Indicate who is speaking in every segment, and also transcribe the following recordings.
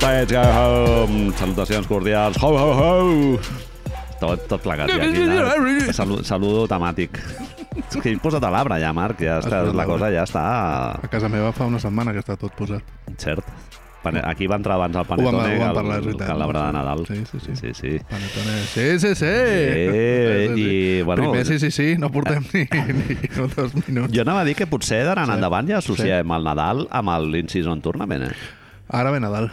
Speaker 1: compets, que, um, salutacions cordials. Ho, ho, ho! Tot, tot plegat. Ja, aquí, anar. saludo, saludo temàtic. És que he posat a l'arbre ja, Marc. Ja està,
Speaker 2: posat
Speaker 1: la cosa
Speaker 2: l'arbre.
Speaker 1: ja està...
Speaker 2: A casa meva fa una setmana que està tot posat.
Speaker 1: Cert. Pane- Aquí va entrar abans el
Speaker 2: vam- ho
Speaker 1: panetone
Speaker 2: vam
Speaker 1: que el-
Speaker 2: parlar, és veritat.
Speaker 1: que l'arbre de Nadal.
Speaker 2: Sí, sí, sí.
Speaker 1: sí, sí.
Speaker 2: Panetone. Sí, sí, sí.
Speaker 1: Eh,
Speaker 2: Sí, sí,
Speaker 1: i,
Speaker 2: sí.
Speaker 1: bueno, Ah.
Speaker 2: Primer, sí, sí, sí, no portem ni, ni dos minuts.
Speaker 1: Jo anava a dir que potser d'ara en endavant ja associem el Nadal amb l'In-Season Tournament, eh?
Speaker 2: Ara ve Nadal.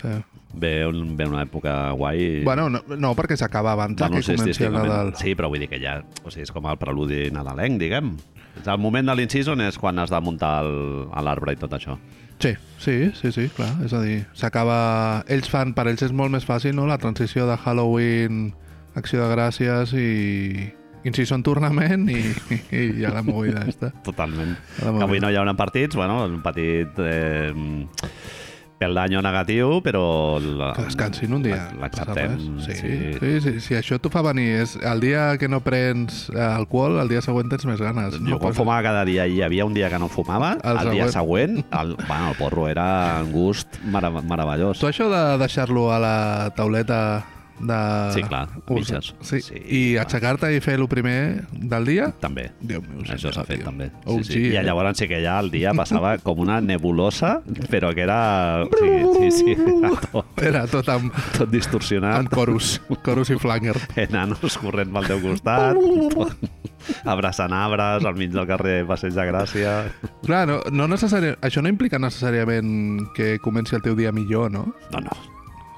Speaker 2: Sí.
Speaker 1: Ve, un, ve una època guai.
Speaker 2: Bueno, no, no perquè s'acaba
Speaker 1: Bueno,
Speaker 2: abans que comenci el
Speaker 1: estadísticament.
Speaker 2: Nadal.
Speaker 1: Sí, però vull dir que ja... O sigui, és com el preludi nadalenc, diguem. És El moment de l'in-season és quan has de muntar el- a l'arbre i tot això.
Speaker 2: Sí, sí, sí, sí, clar. És a dir, s'acaba... Ells fan, per ells és molt més fàcil, no?, la transició de Halloween, Acció de Gràcies i... Incision Tournament i, i ja la movida està.
Speaker 1: Totalment.
Speaker 2: Ara m'ho
Speaker 1: Que avui
Speaker 2: veig.
Speaker 1: no hi haurà partits, bueno, un petit... Eh, pel danyo negatiu, però... La,
Speaker 2: Que descansin un dia. no passa
Speaker 1: L'acceptem.
Speaker 2: res. Sí, sí, sí, sí, sí, això t'ho fa venir. És el dia que no prens eh, alcohol, el dia següent tens més ganes.
Speaker 1: Jo quan
Speaker 2: Passa-
Speaker 1: fumava cada dia i hi havia un dia que no fumava, el,
Speaker 2: El
Speaker 1: dia següent, el, bueno, el porro era un gust merav meravellós.
Speaker 2: Tu això de deixar-lo a la tauleta de...
Speaker 1: Sí, clar, a
Speaker 2: Us-
Speaker 1: mitges. Sí,
Speaker 2: Sí. sí, i
Speaker 1: clar.
Speaker 2: aixecar-te i fer-lo primer del dia...
Speaker 1: També.
Speaker 2: Déu meu,
Speaker 1: Això
Speaker 2: senyor,
Speaker 1: s'ha fet
Speaker 2: tio.
Speaker 1: també.
Speaker 2: OG,
Speaker 1: sí, sí. I
Speaker 2: eh?
Speaker 1: llavors sí que ja el dia passava com una nebulosa, però que era... Sí, sí, sí. Era tot,
Speaker 2: Era tot amb,
Speaker 1: tot distorsionat.
Speaker 2: amb corus, corus i flanger.
Speaker 1: enanos corrent pel teu costat, tot- abraçant arbres al mig del carrer Passeig de Gràcia.
Speaker 2: Clar, no, no necessari... això no implica necessàriament que comenci el teu dia millor, no?
Speaker 1: No, no.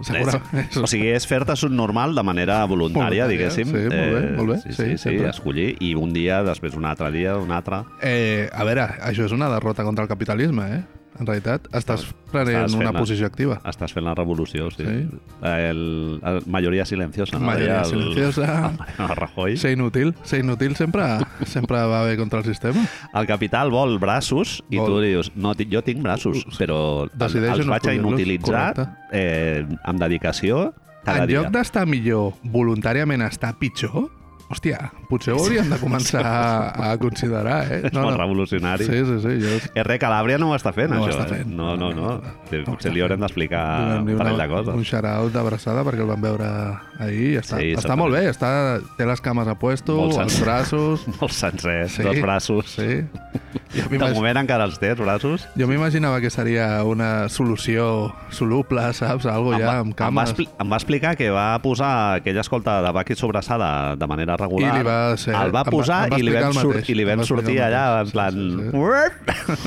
Speaker 2: Segura...
Speaker 1: És, o sigui, és fer-te subnormal de manera voluntària,
Speaker 2: Voluntària,
Speaker 1: diguéssim.
Speaker 2: sí, molt bé, molt bé,
Speaker 1: Sí,
Speaker 2: sí,
Speaker 1: sí, sí,
Speaker 2: sempre.
Speaker 1: escollir. I un dia, després un altre dia, un altre...
Speaker 2: Eh, a veure, això és una derrota contra el capitalisme, eh? En realitat, estàs prenent
Speaker 1: estàs fent
Speaker 2: una
Speaker 1: la-
Speaker 2: posició activa.
Speaker 1: Estàs fent la revolució, sí.
Speaker 2: Sí.
Speaker 1: El, el, majoria silenciosa. no?
Speaker 2: Majoria
Speaker 1: Deia
Speaker 2: silenciosa.
Speaker 1: El Mariano Rajoy.
Speaker 2: Ser inútil, ser inútil sempre, sempre va bé contra el sistema.
Speaker 1: El capital vol braços i
Speaker 2: Vol.
Speaker 1: tu dius, no, ti- jo tinc braços, però
Speaker 2: Decideixo
Speaker 1: els
Speaker 2: no
Speaker 1: vaig a
Speaker 2: escollir-los,
Speaker 1: inutilitzar
Speaker 2: correcte.
Speaker 1: eh, amb dedicació cada
Speaker 2: en
Speaker 1: dia.
Speaker 2: lloc d'estar millor, voluntàriament estar pitjor, hòstia, potser ho hauríem de començar a, a considerar, eh?
Speaker 1: És molt revolucionari.
Speaker 2: Sí, sí, sí. Jo...
Speaker 1: R. Calàbria no ho està fent,
Speaker 2: No ho
Speaker 1: això.
Speaker 2: està
Speaker 1: eh?
Speaker 2: fent.
Speaker 1: No, no, no. no
Speaker 2: No ho
Speaker 1: Potser
Speaker 2: està
Speaker 1: li haurem
Speaker 2: fent.
Speaker 1: d'explicar
Speaker 2: Donem-li
Speaker 1: Ah, un parell de
Speaker 2: un
Speaker 1: coses.
Speaker 2: xaralt d'abraçada perquè el vam veure ahir i ja està.
Speaker 1: Sí,
Speaker 2: està molt bé, està, té les cames a puesto,
Speaker 1: Molt
Speaker 2: els
Speaker 1: senzill.
Speaker 2: braços...
Speaker 1: Molt sencers,
Speaker 2: Sí.
Speaker 1: sí. dos braços. Sí.
Speaker 2: Sí. Jo
Speaker 1: De
Speaker 2: m'imagino-
Speaker 1: moment encara els té, els braços.
Speaker 2: Jo m'imaginava que seria una solució soluble, saps? Algo ja amb
Speaker 1: em, va
Speaker 2: cames.
Speaker 1: expli- em va explicar que va posar aquella escolta de Baki Sobrassada de manera regular.
Speaker 2: I li va ser-
Speaker 1: El va
Speaker 2: em va-
Speaker 1: posar
Speaker 2: em va
Speaker 1: i, li
Speaker 2: explicar
Speaker 1: vam
Speaker 2: el
Speaker 1: sur-
Speaker 2: mateix.
Speaker 1: i li
Speaker 2: Em
Speaker 1: vam
Speaker 2: va
Speaker 1: sortir
Speaker 2: explicar el
Speaker 1: allà en
Speaker 2: mateix.
Speaker 1: plan...
Speaker 2: Sí,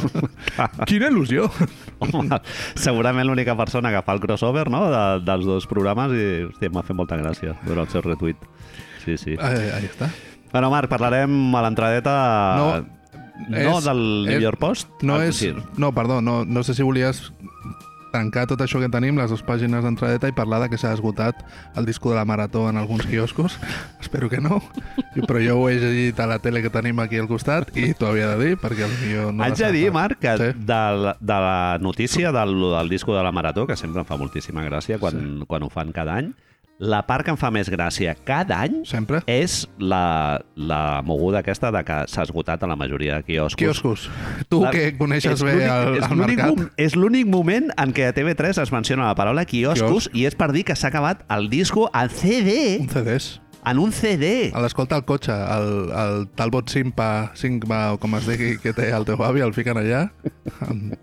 Speaker 1: Quina
Speaker 2: il·lusió!
Speaker 1: Home, segurament l'única persona que fa el crossover no? de, dels dos programes i hòstia, m'ha fet molta gràcia veure el seu retuit. Sí, sí.
Speaker 2: Ahí, ahí està.
Speaker 1: Bueno, Marc, parlarem a l'entradeta...
Speaker 2: No,
Speaker 1: no
Speaker 2: és-
Speaker 1: del New
Speaker 2: és-
Speaker 1: York Post?
Speaker 2: No
Speaker 1: Ah,
Speaker 2: és...
Speaker 1: sí.
Speaker 2: No, perdó, no, no sé si volies tancar tot això que tenim, les dues pàgines d'entradeta i parlar de que s'ha esgotat el disco de la Marató en alguns quioscos. Espero que no, Jo- però jo ho he llegit a la tele que tenim aquí al costat i t'ho havia de dir perquè potser no...
Speaker 1: Haig de dir, Marc, que
Speaker 2: Sí.
Speaker 1: de, la- de la notícia del, del disco de la Marató, que sempre em fa moltíssima gràcia quan, sí. quan ho fan cada any, la part que em fa més gràcia cada any
Speaker 2: Sempre?
Speaker 1: és la, la moguda aquesta de que s'ha esgotat a la majoria de quioscos.
Speaker 2: Quioscos. Tu
Speaker 1: La-
Speaker 2: que coneixes
Speaker 1: és
Speaker 2: bé
Speaker 1: l'únic-
Speaker 2: el,
Speaker 1: és
Speaker 2: el
Speaker 1: l'únic
Speaker 2: mercat.
Speaker 1: mom- És l'únic moment en què a TV3 es menciona la paraula quioscos i és per dir que s'ha acabat el disco al CD,
Speaker 2: Un CDs.
Speaker 1: en un CD.
Speaker 2: A l'escolta al cotxe, el, el Talbot Simpa, Simpa, o com es digui que té el teu avi, el fiquen allà. amb-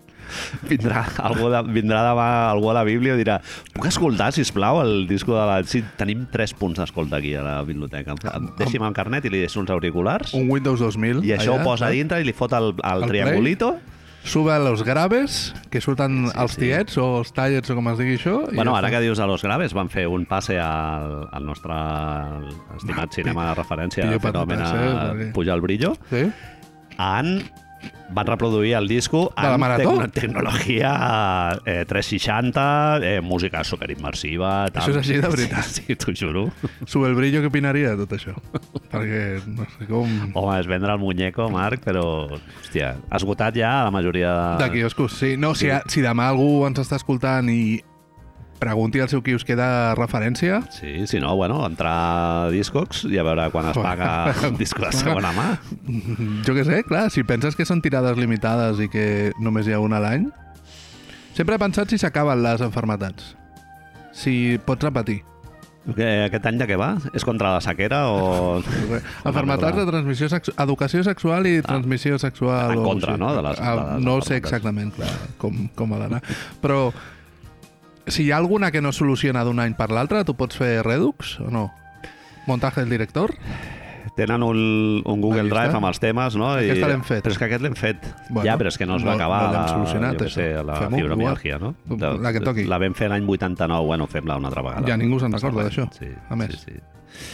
Speaker 1: Vindrà, algú de, vindrà demà algú a la Bíblia i dirà puc escoltar, si plau el disco de la... Sí, tenim tres punts d'escolta aquí a la biblioteca. Ah, Deixi'm el carnet i li deixo uns auriculars
Speaker 2: Un Windows 2000.
Speaker 1: i això
Speaker 2: allà,
Speaker 1: ho posa a
Speaker 2: saps?
Speaker 1: dintre i li fot el, eh? el,
Speaker 2: El
Speaker 1: triangulito.
Speaker 2: Sube los graves, que surten
Speaker 1: Sí,
Speaker 2: sí, els
Speaker 1: sí.
Speaker 2: tiets o els tallets o com es digui això. i
Speaker 1: Bueno,
Speaker 2: ja
Speaker 1: ara
Speaker 2: està.
Speaker 1: que dius a Los Graves, van fer un passe al, al nostre estimat cinema de referència,
Speaker 2: Pillo
Speaker 1: fenomena
Speaker 2: patates, eh, perquè-
Speaker 1: Puja el Brillo,
Speaker 2: Sí?
Speaker 1: en van reproduir el disco
Speaker 2: De la
Speaker 1: en
Speaker 2: Marató?
Speaker 1: tecnologia eh, 360, eh, música superimmersiva... Tal.
Speaker 2: Això és així de veritat?
Speaker 1: Sí, sí t'ho juro.
Speaker 2: Sube el brillo, què opinaria de tot això? Perquè, no sé com...
Speaker 1: Home, es vendre el muñeco, Marc, però... Hòstia, ha esgotat ja la majoria...
Speaker 2: De quioscos, sí. No, si,
Speaker 1: Sí.
Speaker 2: si demà algú ens està escoltant i pregunti al seu quiosquer de referència,
Speaker 1: Sí, si no, bueno, entrar a Discogs i a veure quan es paga un disco de segona mà.
Speaker 2: jo què sé, clar, si penses que són tirades limitades i que només hi ha una a l'any, Sempre he pensat si s'acaben les enfermetats. Si pots repetir.
Speaker 1: Que, Eh, aquest any de què va? És contra la sequera o...
Speaker 2: Enfermetats de transmissió sexual, educació sexual i transmissió sexual.
Speaker 1: Ah. En
Speaker 2: o
Speaker 1: contra,
Speaker 2: així.
Speaker 1: no, de les- de
Speaker 2: Ah,
Speaker 1: les
Speaker 2: no
Speaker 1: malalties.
Speaker 2: sé exactament clar, com, com ha d'anar. Però si hi ha alguna que no es soluciona d'un any per l'altre, tu pots fer Redux o no? Montaje del director?
Speaker 1: Tenen un, un Google
Speaker 2: Aquí està.
Speaker 1: Drive amb els temes, no?
Speaker 2: Aquesta l'hem fet.
Speaker 1: Però és que aquest l'hem fet.
Speaker 2: Bueno,
Speaker 1: Bueno, ja, però és que no es
Speaker 2: no-
Speaker 1: va acabar
Speaker 2: no l'hem
Speaker 1: la,
Speaker 2: solucionat,
Speaker 1: jo què
Speaker 2: això.
Speaker 1: sé, la
Speaker 2: Fem-ho,
Speaker 1: fibromialgia, no?
Speaker 2: igual. La que toqui.
Speaker 1: La vam fer l'any 89, bueno, fem-la una altra vegada.
Speaker 2: Ja ningú se'n
Speaker 1: No passa
Speaker 2: recorda
Speaker 1: res.
Speaker 2: d'això,
Speaker 1: Sí,
Speaker 2: a més.
Speaker 1: Sí, sí.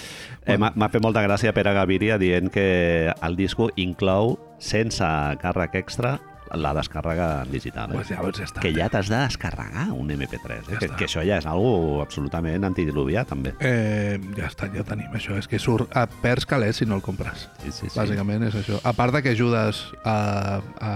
Speaker 1: Eh, M'ha m'ha fet molta gràcia Pere Gaviria dient que el disco inclou, sense càrrec extra, la descàrrega en digital. Eh?
Speaker 2: Pues ja, pues ja està.
Speaker 1: que ja t'has de descarregar un MP3, eh?
Speaker 2: Ja
Speaker 1: que,
Speaker 2: està.
Speaker 1: que això ja és algo absolutament antidiluvià, també.
Speaker 2: Eh, ja està, ja ho tenim això. És que surt a perds calés si no el compres.
Speaker 1: Sí, sí, sí.
Speaker 2: Bàsicament és això. A part de que ajudes a, a,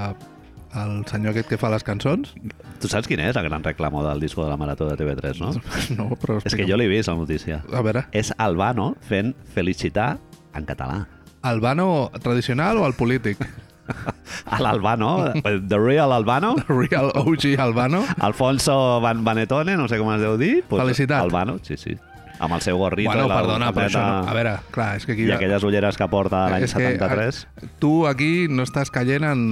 Speaker 2: al senyor aquest que fa les cançons,
Speaker 1: Tu saps quin és el gran reclamo del disco de la Marató de TV3, no?
Speaker 2: no, però...
Speaker 1: És que jo l'he vist, la notícia.
Speaker 2: A veure,
Speaker 1: És Albano fent Felicitar en català.
Speaker 2: el vano tradicional o el polític?
Speaker 1: A l'Albano, the real Albano,
Speaker 2: Real OG Albano?
Speaker 1: Alfonso Van Vanetone, no sé com es deu dir. Pues,
Speaker 2: Felicitat.
Speaker 1: Albano, sí, sí. Amb el seu gorrito
Speaker 2: bueno,
Speaker 1: i la
Speaker 2: perdona, però això no... A
Speaker 1: bufanda
Speaker 2: veure, clar, és que aquí...
Speaker 1: i aquelles ulleres que porta l'any
Speaker 2: És que,
Speaker 1: 73.
Speaker 2: eh, Tu aquí no estàs caient en...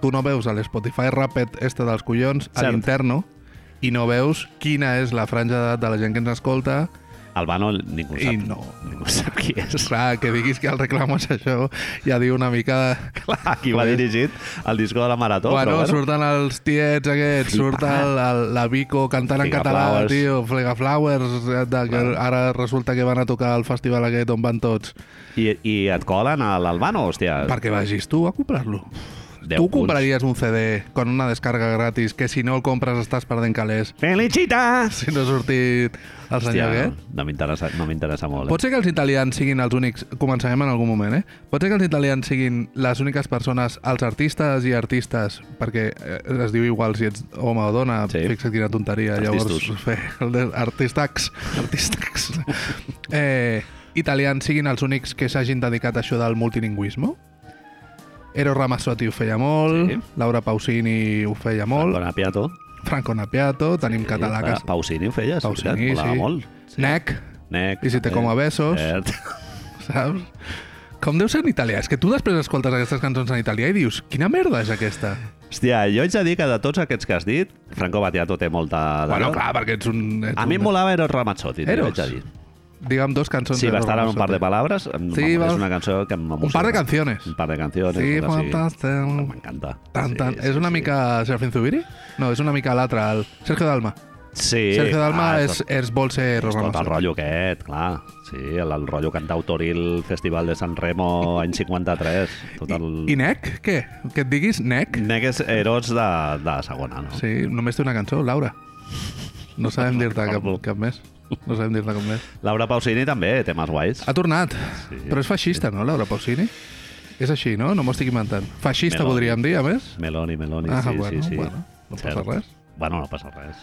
Speaker 2: Tu no veus a l'Spotify Rapid este dels collons a
Speaker 1: Cert.
Speaker 2: l'interno i no veus quina és la franja d'edat de la gent que ens escolta.
Speaker 1: Albano ningú
Speaker 2: I
Speaker 1: sap,
Speaker 2: no.
Speaker 1: ningú sap qui és.
Speaker 2: Clar, que diguis que el reclamo és això ja diu una mica...
Speaker 1: Clar, a qui va
Speaker 2: Joder.
Speaker 1: dirigit el disco de la Marató.
Speaker 2: bueno,
Speaker 1: però, bueno,
Speaker 2: surten els tiets aquests, surt el, el, la Vico cantant en
Speaker 1: Flega
Speaker 2: català,
Speaker 1: Flowers.
Speaker 2: tio, Flega Flowers, eh, de, que
Speaker 1: Clar.
Speaker 2: ara resulta que van a tocar al festival aquest on van tots.
Speaker 1: i, I et colen a l'Albano, hòstia.
Speaker 2: Perquè vagis tu a comprar-lo.
Speaker 1: Deu
Speaker 2: Tu
Speaker 1: punts.
Speaker 2: compraries un CD con una descarga gratis que si no el compres estàs perdent calés
Speaker 1: Felicitas!
Speaker 2: si no ha sortit el
Speaker 1: Hòstia,
Speaker 2: senyor aquest?
Speaker 1: no m'interessa no m'interessa molt. Eh?
Speaker 2: Pot ser que els italians siguin els únics... Començarem en algun moment, eh? Pot ser que els italians siguin les úniques persones, els artistes i artistes, perquè eh, es diu igual si ets home o dona, sí.
Speaker 1: Sí.
Speaker 2: fixa't quina tonteria.
Speaker 1: Artistos.
Speaker 2: Llavors, fer el de artistax, artistax. eh, italians siguin els únics que s'hagin dedicat a això del multilingüisme? Eros Ramazzotti ho feia molt,
Speaker 1: Sí.
Speaker 2: sí. Laura Pausini ho feia molt,
Speaker 1: Bona Piato.
Speaker 2: Franco Napiato, tenim sí, català que...
Speaker 1: Ah, Pausini ho feia,
Speaker 2: Pausini,
Speaker 1: Pausini, sí.
Speaker 2: sí.
Speaker 1: molt.
Speaker 2: Sí. Nec,
Speaker 1: Nec,
Speaker 2: I si te como a besos.
Speaker 1: Cert.
Speaker 2: saps? Com deu ser en italià? És que tu després escoltes aquestes cançons en italià i dius, quina merda és aquesta?
Speaker 1: Hòstia, jo haig de dir que de tots aquests que has dit, Franco Battiato té molta... d'allò.
Speaker 2: Bueno, clar, perquè ets un... Ets
Speaker 1: A mi
Speaker 2: un...
Speaker 1: em molava Eros Ramazzotti, tio,
Speaker 2: Eros.
Speaker 1: haig de dir.
Speaker 2: Digue'm dos cançons.
Speaker 1: Sí,
Speaker 2: de
Speaker 1: va
Speaker 2: Roma
Speaker 1: estar en un par de
Speaker 2: Sotti.
Speaker 1: paraules. em-
Speaker 2: Sí,
Speaker 1: és
Speaker 2: va-
Speaker 1: una canció que m'emociona.
Speaker 2: Un par de canciones.
Speaker 1: Un par de canciones.
Speaker 2: Sí,
Speaker 1: una així.
Speaker 2: fantastic.
Speaker 1: M'encanta.
Speaker 2: Tan, tan.
Speaker 1: Sí,
Speaker 2: és
Speaker 1: sí,
Speaker 2: una
Speaker 1: sí.
Speaker 2: mica Serafín Zubiri? No, és una mica l'altre, el Sergio Dalma.
Speaker 1: Sí.
Speaker 2: Sergio Dalma
Speaker 1: Ah,
Speaker 2: és, és vol ser Rosa
Speaker 1: Tot el
Speaker 2: Nostra.
Speaker 1: rotllo aquest, clar. Sí, el, el rotllo cantautoril Festival de San Remo any 53. Tot el...
Speaker 2: I Nec? Què? Que et diguis Nec?
Speaker 1: Nec és Eros de, de segona, no?
Speaker 2: Sí, només té una cançó, Laura. No sabem dir-te cap,
Speaker 1: recordo.
Speaker 2: cap més. No sabem dir-te cap més.
Speaker 1: Laura Pausini també, temes guais.
Speaker 2: Ha tornat.
Speaker 1: Sí.
Speaker 2: Però és feixista, no, Laura Pausini? És així, no? No m'ho estic inventant. Feixista,
Speaker 1: Meloni.
Speaker 2: podríem dir, a més?
Speaker 1: Meloni, Meloni,
Speaker 2: Ah,
Speaker 1: sí,
Speaker 2: bueno,
Speaker 1: sí, sí.
Speaker 2: bueno, no passa
Speaker 1: Cert.
Speaker 2: res.
Speaker 1: Bueno, no passa res.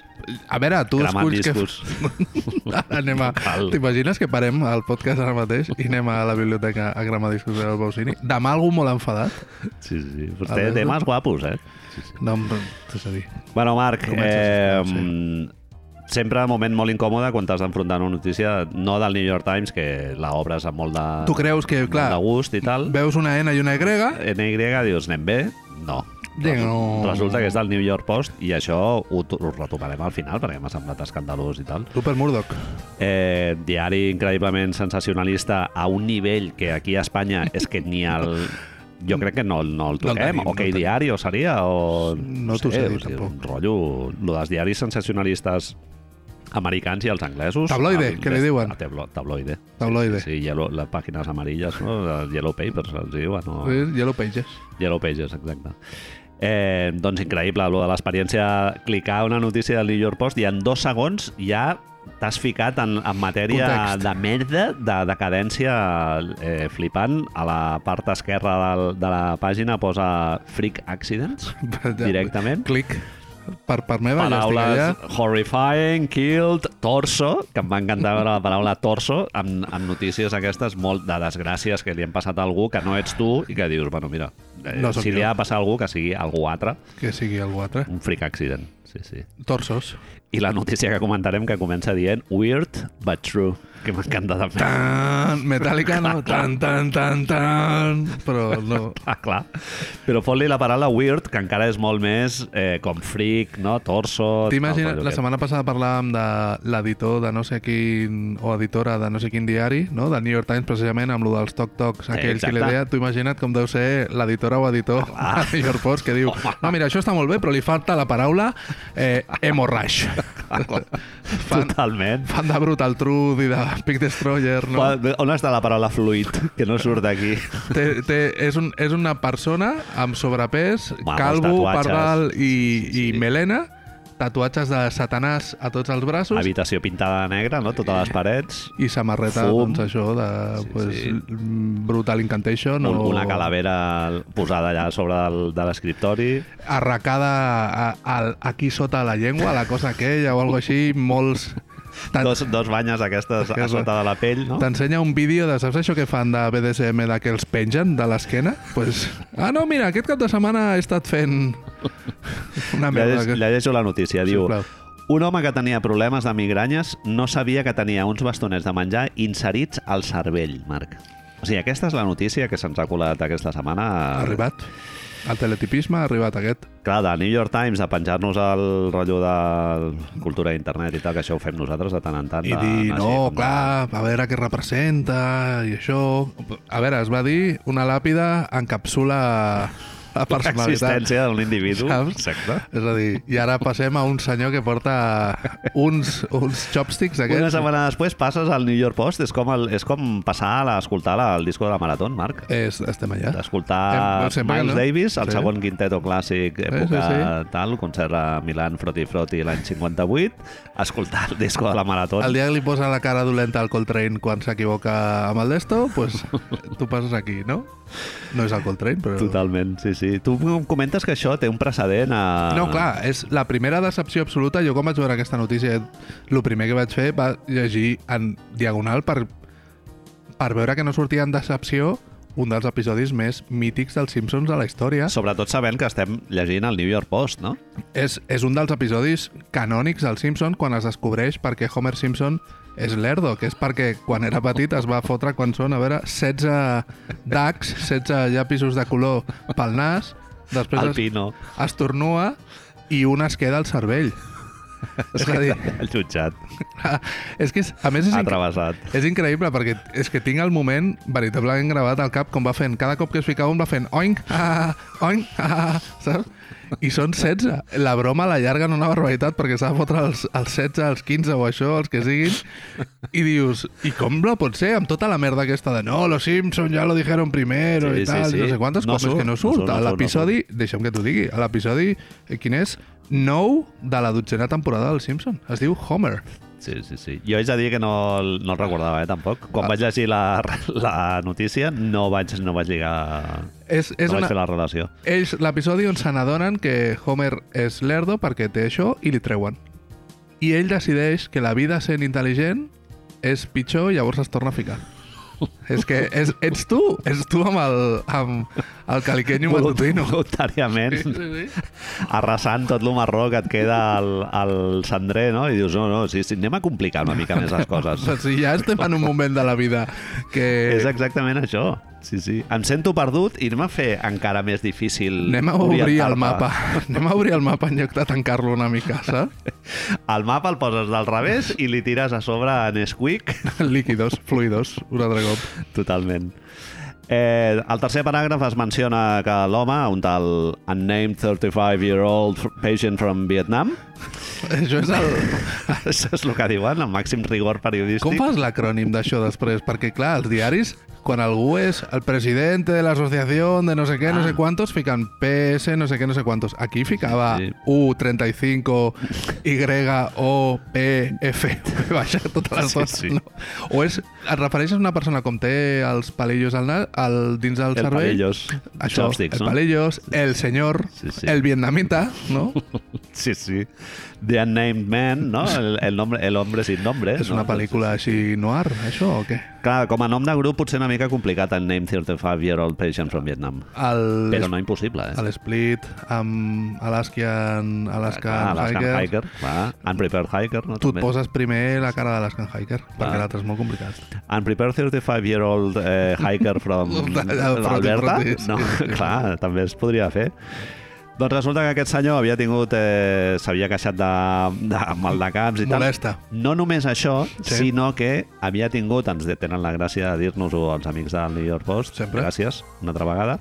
Speaker 2: A veure, tu
Speaker 1: Cremant
Speaker 2: esculls que...
Speaker 1: discos.
Speaker 2: Ara anem a...
Speaker 1: Cal.
Speaker 2: T'imagines que parem el podcast ara mateix i anem a la biblioteca a gramar discos de Laura Pausini? Demà algú molt enfadat?
Speaker 1: Sí, sí. Vostè
Speaker 2: A veure.
Speaker 1: té temes guapos, eh?
Speaker 2: No, em- és a dir...
Speaker 1: Bueno, Marc,
Speaker 2: Comences,
Speaker 1: eh,
Speaker 2: sí.
Speaker 1: mm, sempre un moment molt incòmode quan t'has d'enfrontar a una notícia no del New York Times, que la obres amb molt de,
Speaker 2: Tu creus que,
Speaker 1: molt
Speaker 2: clar,
Speaker 1: de gust i tal.
Speaker 2: veus una N i una Y,
Speaker 1: NY dius, anem bé? No.
Speaker 2: Vinga, no.
Speaker 1: Resulta que és del New York Post i això ho, to- ho retomarem al final perquè m'ha semblat escandalós i tal.
Speaker 2: Rupert Murdoch.
Speaker 1: Eh, diari increïblement sensacionalista a un nivell que aquí a Espanya és que ni el... Jo crec que no, no el toquem.
Speaker 2: tenim,
Speaker 1: No
Speaker 2: no
Speaker 1: OK
Speaker 2: tenim.
Speaker 1: Diari o seria? O,
Speaker 2: No t'ho sé dir,
Speaker 1: o sigui,
Speaker 2: tampoc.
Speaker 1: Un rotllo... Lo dels diaris sensacionalistes americans i els anglesos...
Speaker 2: Tabloide,
Speaker 1: el-
Speaker 2: que li diuen.
Speaker 1: a Tablo, tabloide.
Speaker 2: Tabloide.
Speaker 1: Sí, sí, sí yellow, les pàgines amarilles, no? Les Yellow papers, els diuen. No?
Speaker 2: Sí, Yellow Pages.
Speaker 1: Yellow Pages, exacte. Eh, doncs increïble, lo de l'experiència clicar una notícia del New York Post i en dos segons ja t'has ficat en, en matèria
Speaker 2: Context.
Speaker 1: de merda, de decadència eh, flipant. A la part esquerra del, de la pàgina posa Freak Accidents, directament.
Speaker 2: Clic. Per part meva, Ah, ja estic allà.
Speaker 1: Paraules horrifying, killed, torso, que em va encantar veure la paraula torso, amb, amb notícies aquestes molt de desgràcies que li han passat a algú que no ets tu i que dius, bueno, mira, eh,
Speaker 2: No
Speaker 1: no
Speaker 2: sóc
Speaker 1: si li
Speaker 2: jo.
Speaker 1: ha de passar a algú que sigui algú altre,
Speaker 2: que sigui algú altre.
Speaker 1: un freak accident. Sí, sí.
Speaker 2: Torsos.
Speaker 1: I la notícia que comentarem que comença dient Weird but true, que m'encanta també.
Speaker 2: Tan, Metallica no, tan, tan, tan, tan, però no.
Speaker 1: Ah, clar. Però fot-li la paraula weird, que encara és molt més eh, com freak, no? Torso...
Speaker 2: T'imagines,
Speaker 1: tal,
Speaker 2: la
Speaker 1: rotllo
Speaker 2: setmana passada parlàvem de l'editor de no sé quin, o editora de no sé quin diari, no? del New York Times, precisament, amb lo dels toc-tocs, aquells que
Speaker 1: exacte.
Speaker 2: li deia, tu imagina't com deu ser l'editora o editor ah, de New York Post, que diu, no, mira, això està molt bé, però li falta la paraula eh, hemorraix.
Speaker 1: aquest.
Speaker 2: Ah, fan,
Speaker 1: Totalment.
Speaker 2: fan de Brutal Truth i de Big Destroyer, no?
Speaker 1: No. On està la paraula fluid, que no surt d'aquí?
Speaker 2: Té, té, és, un, és una persona amb sobrepès,
Speaker 1: Home,
Speaker 2: calvo,
Speaker 1: els tatuatges.
Speaker 2: pardal i,
Speaker 1: Sí,
Speaker 2: i
Speaker 1: sí.
Speaker 2: melena, tatuatges de satanàs a tots els braços
Speaker 1: Habitació pintada de negre, no? Totes les parets.
Speaker 2: i samarreta,
Speaker 1: Fum.
Speaker 2: doncs això, de
Speaker 1: Sí,
Speaker 2: pues,
Speaker 1: sí.
Speaker 2: mm, Brutal Incantation
Speaker 1: No.
Speaker 2: o...
Speaker 1: Una calavera posada allà sobre del, de l'escriptori.
Speaker 2: Arracada a, a, aquí sota la llengua, la cosa aquella o alguna així, molts... Tan-
Speaker 1: Dos, dos banyes aquestes a sota de la pell, no?
Speaker 2: T'ensenya un vídeo de, saps això que fan de BDSM de que els pengen de l'esquena? Pues, ah, no, mira, aquest cap de setmana he estat fent una merda.
Speaker 1: Llegeix-
Speaker 2: que-
Speaker 1: Llegeixo la notícia, diu...
Speaker 2: Sisplau.
Speaker 1: Un home que tenia problemes de migranyes no sabia que tenia uns bastonets de menjar inserits al cervell, Marc. O sigui, aquesta és la notícia que se'ns ha colat aquesta setmana.
Speaker 2: Ha arribat. El teletipisme ha arribat aquest.
Speaker 1: Clar, de New York Times, a penjar-nos el rotllo de cultura d'internet i tal, que això ho fem nosaltres de tant en tant.
Speaker 2: I
Speaker 1: de-
Speaker 2: dir,
Speaker 1: anar així
Speaker 2: no,
Speaker 1: com de-
Speaker 2: clar, a veure què representa i això... A veure, es va dir una làpida encapsula la personalitat.
Speaker 1: tota L'existència d'un individu.
Speaker 2: Saps?
Speaker 1: Exacte.
Speaker 2: És a dir, i ara passem a un senyor que porta uns, uns chopsticks
Speaker 1: Una
Speaker 2: aquests.
Speaker 1: setmana després passes al New York Post. És com, el, és com passar a escoltar la- el disco de la Marató, Marc.
Speaker 2: És, estem allà. Eh, Em-
Speaker 1: d'escoltar
Speaker 2: em sembla que
Speaker 1: Miles
Speaker 2: no.
Speaker 1: Davis, el
Speaker 2: Sí.
Speaker 1: segon quinteto clàssic, època
Speaker 2: sí,
Speaker 1: sí,
Speaker 2: sí.
Speaker 1: tal, concert a Milan, Froti Froti l'any 58, escoltar el disco de la Marató.
Speaker 2: El dia que li posa la cara dolenta al Coltrane quan s'equivoca amb el d'esto, pues, tu passes aquí, no? No és el Coltrane, però...
Speaker 1: Totalment, sí, sí. Tu em comentes que això té un precedent a...
Speaker 2: No, clar, és la primera decepció absoluta. Jo quan vaig veure aquesta notícia, el primer que vaig fer va llegir en diagonal per, per veure que no sortia en decepció un dels episodis més mítics dels Simpsons de la història.
Speaker 1: Sobretot sabent que estem llegint el New York Post, no?
Speaker 2: És, és un dels episodis canònics dels Simpson quan es descobreix perquè Homer Simpson és lerdo, que és perquè quan era petit es va fotre quan són, a veure, 16 dacs, 16 llapisos de color pel nas, després
Speaker 1: El
Speaker 2: es-
Speaker 1: Pino,
Speaker 2: es tornua i un es queda al cervell. és a dir,
Speaker 1: el jutjat,
Speaker 2: és que és, a més és,
Speaker 1: ha
Speaker 2: inc
Speaker 1: travessat.
Speaker 2: és increïble perquè és que tinc el moment veritablement gravat al cap com va fent, cada cop que es ficava un va fent oink, ah, oink, ah, saps? I són 16. La broma la llarga en una barbaritat perquè s'ha de fotre els, els 16, els 15 o això, els que siguin. I dius, i com no pot ser? Amb tota la merda aquesta de no, los Simpson ja lo dijeron primero
Speaker 1: Sí,
Speaker 2: i
Speaker 1: sí,
Speaker 2: tal,
Speaker 1: sí.
Speaker 2: i no sé quantes
Speaker 1: No
Speaker 2: coses
Speaker 1: surt,
Speaker 2: que no
Speaker 1: no surt,
Speaker 2: surt.
Speaker 1: no
Speaker 2: a
Speaker 1: surt, no
Speaker 2: l'episodi, deixa'm que t'ho digui, a l'episodi, eh, quin és? 9 de la dotzena temporada del Simpson. Es diu Homer.
Speaker 1: Sí, sí, sí. Jo haig de dir que no, el- no el recordava, eh, tampoc. Quan
Speaker 2: Ah.
Speaker 1: vaig llegir la, la notícia no vaig, no vaig lligar...
Speaker 2: És, és
Speaker 1: no
Speaker 2: una,
Speaker 1: vaig fer la relació.
Speaker 2: Ells, l'episodi on se n'adonen que Homer és lerdo perquè té això i li treuen. I ell decideix que la vida sent intel·ligent és pitjor i llavors es torna a ficar. és que és, ets tu, ets tu amb el, amb el caliquenyo matutino.
Speaker 1: Voluntàriament.
Speaker 2: Sí, sí, sí.
Speaker 1: arrasant tot lo marró que et queda al, al cendrer, no? I dius, no, no, sí, sí, anem a complicar una mica més les
Speaker 2: O
Speaker 1: coses.
Speaker 2: sigui, ja estem en un moment de la vida
Speaker 1: És
Speaker 2: que
Speaker 1: exactament això. Sí, sí. Em sento perdut i anem a fer encara més difícil
Speaker 2: anem a obrir el
Speaker 1: orientar-me.
Speaker 2: mapa. Anem a obrir el mapa en lloc de tancar-lo una mica, saps?
Speaker 1: El mapa el poses del revés i li tires a sobre a Nesquik.
Speaker 2: Líquidos, fluidos, un altre cop.
Speaker 1: Totalment. Eh, al tercer paràgraf es menciona que l'home, un tal unnamed 35-year-old patient from Vietnam,
Speaker 2: Això és el,
Speaker 1: això és el que diuen, el màxim rigor periodístic.
Speaker 2: Com fas l'acrònim d'això després? Perquè, clar, els diaris, quan algú és el president de l'associació de no sé què, no
Speaker 1: Ah.
Speaker 2: sé quantos, fiquen PS, no sé què, no sé quantos. Aquí ficava
Speaker 1: Sí, sí.
Speaker 2: U35, Y, O, P, F, baixa totes les
Speaker 1: Sí,
Speaker 2: coses.
Speaker 1: sí.
Speaker 2: No? O és, et refereixes a una persona com té els palillos al, nas, al dins del
Speaker 1: El
Speaker 2: cervell?
Speaker 1: palillos.
Speaker 2: Això,
Speaker 1: Chopsticks,
Speaker 2: el
Speaker 1: no?
Speaker 2: palillos, el senyor,
Speaker 1: Sí, sí.
Speaker 2: el vietnamita, no?
Speaker 1: Sí, sí. The Unnamed Man, no? El, el, nombre, el hombre sin nombre.
Speaker 2: És
Speaker 1: no?
Speaker 2: una pel·lícula així noir, això, o què?
Speaker 1: Clar, com a nom de grup potser una mica complicat el Name 35 Year Old Patient from Vietnam.
Speaker 2: El,
Speaker 1: Però no impossible, eh?
Speaker 2: el Split, amb Alaskan,
Speaker 1: Ah, Clar,
Speaker 2: Alaskan,
Speaker 1: l'Alaskan
Speaker 2: Hiker...
Speaker 1: Hiker, clar. Unprepared Hiker, no?
Speaker 2: Tu et
Speaker 1: També.
Speaker 2: poses primer la cara de l'Alaskan Hiker, perquè l'altre és molt complicat.
Speaker 1: Unprepared 35-year-old eh, hiker from
Speaker 2: Del Proti,
Speaker 1: Alberta.
Speaker 2: Proti, sí.
Speaker 1: No, clar, també es podria fer. Doncs resulta que aquest senyor havia tingut... Eh, S'havia queixat de, de mal de caps i tal.
Speaker 2: Molesta.
Speaker 1: No només això,
Speaker 2: Sí.
Speaker 1: sí. sinó que havia tingut, ens de- tenen la gràcia de dir-nos-ho els amics del New York Post,
Speaker 2: Sempre.
Speaker 1: gràcies, una altra vegada,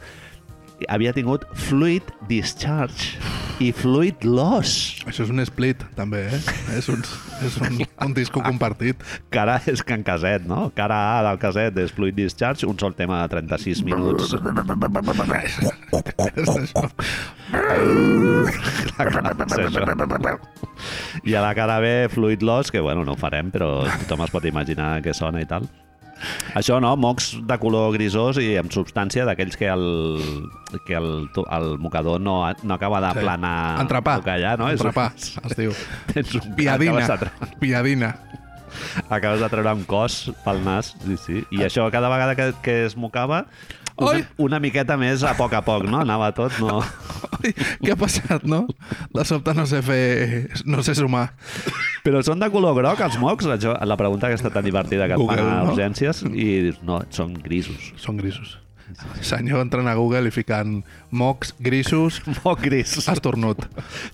Speaker 1: havia tingut fluid discharge i fluid loss.
Speaker 2: Això és un split, també, eh? És un, és un, un disco compartit.
Speaker 1: Cara és Can Caset, no? Cara A del Caset és fluid discharge, un sol tema de 36 minuts
Speaker 2: És això.
Speaker 1: I a la cara B, Fluid Loss, que bueno, no ho farem, però tothom es pot imaginar què sona i tal. Això no, mocs de color grisós i amb substància d'aquells que el, que el, tu- el mocador no, no acaba de
Speaker 2: Sí.
Speaker 1: planar
Speaker 2: Entrepà.
Speaker 1: o callar, no? És un-
Speaker 2: Entrepà, es diu.
Speaker 1: Tens un
Speaker 2: Piadina.
Speaker 1: Acabes de, tre-
Speaker 2: Piadina.
Speaker 1: acabes de treure un cos pel nas, sí, sí. I això cada vegada que, que es mocava, una,
Speaker 2: Ah. Oi!
Speaker 1: una miqueta més a poc a poc, no? Anava tot, no?
Speaker 2: Ai, què ha passat, no? De sobte no sé fer... no sé sumar.
Speaker 1: Però són de color groc els mocs? La, jo- la pregunta que està tan divertida que et fan
Speaker 2: Google,
Speaker 1: a
Speaker 2: no?
Speaker 1: urgències i dius, no, són grisos.
Speaker 2: Són grisos. Senyor, entren a Google i ficant mocs, grisos,
Speaker 1: Moc gris.
Speaker 2: estornut.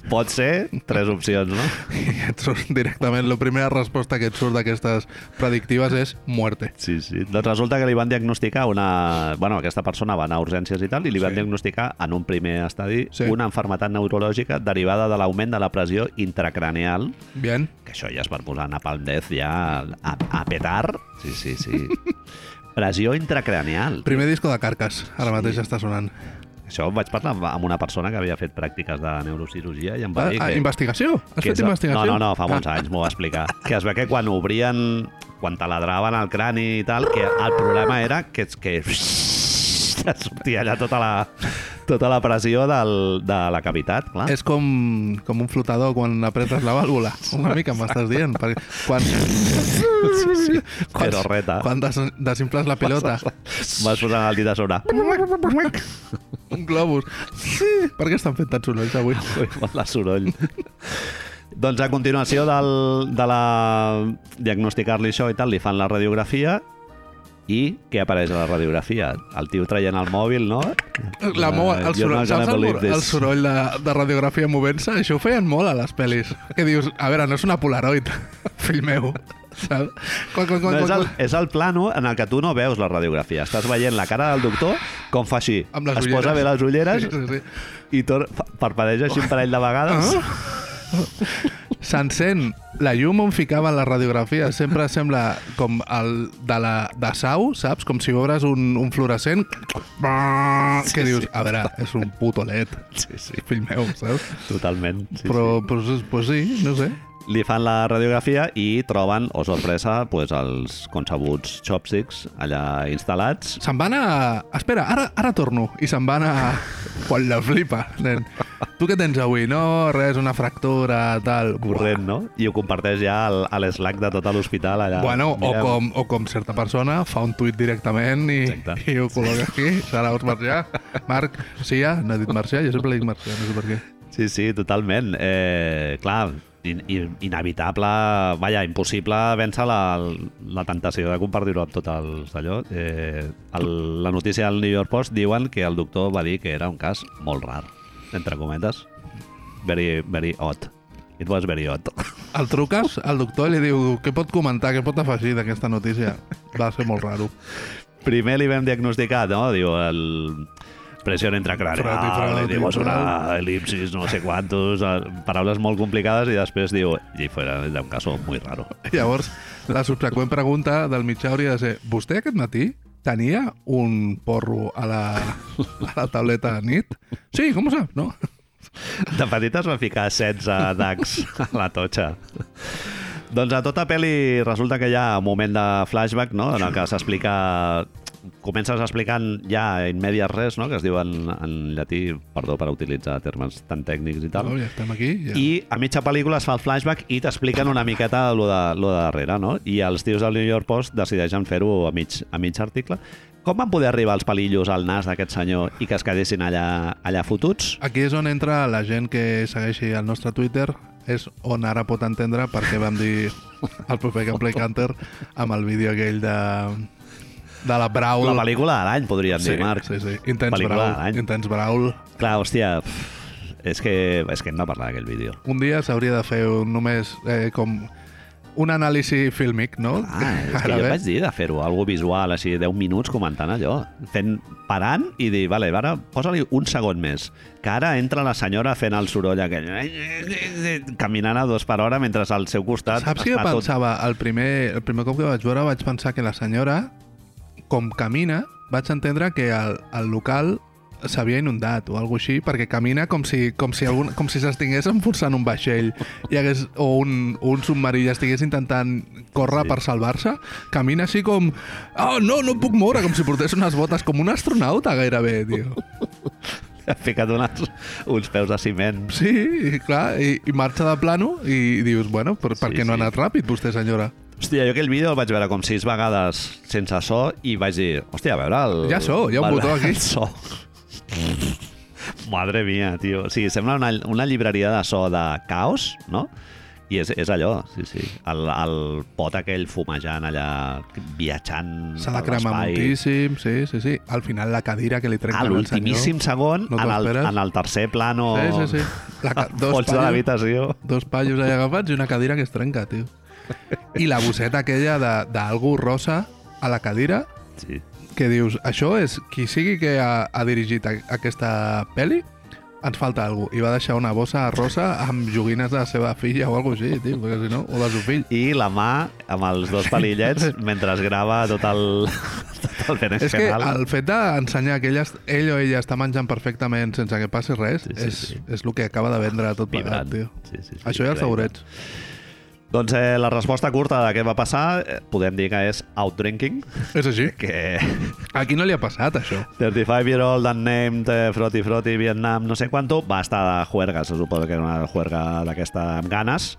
Speaker 1: Pot ser tres opcions, no?
Speaker 2: I et surt directament, la primera resposta que et surt d'aquestes predictives és muerte.
Speaker 1: Sí, sí. Doncs resulta que li van diagnosticar una... Bueno, aquesta persona va anar a urgències i tal, i li van
Speaker 2: Sí.
Speaker 1: diagnosticar en un primer estadi
Speaker 2: Sí.
Speaker 1: una enfermetat neurològica derivada de l'augment de la pressió intracraneal,
Speaker 2: Bien.
Speaker 1: que això ja és per posar Napalm Death ja a, a petar. Sí, sí, sí. Pressió intracraneal.
Speaker 2: Primer disco de Carcas, ara mateix està sonant.
Speaker 1: Això vaig parlar amb- amb una persona que havia fet pràctiques de neurocirurgia i em va
Speaker 2: Ah,
Speaker 1: dir
Speaker 2: ah,
Speaker 1: que...
Speaker 2: investigació? Has
Speaker 1: que
Speaker 2: fet
Speaker 1: és-
Speaker 2: investigació? Ah.
Speaker 1: No, no, no, fa molts anys m'ho va explicar. Que es ve que quan obrien, quan taladraven el crani i tal, que el problema era que, que et sortia allà tota la, tota la pressió del, de la cavitat, clar.
Speaker 2: Ah, És com, com un flotador quan apretes la vàlvula. Una mica m'estàs dient. Perquè quan, quan,
Speaker 1: però reta.
Speaker 2: Quan des, desinfles la pilota.
Speaker 1: Vas posant el dit a sobre.
Speaker 2: Un globus. Sí. Per què estan fent tant sorolls avui?
Speaker 1: Ui, la soroll. doncs a continuació del, de la diagnosticar-li això i tal, li fan la radiografia i què apareix a la radiografia? El tio traient el mòbil, no?
Speaker 2: La mou, el,
Speaker 1: You're
Speaker 2: soroll,
Speaker 1: not gonna
Speaker 2: saps el,
Speaker 1: believe
Speaker 2: mor- el
Speaker 1: this.
Speaker 2: soroll de, de radiografia movent-se? Això ho feien molt a les pel·lis. Que dius, a veure, no és una Polaroid, fill meu. Saps? Quan, quan,
Speaker 1: No,
Speaker 2: quan,
Speaker 1: és,
Speaker 2: quan,
Speaker 1: el, és el plano en el que tu no veus la radiografia. Estàs veient la cara del doctor com fa així.
Speaker 2: Amb les
Speaker 1: es
Speaker 2: ulleres.
Speaker 1: posa bé les ulleres
Speaker 2: Sí, sí, sí.
Speaker 1: i tor fa- parpadeix així un parell de vegades.
Speaker 2: Ah. S'encén la llum on ficaven la radiografia. Sempre sembla com el de, la, de Sau, saps? Com si obres un, un fluorescent
Speaker 1: Sí,
Speaker 2: que dius,
Speaker 1: sí.
Speaker 2: a veure, és un puto LED.
Speaker 1: Sí, sí,
Speaker 2: Fill meu, saps?
Speaker 1: totalment. Sí,
Speaker 2: Però, Pues, pues sí, no sé.
Speaker 1: sí. Li fan la radiografia i troben, o oh, sorpresa, pues, els concebuts chopsticks allà instal·lats.
Speaker 2: Se'n van a... Espera, ara, ara torno. I se'n van a... Quan la flipa, nen. Tu què tens avui? No, res, una fractura, tal.
Speaker 1: Corrent, no? I ho comparteix ja al, a l'eslac de tot l'hospital. allà.
Speaker 2: Bueno, o
Speaker 1: Mireu.
Speaker 2: com, o com certa persona fa un tuit directament i,
Speaker 1: Exacte.
Speaker 2: i ho col·loca aquí. Sara Os Marcià. Marc, sí, ja, no he dit Marcià, jo sempre dic Marcià, no sé per què.
Speaker 1: Sí, sí, totalment. Eh, clar, in, in, inevitable, vaja, impossible vèncer la, la tentació de compartir-ho amb tot el allò. Eh, el, la notícia del New York Post diuen que el doctor va dir que era un cas molt rar, entre cometes. Very, very odd. It was very odd.
Speaker 2: El truques al doctor i li diu què pot comentar, què pot afegir d'aquesta notícia. Va ser molt raro.
Speaker 1: Primer li vam diagnosticar, no? Diu, el... Pressió
Speaker 2: Frati,
Speaker 1: intracraneal,
Speaker 2: frati,
Speaker 1: li diu, és una
Speaker 2: frati.
Speaker 1: elipsis, no sé quantos, eh, paraules molt complicades i després diu, i fuera de un caso muy raro.
Speaker 2: Llavors, la subseqüent pregunta del mitjà hauria de ser vostè aquest matí tenia un porro a la, a la tauleta de nit? Sí, com ho sap, no?
Speaker 1: De petit es va ficar 16 dacs a la totxa. Doncs a tota pel·li resulta que hi ha un moment de flashback, no?, en el que s'explica comences explicant ja in medias res, no? que es diu en, en llatí, perdó per utilitzar termes tan tècnics i tal,
Speaker 2: No, ja estem aquí. Ja.
Speaker 1: i a mitja pel·lícula es fa el flashback i t'expliquen una miqueta lo de, lo de darrere, no? I els tios del New York Post decideixen fer-ho a, mig, a mig article. Com van poder arribar els palillos al nas d'aquest senyor i que es quedessin allà, allà fotuts?
Speaker 2: Aquí és on entra la gent que segueixi el nostre Twitter, és on ara pot entendre per què vam dir el proper Gameplay Canter amb el vídeo aquell de, de la Braul.
Speaker 1: La pel·lícula de l'any, podríem
Speaker 2: sí,
Speaker 1: dir, Marc.
Speaker 2: Sí, sí. Intens
Speaker 1: Pel·lícula de
Speaker 2: Braul.
Speaker 1: l'any.
Speaker 2: Intens Braul.
Speaker 1: Clar, hòstia, pff, és que, és que hem de parlar d'aquell vídeo.
Speaker 2: Un dia s'hauria de fer un, només eh, com un anàlisi fílmic, no?
Speaker 1: Ah, és que
Speaker 2: Ara
Speaker 1: jo
Speaker 2: bé.
Speaker 1: vaig dir de fer-ho, algo visual, així, 10 minuts comentant allò, fent, parant i dir, vale, ara posa-li un segon més, que ara entra la senyora fent el soroll aquell, caminant a dos per hora mentre al seu costat
Speaker 2: Saps què
Speaker 1: està tot-
Speaker 2: pensava? El primer, el primer cop que vaig veure vaig pensar que la senyora, com camina, vaig entendre que el, el local s'havia inundat o alguna així, perquè camina com si, com si, algun, com si s'estigués enfonsant un vaixell i hagués, o un, un submarí i estigués intentant córrer
Speaker 1: Sí.
Speaker 2: sí. per salvar-se. Camina així com... Oh, no, no em puc moure! Com si portés unes botes, com un astronauta gairebé, tio.
Speaker 1: Ha ficat uns, uns peus de ciment.
Speaker 2: Sí, i clar, i, i marxa de plano i dius, bueno, per, per
Speaker 1: Sí,
Speaker 2: què no ha
Speaker 1: sí.
Speaker 2: anat ràpid vostè, senyora?
Speaker 1: Hòstia, jo aquell vídeo el vaig veure com sis vegades sense so i vaig dir, hòstia, a veure... El...
Speaker 2: Hi ha so, hi ha un
Speaker 1: el-
Speaker 2: botó aquí.
Speaker 1: El so. Madre mia, tio. Sí, sembla una, una llibreria de so de caos, no? I és, és allò, sí, sí. El, el pot aquell fumejant allà, viatjant
Speaker 2: S'ha de
Speaker 1: per
Speaker 2: cremar
Speaker 1: l'espai.
Speaker 2: moltíssim, sí, sí, sí. Al final la cadira que li
Speaker 1: A
Speaker 2: trenquen al senyor.
Speaker 1: l'ultimíssim segon,
Speaker 2: no
Speaker 1: en, el,
Speaker 2: t'esperes.
Speaker 1: en el tercer plano,
Speaker 2: Sí, sí, sí. La ca- dos
Speaker 1: fons de
Speaker 2: pallos.
Speaker 1: l'habitació.
Speaker 2: Dos pallos allà agafats i una cadira que es trenca, tio. I la bosseta aquella de- d'algú rosa a la cadira
Speaker 1: Sí.
Speaker 2: que dius, això és qui sigui que ha, ha dirigit a, aquesta peli ens falta algú. I va deixar una bossa rosa amb joguines de la seva filla o alguna cosa així, tio, perquè si no, o del seu fill.
Speaker 1: i la mà amb els dos palillets mentre es grava tot el, tot el Benescanal.
Speaker 2: És que el fet d'ensenyar que ell, es- ell o ella està menjant perfectament sense que passi res
Speaker 1: Sí, sí,
Speaker 2: és,
Speaker 1: sí.
Speaker 2: és el que acaba de vendre tot plegat,
Speaker 1: Vibrant.
Speaker 2: tio.
Speaker 1: Sí, sí, sí,
Speaker 2: Això ja els
Speaker 1: increïble.
Speaker 2: taurets.
Speaker 1: Doncs eh, la resposta curta de què va passar eh, podem dir que és outdrinking,
Speaker 2: És així.
Speaker 1: que
Speaker 2: Aquí no li ha passat, això.
Speaker 1: 35-year-old unnamed, eh, froti froti, Vietnam, no sé quanto, va estar de juerga, se suposa que era una juerga d'aquesta amb ganes,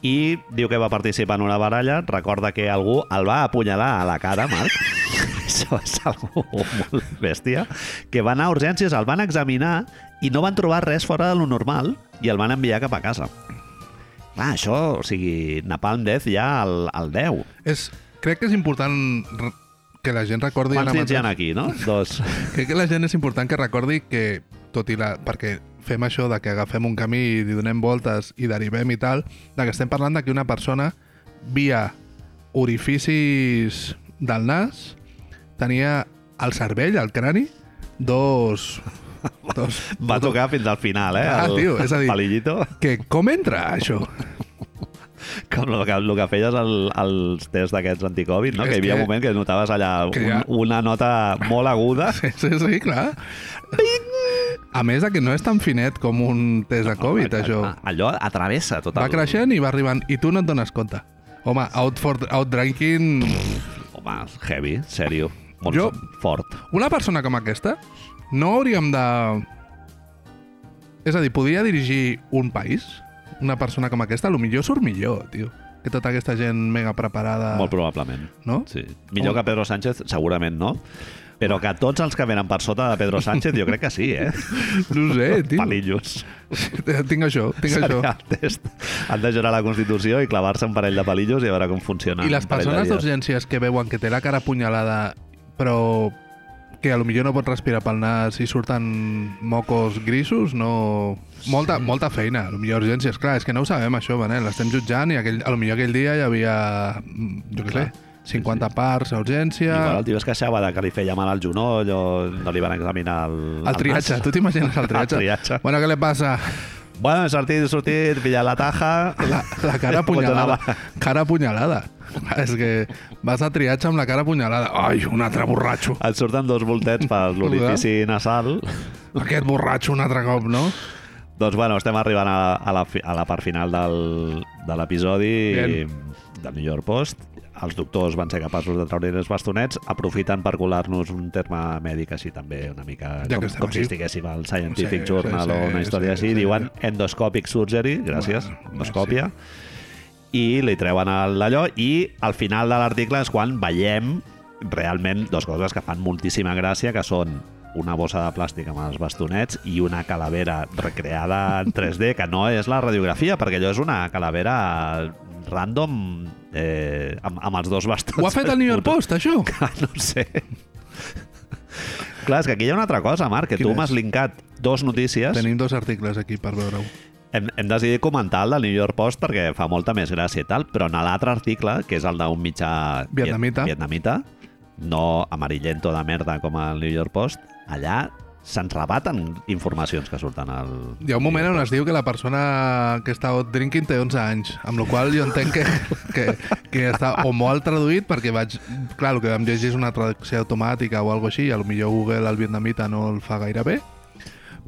Speaker 1: i diu que va participar en una baralla, recorda que algú el va apunyalar a la cara, Marc, això és algú molt bèstia, que va anar a urgències, el van examinar i no van trobar res fora de lo normal i el van enviar cap a casa. Clar, això, o sigui, Napalm Death ja al, al 10.
Speaker 2: És, crec que és important r- que la gent recordi...
Speaker 1: Quants
Speaker 2: ara
Speaker 1: dits hi ha
Speaker 2: mateix-
Speaker 1: aquí, no? Dos.
Speaker 2: Crec que la gent és important que recordi que, tot i la... Perquè fem això de que agafem un camí i li donem voltes i derivem i tal, de que estem parlant de que una persona via orificis del nas tenia al cervell, al crani, dos... dos
Speaker 1: Va tocar fins al final, eh?
Speaker 2: Ah,
Speaker 1: el-
Speaker 2: tio, és a dir-
Speaker 1: el Palillito.
Speaker 2: Que com entra, això?
Speaker 1: Com el que, el que feies al, als tests d'aquests anticovid, no?
Speaker 2: És
Speaker 1: Que hi havia
Speaker 2: que-
Speaker 1: un moment que notaves allà
Speaker 2: que
Speaker 1: un,
Speaker 2: ja-
Speaker 1: una nota molt aguda.
Speaker 2: Sí, sí, sí, clar. A més de que no és tan finet com un test de Covid, això.
Speaker 1: Ah, Allò atravessa tot
Speaker 2: Va
Speaker 1: el...
Speaker 2: creixent i va arribant, i tu no et dones compte. Home, out for, out drinking...
Speaker 1: Home, heavy, sèrio. Molt
Speaker 2: Jo-
Speaker 1: fort.
Speaker 2: Una persona com aquesta no hauríem de... És a dir, podria dirigir un país? Una persona com aquesta, a lo millor surt millor, tio. Que tota aquesta gent mega preparada...
Speaker 1: Molt probablement.
Speaker 2: No?
Speaker 1: Sí. Millor que Pedro Sánchez, segurament no. Però que tots els que venen per sota de Pedro Sánchez, jo crec que sí, eh?
Speaker 2: No sé, Eh, tio.
Speaker 1: Palillos.
Speaker 2: Tinc això, tinc això.
Speaker 1: Seria el test. Han de jurar la Constitució i clavar-se un parell de palillos i a veure com funciona.
Speaker 2: I les
Speaker 1: un parell de
Speaker 2: persones
Speaker 1: dies.
Speaker 2: d'urgències que veuen que té la cara apunyalada però que a lo millor no pot respirar pel nas i surten mocos grisos, no... Molta, molta feina, a lo millor urgències, clar, és que no ho sabem això, Manel, l'estem jutjant i aquell, a lo millor aquell dia hi havia, mm, jo què sé,
Speaker 1: Clar.
Speaker 2: 50 parts a urgència...
Speaker 1: Igual el tio es queixava de que li feia mal al genoll o no li van examinar el...
Speaker 2: El triatge,
Speaker 1: nas.
Speaker 2: tu t'imagines el triatge?
Speaker 1: triatge.
Speaker 2: Bueno, què li passa?
Speaker 1: Bueno, he sortit, he sortit, he pillat la taja...
Speaker 2: La, la cara
Speaker 1: Pot anar
Speaker 2: apunyalada.
Speaker 1: a
Speaker 2: Cara apunyalada. És que vas a triatge amb la cara apunyalada. Ai, un altre borratxo.
Speaker 1: Et surten dos voltets per l'orifici nasal.
Speaker 2: Aquest borratxo un altre cop, no?
Speaker 1: Doncs bueno, estem arribant a, a, la, fi- a la part final del, de l'episodi. i
Speaker 2: Bien.
Speaker 1: del New York Post, els doctors van ser capaços de treure els bastonets, aprofiten per colar-nos un terme mèdic així també una mica,
Speaker 2: Ja que
Speaker 1: com,
Speaker 2: estem
Speaker 1: com si
Speaker 2: aquí.
Speaker 1: estiguéssim al Scientific
Speaker 2: Sí, sí,
Speaker 1: Journal
Speaker 2: sí,
Speaker 1: o una història
Speaker 2: sí,
Speaker 1: així,
Speaker 2: sí,
Speaker 1: diuen
Speaker 2: sí.
Speaker 1: endoscopic surgery, gràcies,
Speaker 2: Bueno,
Speaker 1: endoscòpia, i li treuen el- d'allò i al final de l'article és quan veiem realment dues coses que fan moltíssima gràcia, que són una bossa de plàstic amb els bastonets i una calavera recreada en 3D, que no és la radiografia, perquè allò és una calavera random eh, amb, amb els dos bastons.
Speaker 2: Ho ha fet el New York Post, això?
Speaker 1: no ho sé. Clar, és que aquí hi ha una altra cosa, Marc, que
Speaker 2: Quina
Speaker 1: tu
Speaker 2: és?
Speaker 1: m'has linkat dos notícies.
Speaker 2: Tenim dos articles aquí per veure-ho.
Speaker 1: Hem, hem decidit comentar el del New York Post perquè fa molta més gràcia i tal, però en l'altre article, que és el d'un mitjà viet-
Speaker 2: Vietnamita.
Speaker 1: vietnamita, no amarillento de merda com el New York Post, allà se'ns rebaten informacions que surten al...
Speaker 2: Hi ha un moment on es diu que la persona que està out drinking té 11 anys, amb la qual cosa jo entenc que, que, que està o molt traduït, perquè vaig... Clar, el que vam llegir és una traducció automàtica o alguna així, i a lo millor Google el vietnamita no el fa gaire bé,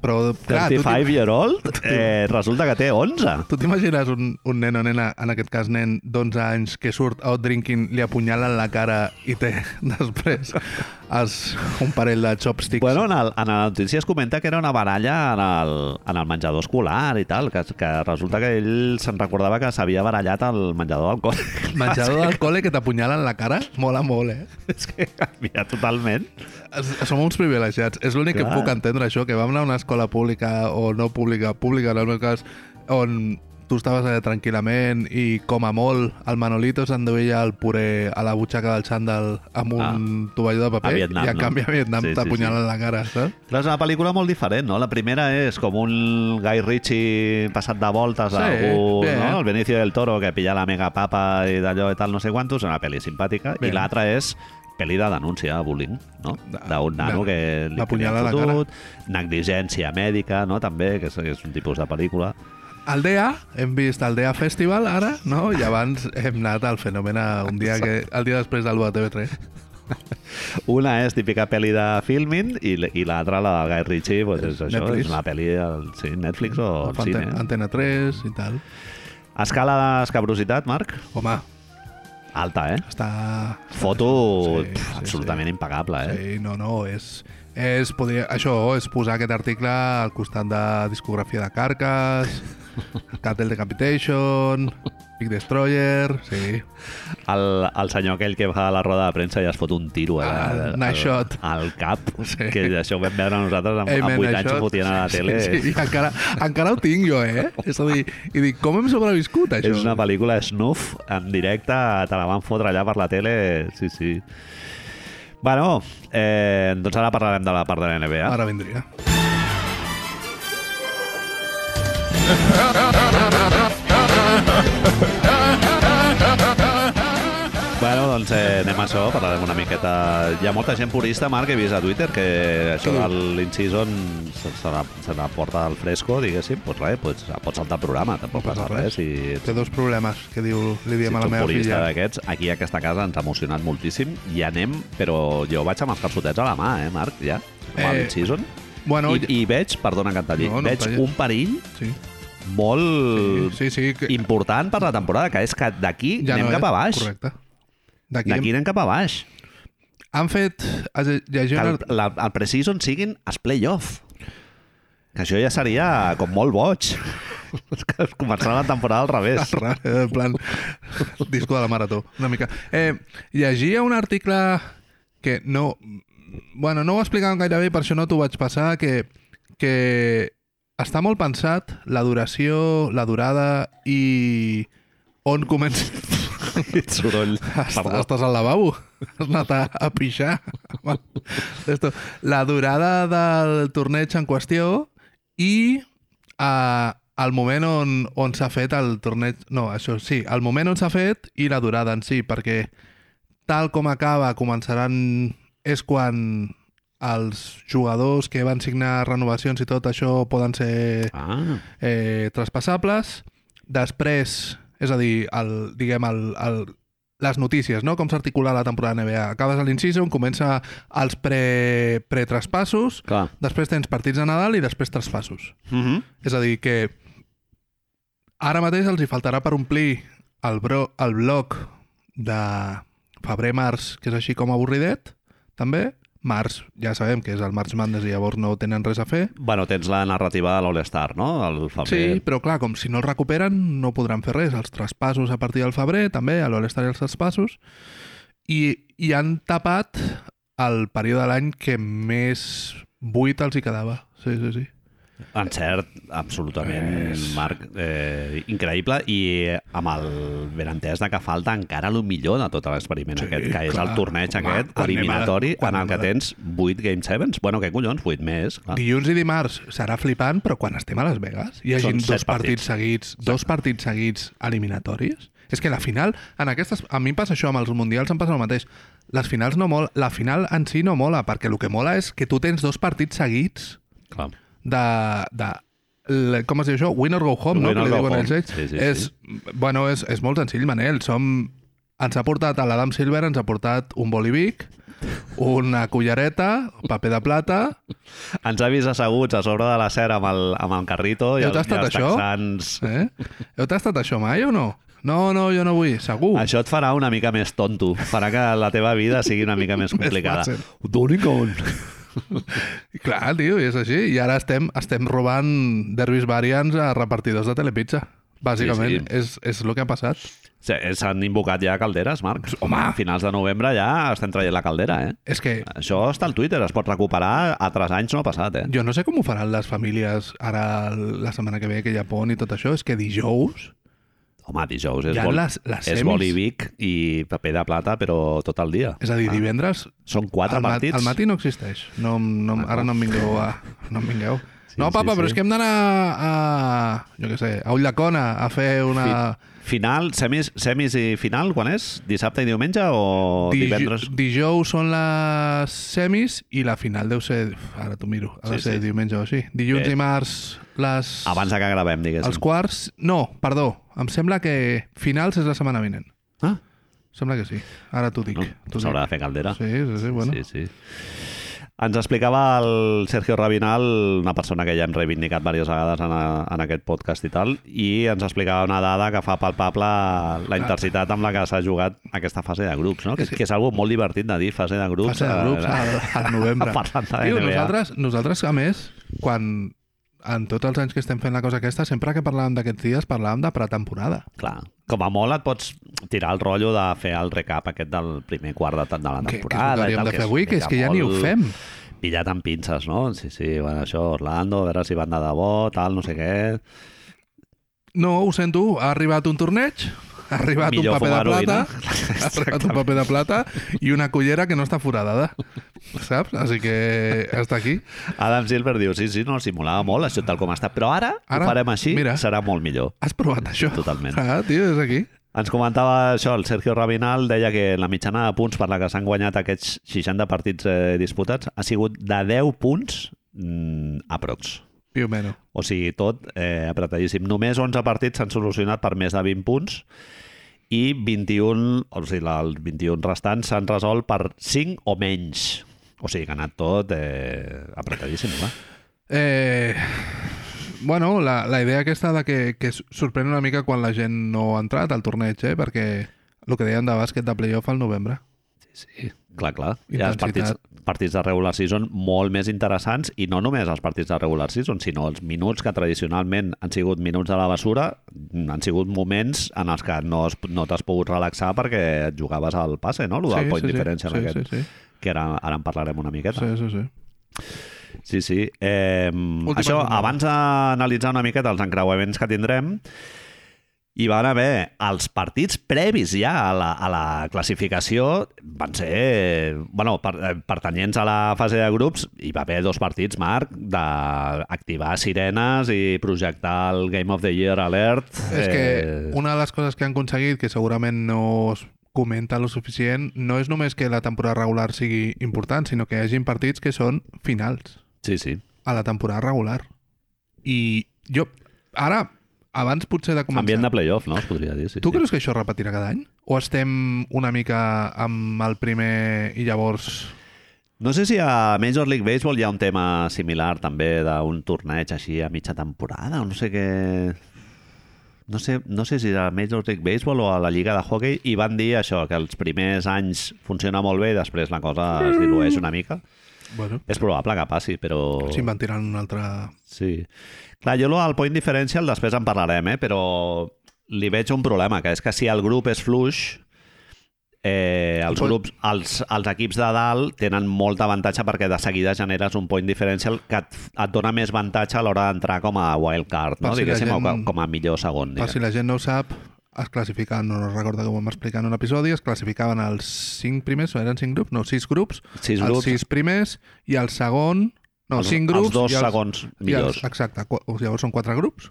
Speaker 2: però clar, tu,
Speaker 1: 35 year old, eh, resulta que té 11.
Speaker 2: t'im- tu t'imagines un, un nen o nena, en aquest cas nen d'11 anys, que surt out drinking, li apunyalen la cara i té després els, un parell de chopsticks.
Speaker 1: Bueno, en, el, en la notícia es comenta que era una baralla en el, en el menjador escolar i tal, que, que resulta que ell se'n recordava que s'havia barallat al menjador del col·le.
Speaker 2: Menjador del col·le que t'apunyalen la cara? Mola molt, eh?
Speaker 1: És que canvia totalment.
Speaker 2: Es- Som uns privilegiats. És l'únic que
Speaker 1: Clar.
Speaker 2: puc entendre, això, que vam anar a una escola pública o no pública, pública en el meu cas, on tu estaves allà tranquil·lament i, com a molt, el Manolito s'enduia el puré a la butxaca del xandall amb
Speaker 1: Ah.
Speaker 2: un tovalló de paper
Speaker 1: Vietnam,
Speaker 2: i, en
Speaker 1: no?
Speaker 2: canvi, a Vietnam
Speaker 1: Sí, sí,
Speaker 2: sí, t'apunyalen la cara, saps?
Speaker 1: Clar, és una pel·lícula molt diferent, no? La primera és com un Guy Ritchie passat de voltes
Speaker 2: Sí,
Speaker 1: a algú,
Speaker 2: bé.
Speaker 1: no? El Benicio del Toro que pilla la mega papa i d'allò i tal, no sé quantos, una pel·li simpàtica.
Speaker 2: Bé.
Speaker 1: I l'altra és pel·li de denúncia, bullying, no? D'un nano
Speaker 2: Bé,
Speaker 1: que li que li
Speaker 2: l'apunyala
Speaker 1: han
Speaker 2: a la cara.
Speaker 1: fotut, negligència mèdica, no? També, que és, que és un tipus de pel·lícula.
Speaker 2: Al DEA, hem vist el DEA Festival ara, no?
Speaker 1: Ah.
Speaker 2: I abans hem anat al Fenomena un dia que, el dia després del TV3.
Speaker 1: Una és típica pel·li de filming i, l- i l'altra, la del Guy Ritchie, doncs és això,
Speaker 2: Netflix.
Speaker 1: és una pel·li al sí, Netflix o al cine.
Speaker 2: Antena, Antena 3 i tal.
Speaker 1: Escala d'escabrositat, Marc?
Speaker 2: Home,
Speaker 1: Alta, eh?
Speaker 2: està...
Speaker 1: Foto
Speaker 2: Sí,
Speaker 1: pf,
Speaker 2: sí,
Speaker 1: absolutament impagable, eh?
Speaker 2: Sí, no, no, és... és poder, això és posar aquest article al costat de discografia de Carcas, Cattle Decapitation, Big Destroyer, sí.
Speaker 1: El, el senyor aquell que va a la roda de premsa i es fot un tiro eh,
Speaker 2: Ah,
Speaker 1: al, al,
Speaker 2: nice shot.
Speaker 1: al cap,
Speaker 2: Sí.
Speaker 1: que això ho vam veure nosaltres amb,
Speaker 2: Amen,
Speaker 1: amb 8 anys
Speaker 2: això.
Speaker 1: ho fotien a la tele. eh?
Speaker 2: Sí, sí, i encara, encara ho tinc jo, eh? És a dir, i dic, com hem sobreviscut, això?
Speaker 1: És una pel·lícula snuff en directe, te la van fotre allà per la tele, sí, sí. Bueno, eh, doncs ara parlarem de la part de la NBA.
Speaker 2: Ara vindria.
Speaker 1: Bueno, doncs eh, anem a això, parlarem una miqueta... Hi ha molta gent purista, Marc, que he vist a Twitter, que això
Speaker 2: Què
Speaker 1: de
Speaker 2: diu?
Speaker 1: l'in-season se, se, la, se la porta al fresco, diguéssim, doncs res, doncs, pot saltar el programa, tampoc
Speaker 2: No passa
Speaker 1: passa res. I
Speaker 2: Té dos problemes, que diu, li
Speaker 1: si
Speaker 2: diem a
Speaker 1: ets
Speaker 2: la
Speaker 1: un
Speaker 2: meva
Speaker 1: purista
Speaker 2: filla.
Speaker 1: d'aquests, aquí a aquesta casa ens ha emocionat moltíssim i anem, però jo vaig amb els calçotets a la mà, eh, Marc, ja, amb eh,
Speaker 2: Eh,
Speaker 1: l'in-season.
Speaker 2: Bueno,
Speaker 1: I, I veig, perdona que et talli,
Speaker 2: No, no
Speaker 1: veig
Speaker 2: tallis.
Speaker 1: un perill
Speaker 2: sí,
Speaker 1: molt
Speaker 2: sí, sí, que,
Speaker 1: important per la temporada, que és que d'aquí
Speaker 2: ja
Speaker 1: anem
Speaker 2: no
Speaker 1: cap
Speaker 2: és,
Speaker 1: a baix.
Speaker 2: Correcte. D'aquí
Speaker 1: D'aquí
Speaker 2: hem-
Speaker 1: anem cap a baix.
Speaker 2: han fet... has
Speaker 1: Que
Speaker 2: llegit un
Speaker 1: el, la, el preseason siguin els play-off. Que això ja seria com molt boig. És que començar la temporada al revés.
Speaker 2: Ra- en plan disco de la marató, una mica. Eh, llegia un article que no... Bueno, no ho explicaven gaire bé, per això no t'ho vaig passar, que, que està molt pensat la duració, la durada i on comença...
Speaker 1: Soroll.
Speaker 2: Est-
Speaker 1: Perdó.
Speaker 2: Estàs al lavabo? Has anat a, a pixar? Bueno, esto. La durada del torneig en qüestió i eh, el moment on, on s'ha fet el torneig... No, això sí, el moment on s'ha fet i la durada en si, perquè tal com acaba començaran... És quan els jugadors que van signar renovacions i tot això poden ser
Speaker 1: Ah,
Speaker 2: eh, traspassables. Després, és a dir, el, diguem, el, el, les notícies, no? com s'articula la temporada NBA. Acabes a l'in-season, comença els pre- pre-traspassos,
Speaker 1: clar.
Speaker 2: després tens partits de Nadal i després traspassos.
Speaker 1: Uh -huh.
Speaker 2: És a dir, que ara mateix els hi faltarà per omplir el, bro, el bloc de febrer-març, que és així com avorridet, també. Març, ja sabem que és el March Madness i llavors no tenen res a fer.
Speaker 1: Bueno, tens la narrativa de l'All-Star, no? El febrer.
Speaker 2: Sí, però clar, com si no el recuperen, no podran fer res. Els traspassos a partir del febrer, també, a l'All-Star i els traspassos. I, I han tapat el període de l'any que més buit els hi quedava. Sí, sí, sí.
Speaker 1: Encert, absolutament,
Speaker 2: És-
Speaker 1: Marc. Eh, increïble. I amb el benentès de que falta encara el millor de tot l'experiment sí,
Speaker 2: Sí,
Speaker 1: aquest, que és
Speaker 2: clar,
Speaker 1: el torneig
Speaker 2: home,
Speaker 1: aquest,
Speaker 2: quan anem a-
Speaker 1: eliminatori,
Speaker 2: quan
Speaker 1: en el
Speaker 2: anem
Speaker 1: que
Speaker 2: a-
Speaker 1: tens 8 Game 7s. Bueno, què collons, 8 més. Clar.
Speaker 2: Dilluns i dimarts serà flipant, però quan estem a Las Vegas hi hagi
Speaker 1: Són
Speaker 2: dos
Speaker 1: set
Speaker 2: partits, partits seguits, dos partits seguits eliminatoris. És que la final, en aquestes, a mi em passa això, amb els mundials em passa el mateix. Les finals no mol, la final en si no mola, perquè el que mola és que tu tens dos partits seguits
Speaker 1: clar.
Speaker 2: de, de l- com es diu això? Win or go home, no?
Speaker 1: Win
Speaker 2: Que
Speaker 1: or
Speaker 2: li
Speaker 1: go
Speaker 2: diuen
Speaker 1: home.
Speaker 2: ells. ells.
Speaker 1: Sí, sí,
Speaker 2: és, Bueno, és, és molt senzill, Manel. Som, ens ha portat a l'Adam Silver, ens ha portat un bolivic, una cullereta, paper de plata,
Speaker 1: Ens ha vist asseguts a sobre de la cera amb el, amb el carrito i,
Speaker 2: Heu
Speaker 1: el, i
Speaker 2: tastat
Speaker 1: els
Speaker 2: això?
Speaker 1: texans...
Speaker 2: Eh? Heu tastat això mai o no? No, no, jo no vull, segur.
Speaker 1: Això et farà una mica més tonto, farà que la teva vida sigui una mica més complicada.
Speaker 2: fàcil.
Speaker 1: Donicon!
Speaker 2: I Clar, tio, i és així. I ara estem, estem robant derbis variants a repartidors de telepizza. Bàsicament,
Speaker 1: Sí, sí.
Speaker 2: És, és el que ha passat.
Speaker 1: Sí, S'han invocat ja calderes, Marc.
Speaker 2: Home!
Speaker 1: A finals de novembre ja estan traient la caldera, eh?
Speaker 2: És que
Speaker 1: Això està al Twitter, es pot recuperar a 3 anys no ha passat, eh?
Speaker 2: jo no sé com ho faran les famílies ara la setmana que ve que Japó i tot això. És que dijous
Speaker 1: Home, dijous és,
Speaker 2: hi ha
Speaker 1: vol,
Speaker 2: les, les
Speaker 1: és
Speaker 2: semis.
Speaker 1: bolivic i paper de plata, però tot el dia.
Speaker 2: És a dir, divendres
Speaker 1: Són 4
Speaker 2: al, mat,
Speaker 1: partits.
Speaker 2: al matí no existeix. No, em- no, em- ara no em vingueu a... No em vingueu.
Speaker 1: Ah, Sí,
Speaker 2: no,
Speaker 1: sí,
Speaker 2: papa,
Speaker 1: sí.
Speaker 2: però és que hem d'anar a, jo què sé, a Ullacona a fer una...
Speaker 1: Final, semis, semis i final, quan és? Dissabte i diumenge o
Speaker 2: Dij-
Speaker 1: divendres?
Speaker 2: Dijous són les semis i la final deu ser... Uf, Ara t'ho miro. Ha de
Speaker 1: Sí,
Speaker 2: ser
Speaker 1: sí.
Speaker 2: diumenge o així. Dilluns,
Speaker 1: Eh.
Speaker 2: i dimarts, les...
Speaker 1: Abans de que gravem, diguéssim.
Speaker 2: els quarts... No, perdó. Em sembla que finals és la setmana vinent.
Speaker 1: Ah,
Speaker 2: Sembla que sí. Ara t'ho
Speaker 1: no,
Speaker 2: dic.
Speaker 1: doncs
Speaker 2: t'ho dic.
Speaker 1: s'haurà de fer caldera.
Speaker 2: Sí, sí, sí, bueno.
Speaker 1: Sí, sí. Ens explicava el Sergio Rabinal, una persona que ja hem reivindicat diverses vegades en, a, en aquest podcast i tal, i ens explicava una dada que fa palpable la intensitat amb la que s'ha jugat aquesta fase de grups, no? Que, que és algo molt divertit de dir, fase de grups. eh,
Speaker 2: Fase de grups al, al novembre.
Speaker 1: Parlant de
Speaker 2: Tio,
Speaker 1: NBA.
Speaker 2: nosaltres, nosaltres, a més, quan en tots els anys que estem fent la cosa aquesta, sempre que parlàvem d'aquests dies parlàvem de pretemporada.
Speaker 1: Clar. Com a molt et pots tirar el rotllo de fer el recap aquest del primer quart de, de la
Speaker 2: Que, que és el que
Speaker 1: temporada. i
Speaker 2: hauríem
Speaker 1: tal,
Speaker 2: de fer avui, que és que ja ni ho
Speaker 1: molt-
Speaker 2: fem.
Speaker 1: pillat amb pinces, no? Sí, sí, bueno, això, Orlando, a veure si van de debò, tal, no sé què...
Speaker 2: No, ho sento, ha arribat un torneig, ha arribat
Speaker 1: Millor
Speaker 2: un paper de
Speaker 1: fumar
Speaker 2: plata,
Speaker 1: heroïna.
Speaker 2: ha arribat un paper de plata i una cullera que no està foradada, saps? Així que està aquí.
Speaker 1: Adam Silver diu, sí, sí, no, simulava molt això tal com està, però ara,
Speaker 2: Ara,
Speaker 1: ara ho farem així, mira.
Speaker 2: mira.
Speaker 1: serà molt millor.
Speaker 2: Has provat això?
Speaker 1: Totalment.
Speaker 2: Ah, tio, és aquí.
Speaker 1: Ens comentava això, el Sergio Rabinal deia que la mitjana de punts per la que s'han guanyat aquests 60 partits eh, disputats ha sigut de 10 punts mm, aprox.
Speaker 2: Piu meno.
Speaker 1: O sigui, tot eh, apretadíssim. Només 11 partits s'han solucionat per més de 20 punts i 21, o sigui, la- els 21 restants s'han resolt per 5 o menys. O sigui, que ha anat tot eh, apretadíssim, clar.
Speaker 2: Eh, bueno, la, la idea aquesta de que, que sorprèn una mica quan la gent no ha entrat al torneig, eh? perquè el que dèiem de bàsquet de playoff al novembre.
Speaker 1: Sí, clar, clar. Hi ha els partits,
Speaker 2: Intensitat.
Speaker 1: partits de regular season molt més interessants i no només els partits de regular season, sinó els minuts que tradicionalment han sigut minuts de la bessura, mm, han sigut moments en els que no, es- no t'has pogut relaxar perquè et jugaves al passe, no? Lo del point diferència
Speaker 2: sí,
Speaker 1: aquest,
Speaker 2: sí, sí,
Speaker 1: que ara, ara en parlarem una miqueta.
Speaker 2: sí, sí, sí.
Speaker 1: Sí, sí. Eh, això,
Speaker 2: jornada.
Speaker 1: abans d'analitzar una miqueta els encreuaments que tindrem, hi van haver els partits previs ja a la, a la classificació, van ser, eh, bueno, per, eh, pertanyents a la fase de grups, hi va haver dos partits, Marc, d'activar sirenes i projectar el Game of the Year Alert.
Speaker 2: És
Speaker 1: Eh.
Speaker 2: que una de les coses que han aconseguit, que segurament no es comenta lo suficient, no és només que la temporada regular sigui important, sinó que hi hagin partits que són finals
Speaker 1: Sí, sí.
Speaker 2: a la temporada regular. I jo, ara, abans potser de començar...
Speaker 1: Ambient de playoff, no? Es podria dir, sí.
Speaker 2: Tu
Speaker 1: sí.
Speaker 2: creus que això es repetirà cada any? O estem una mica amb el primer i llavors...
Speaker 1: No sé si a Major League Baseball hi ha un tema similar també d'un torneig així a mitja temporada o no sé què... no sé, no sé si era al Major League Baseball o a la Lliga de Hockey, i van dir això, que els primers anys funciona molt bé i després la cosa es dilueix una mica.
Speaker 2: Bueno,
Speaker 1: És probable que passi, però...
Speaker 2: si en van tirant un altre...
Speaker 1: Sí. Clar, jo lo del point differential després en parlarem, eh? però li veig un problema, que és que si el grup és fluix, eh, els,
Speaker 2: Pot-
Speaker 1: grups, els, els equips de dalt tenen molt d'avantatge perquè de seguida generes un point differential que et, et dona més avantatge a l'hora d'entrar com a wildcard,
Speaker 2: Per
Speaker 1: no?
Speaker 2: si la
Speaker 1: diguéssim, o
Speaker 2: gent-
Speaker 1: com- com a millor segon.
Speaker 2: Per
Speaker 1: diguem.
Speaker 2: si la gent no ho sap, es classificaven, no recordo com ho vam explicar en un episodi, es classificaven els 5 primers, eren 5 grups? No, 6 grups,
Speaker 1: Sis
Speaker 2: els
Speaker 1: grups,
Speaker 2: 6 primers i el segon... No,
Speaker 1: els,
Speaker 2: 5 grups
Speaker 1: els dos
Speaker 2: i els,
Speaker 1: segons
Speaker 2: i
Speaker 1: millors.
Speaker 2: els, exacte, qu- llavors són 4 grups.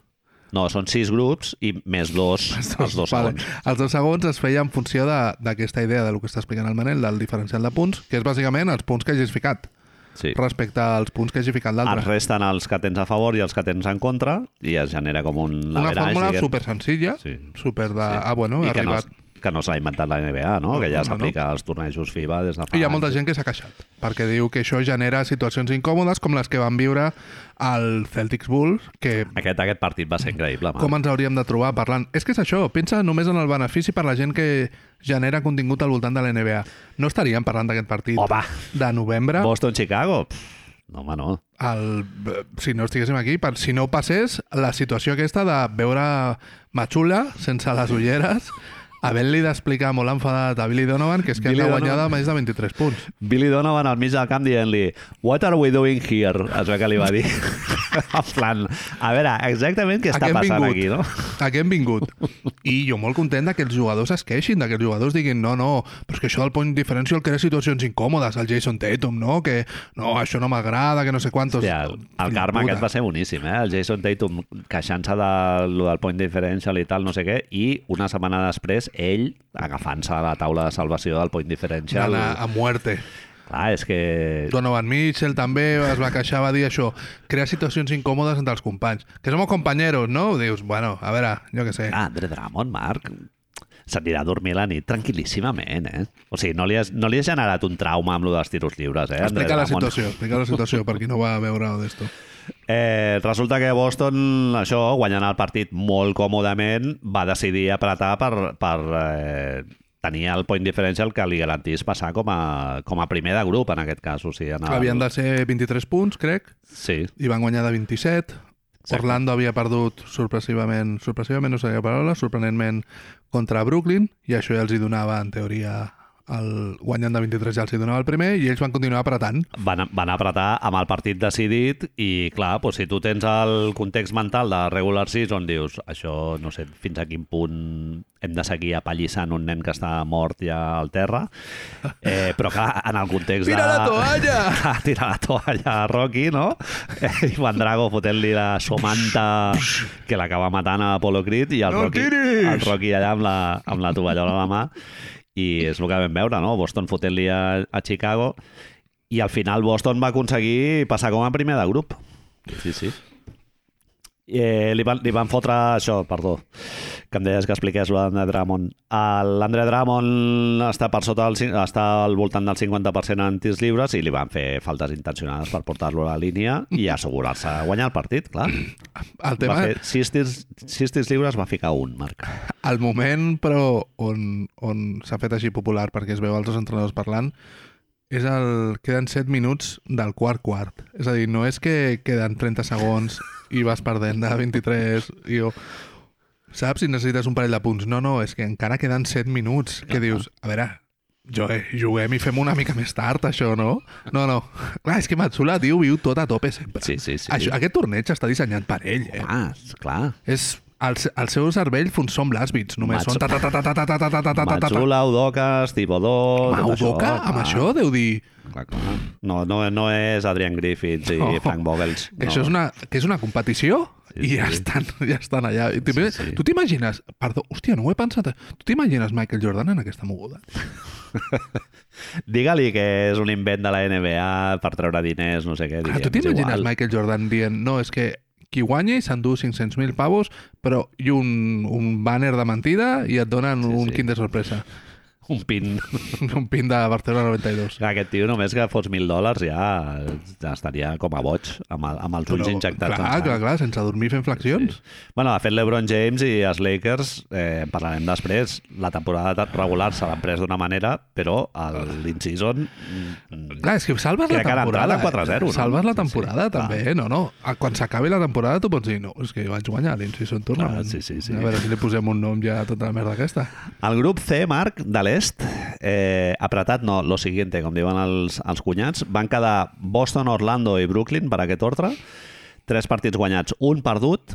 Speaker 1: No, són sis grups i més dos, els dos
Speaker 2: Vale.
Speaker 1: segons.
Speaker 2: Els dos segons es feia en funció de- d'aquesta idea del que està explicant el Manel, del diferencial de punts, que és bàsicament els punts que hagis ficat
Speaker 1: Sí.
Speaker 2: respecte als punts que hagi ficat
Speaker 1: Et
Speaker 2: l'altre.
Speaker 1: resten els que tens a favor i els que tens en contra i es genera com un
Speaker 2: Una
Speaker 1: average,
Speaker 2: fórmula
Speaker 1: diguem.
Speaker 2: super senzilla,
Speaker 1: Sí.
Speaker 2: super de...
Speaker 1: Sí.
Speaker 2: Ah, bueno,
Speaker 1: I
Speaker 2: ha
Speaker 1: que
Speaker 2: arribat...
Speaker 1: no, es- que no s'ha inventat la NBA, no? Que ja
Speaker 2: No, no.
Speaker 1: s'aplica als tornejos FIBA des de fa
Speaker 2: I hi ha molta
Speaker 1: anys.
Speaker 2: gent que s'ha queixat, perquè diu que això genera situacions incòmodes com les que van viure al Celtics Bulls, que
Speaker 1: Aquest, aquest partit va ser increïble, man.
Speaker 2: com ens hauríem de trobar parlant... És que és això, pensa només en el benefici per la gent que genera contingut al voltant de la NBA. No estaríem parlant d'aquest partit
Speaker 1: Home,
Speaker 2: de novembre,
Speaker 1: Boston-Chicago. Pff, No, home, no.
Speaker 2: el, eh, si no estiguéssim aquí, per, si no passés la situació aquesta de veure Matxula sense les ulleres, havent-li d'explicar molt enfadat a Billy Donovan que és que
Speaker 1: Billy
Speaker 2: Billy han de guanyar
Speaker 1: Donovan.
Speaker 2: de més de 23 punts.
Speaker 1: Billy Donovan al mig del camp dient-li What are we doing here? Es veu que li va dir. en plan, a veure, exactament què
Speaker 2: A
Speaker 1: està
Speaker 2: què hem
Speaker 1: passant
Speaker 2: vingut?
Speaker 1: aquí, no?
Speaker 2: A què hem vingut? I jo molt content de que els jugadors es queixin, de que els jugadors diguin no, no, però és que això del point diferencial crea situacions incòmodes, el Jason Tatum, no? Que no, això no m'agrada, que no sé quantos...
Speaker 1: Hòstia, el, el karma
Speaker 2: Puta.
Speaker 1: aquest va ser boníssim, eh? El Jason Tatum queixant-se de, lo del point differential i tal, no sé què, i una setmana després ell agafant-se a la taula de salvació del point differential.
Speaker 2: D'anar a muerte.
Speaker 1: Clar, és que...
Speaker 2: Donovan Mitchell també es va queixar, va dir això, crear situacions incòmodes entre els companys. Que som companyeros, no? Dius, bueno, a veure, jo què sé.
Speaker 1: Ah, Andre Drummond, Marc, s'anirà a dormir la nit tranquil·lísimament, eh? O sigui, no li has, no li has generat un trauma amb lo dels tiros lliures, eh? Andre
Speaker 2: explica la
Speaker 1: Drummond?
Speaker 2: situació, explica la situació per qui no va veure d'esto.
Speaker 1: Eh, resulta que Boston, això, guanyant el partit molt còmodament, va decidir apretar per, per eh, tenir el point differential que li garantís passar com a, com a primer de grup, en aquest cas. O sigui, en el...
Speaker 2: Havien de ser 23 punts, crec,
Speaker 1: Sí,
Speaker 2: i van guanyar de 27.
Speaker 1: Exacte.
Speaker 2: Orlando havia perdut sorpressivament, sorpressivament no seria la paraula, sorprenentment contra Brooklyn, i això ja els hi donava, en teoria, el guanyant de 23 ja els hi donava el primer, i ells van continuar apretant.
Speaker 1: van, van apretar amb el partit decidit i, clar, doncs, si tu tens el context mental de regular season, dius, això, no sé fins a quin punt hem de seguir apallissant un nen que està mort ja al terra, eh, però clar, en el context
Speaker 2: Tira
Speaker 1: de...
Speaker 2: la toalla!
Speaker 1: a tirar la toalla a Rocky, no? Eh, Ivan Drago fotent-li la somanta que l'acaba matant a Apollo Creed i el,
Speaker 2: No
Speaker 1: Rocky,
Speaker 2: tiris!
Speaker 1: el Rocky allà amb la, amb la tovallola a la mà i és el que vam veure, no? Boston fotent-li a, a Chicago i al final Boston va aconseguir passar com a primer de grup. Sí, sí. Eh, li, van, li van fotre això, perdó, que em deies que expliqués lo d'Andre Drummond. El- L'Andre Drummond està per sota del, cin- està al voltant del 50% en tirs lliures i li van fer faltes intencionades per portar-lo a la línia i assegurar-se de guanyar el partit, clar.
Speaker 2: El
Speaker 1: Va
Speaker 2: tema,
Speaker 1: fer sis tirs, sis tirs lliures, va ficar un, Marc.
Speaker 2: El moment, però, on, on s'ha fet així popular, perquè es veu els dos entrenadors parlant, és el... Queden 7 minuts del quart quart. És a dir, no és que queden 30 segons i vas perdent de 23 i jo... Saps si necessites un parell de punts? No, no, és que encara queden 7 minuts. Que dius, a veure, Joe, juguem i fem una mica més tard, això, no? No, no. Clar, és que Matsula, tio, viu tot a tope sempre.
Speaker 1: Sí, sí, sí.
Speaker 2: Això, aquest torneig està dissenyat per ell, eh?
Speaker 1: Ah, esclar.
Speaker 2: És, el, se- el seu cervell fun són blasbits, només
Speaker 1: Matsu-
Speaker 2: són... ta- ta- ta- ta- ta- ta- ta- ta- ta- ta- ta- ta- ta-
Speaker 1: Matsula, Udokas, Tibodó...
Speaker 2: Home,
Speaker 1: tot
Speaker 2: Udoka, amb
Speaker 1: clar.
Speaker 2: això deu dir
Speaker 1: Clar, clar. No, no, no és Adrian Griffiths i
Speaker 2: No.
Speaker 1: Frank Vogels. no.
Speaker 2: que això és una, que és una competició
Speaker 1: Sí,
Speaker 2: i ja
Speaker 1: sí.
Speaker 2: estan, ja estan allà. I primer,
Speaker 1: Sí, sí.
Speaker 2: Tu t'imagines... Perdó, hòstia, no ho he pensat. eh? Tu t'imagines Michael Jordan en aquesta moguda?
Speaker 1: Digue-li que és un invent de la NBA per treure diners, no sé què.
Speaker 2: Ah,
Speaker 1: diguem,
Speaker 2: tu
Speaker 1: és
Speaker 2: t'imagines
Speaker 1: igual.
Speaker 2: Michael Jordan dient no, és que qui guanya i s'endú 500.000 pavos però i un, un banner de mentida i et donen
Speaker 1: Sí,
Speaker 2: un
Speaker 1: sí.
Speaker 2: kinder sorpresa.
Speaker 1: un pin.
Speaker 2: Un pin de Barcelona 92.
Speaker 1: Aquest tio només que fots mil dòlars ja ja estaria com a boig, amb, el, amb els ulls
Speaker 2: Però,
Speaker 1: injectats. doncs, eh? en
Speaker 2: Clar,
Speaker 1: sang.
Speaker 2: clar, clar, sense dormir fent flexions.
Speaker 1: Bueno, de fet, l'Ebron James i els Lakers, eh, en parlarem després, la temporada regular se l'han pres d'una manera, però el in-season... mm,
Speaker 2: Clar, és que salves
Speaker 1: Crec que
Speaker 2: la
Speaker 1: han
Speaker 2: temporada. eh?
Speaker 1: entrat a 4-0, no?
Speaker 2: Salves la
Speaker 1: Sí, sí,
Speaker 2: temporada,
Speaker 1: clar.
Speaker 2: també, eh? no, no. Ah, Quan s'acabi la temporada tu pots dir, no, és que jo vaig guanyar l'Incision
Speaker 1: Ah,
Speaker 2: Tournament.
Speaker 1: sí, sí, sí.
Speaker 2: A veure si li posem un nom ja a tota la merda aquesta.
Speaker 1: El grup C, Marc, de l'est, eh, apretat no, lo siguiente, com diuen els, els cunyats, van quedar Boston, Orlando i Brooklyn per aquest ordre. Tres partits guanyats, un perdut.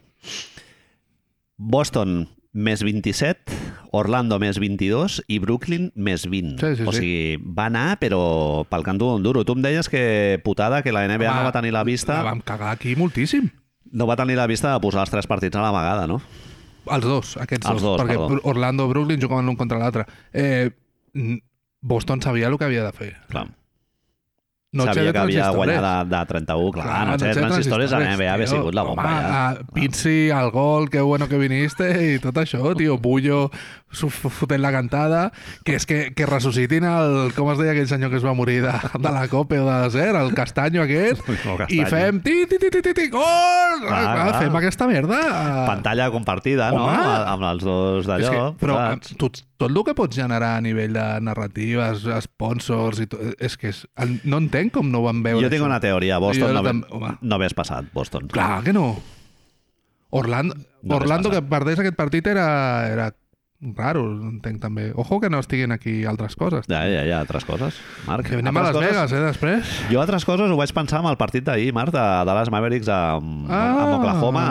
Speaker 1: Boston més 27, Orlando més 22 i Brooklyn més 20.
Speaker 2: Sí, sí,
Speaker 1: o
Speaker 2: sí.
Speaker 1: sigui, va anar, però pel canto d'un duro. Tu em deies que putada, que la NBA
Speaker 2: Home,
Speaker 1: no va tenir la vista...
Speaker 2: La vam cagar aquí moltíssim.
Speaker 1: No va tenir la vista de posar els tres partits a la vegada, no?
Speaker 2: Els dos, aquests
Speaker 1: Els dos,
Speaker 2: Perquè
Speaker 1: perdó.
Speaker 2: Orlando i Brooklyn jugaven l'un contra l'altre. Eh, n- Boston sabia el que havia de fer.
Speaker 1: Clar.
Speaker 2: No eh?
Speaker 1: sabia
Speaker 2: Xavier
Speaker 1: que havia
Speaker 2: Transistores.
Speaker 1: guanyat de, de 31, clar, no sé,
Speaker 2: Xavier
Speaker 1: transistores a la NBA havia
Speaker 2: tio.
Speaker 1: sigut la bomba.
Speaker 2: Home,
Speaker 1: ja.
Speaker 2: a Pizzi, al gol, que bueno que viniste, i tot això, tio, Bullo su- fotent la cantada, que és que, que ressuscitin el, com es deia aquell senyor que es va morir de, de la copa o de desert, el castanyo aquest,
Speaker 1: El Castanyo.
Speaker 2: i fem ti, ti, ti, ti, ti, ti, gol!
Speaker 1: Clar,
Speaker 2: Ah,
Speaker 1: clar.
Speaker 2: Fem aquesta merda.
Speaker 1: Pantalla compartida, no?
Speaker 2: Home!
Speaker 1: A- Amb els dos
Speaker 2: És que,
Speaker 1: d'allò.
Speaker 2: però
Speaker 1: clar.
Speaker 2: eh, tot, tot el que pots generar a nivell de narratives, sponsors i tot, és que és, no entenc com no ho van veure
Speaker 1: jo tinc
Speaker 2: això.
Speaker 1: una teoria. Boston
Speaker 2: Jo
Speaker 1: no,
Speaker 2: tam- home.
Speaker 1: ve, no hagués passat, Boston.
Speaker 2: Clar que no. Orlando,
Speaker 1: No
Speaker 2: Orlando
Speaker 1: ves
Speaker 2: que perdés aquest partit era, era raro, entenc també. Ojo que no estiguin aquí altres coses.
Speaker 1: Ja, ja, ja, altres coses, Marc.
Speaker 2: Que anem a
Speaker 1: Altres
Speaker 2: Las
Speaker 1: coses-
Speaker 2: Vegas, eh, després.
Speaker 1: Jo altres coses ho vaig pensar amb el partit d'ahir, Marc, de Dallas Mavericks amb,
Speaker 2: Ah.
Speaker 1: amb Oklahoma.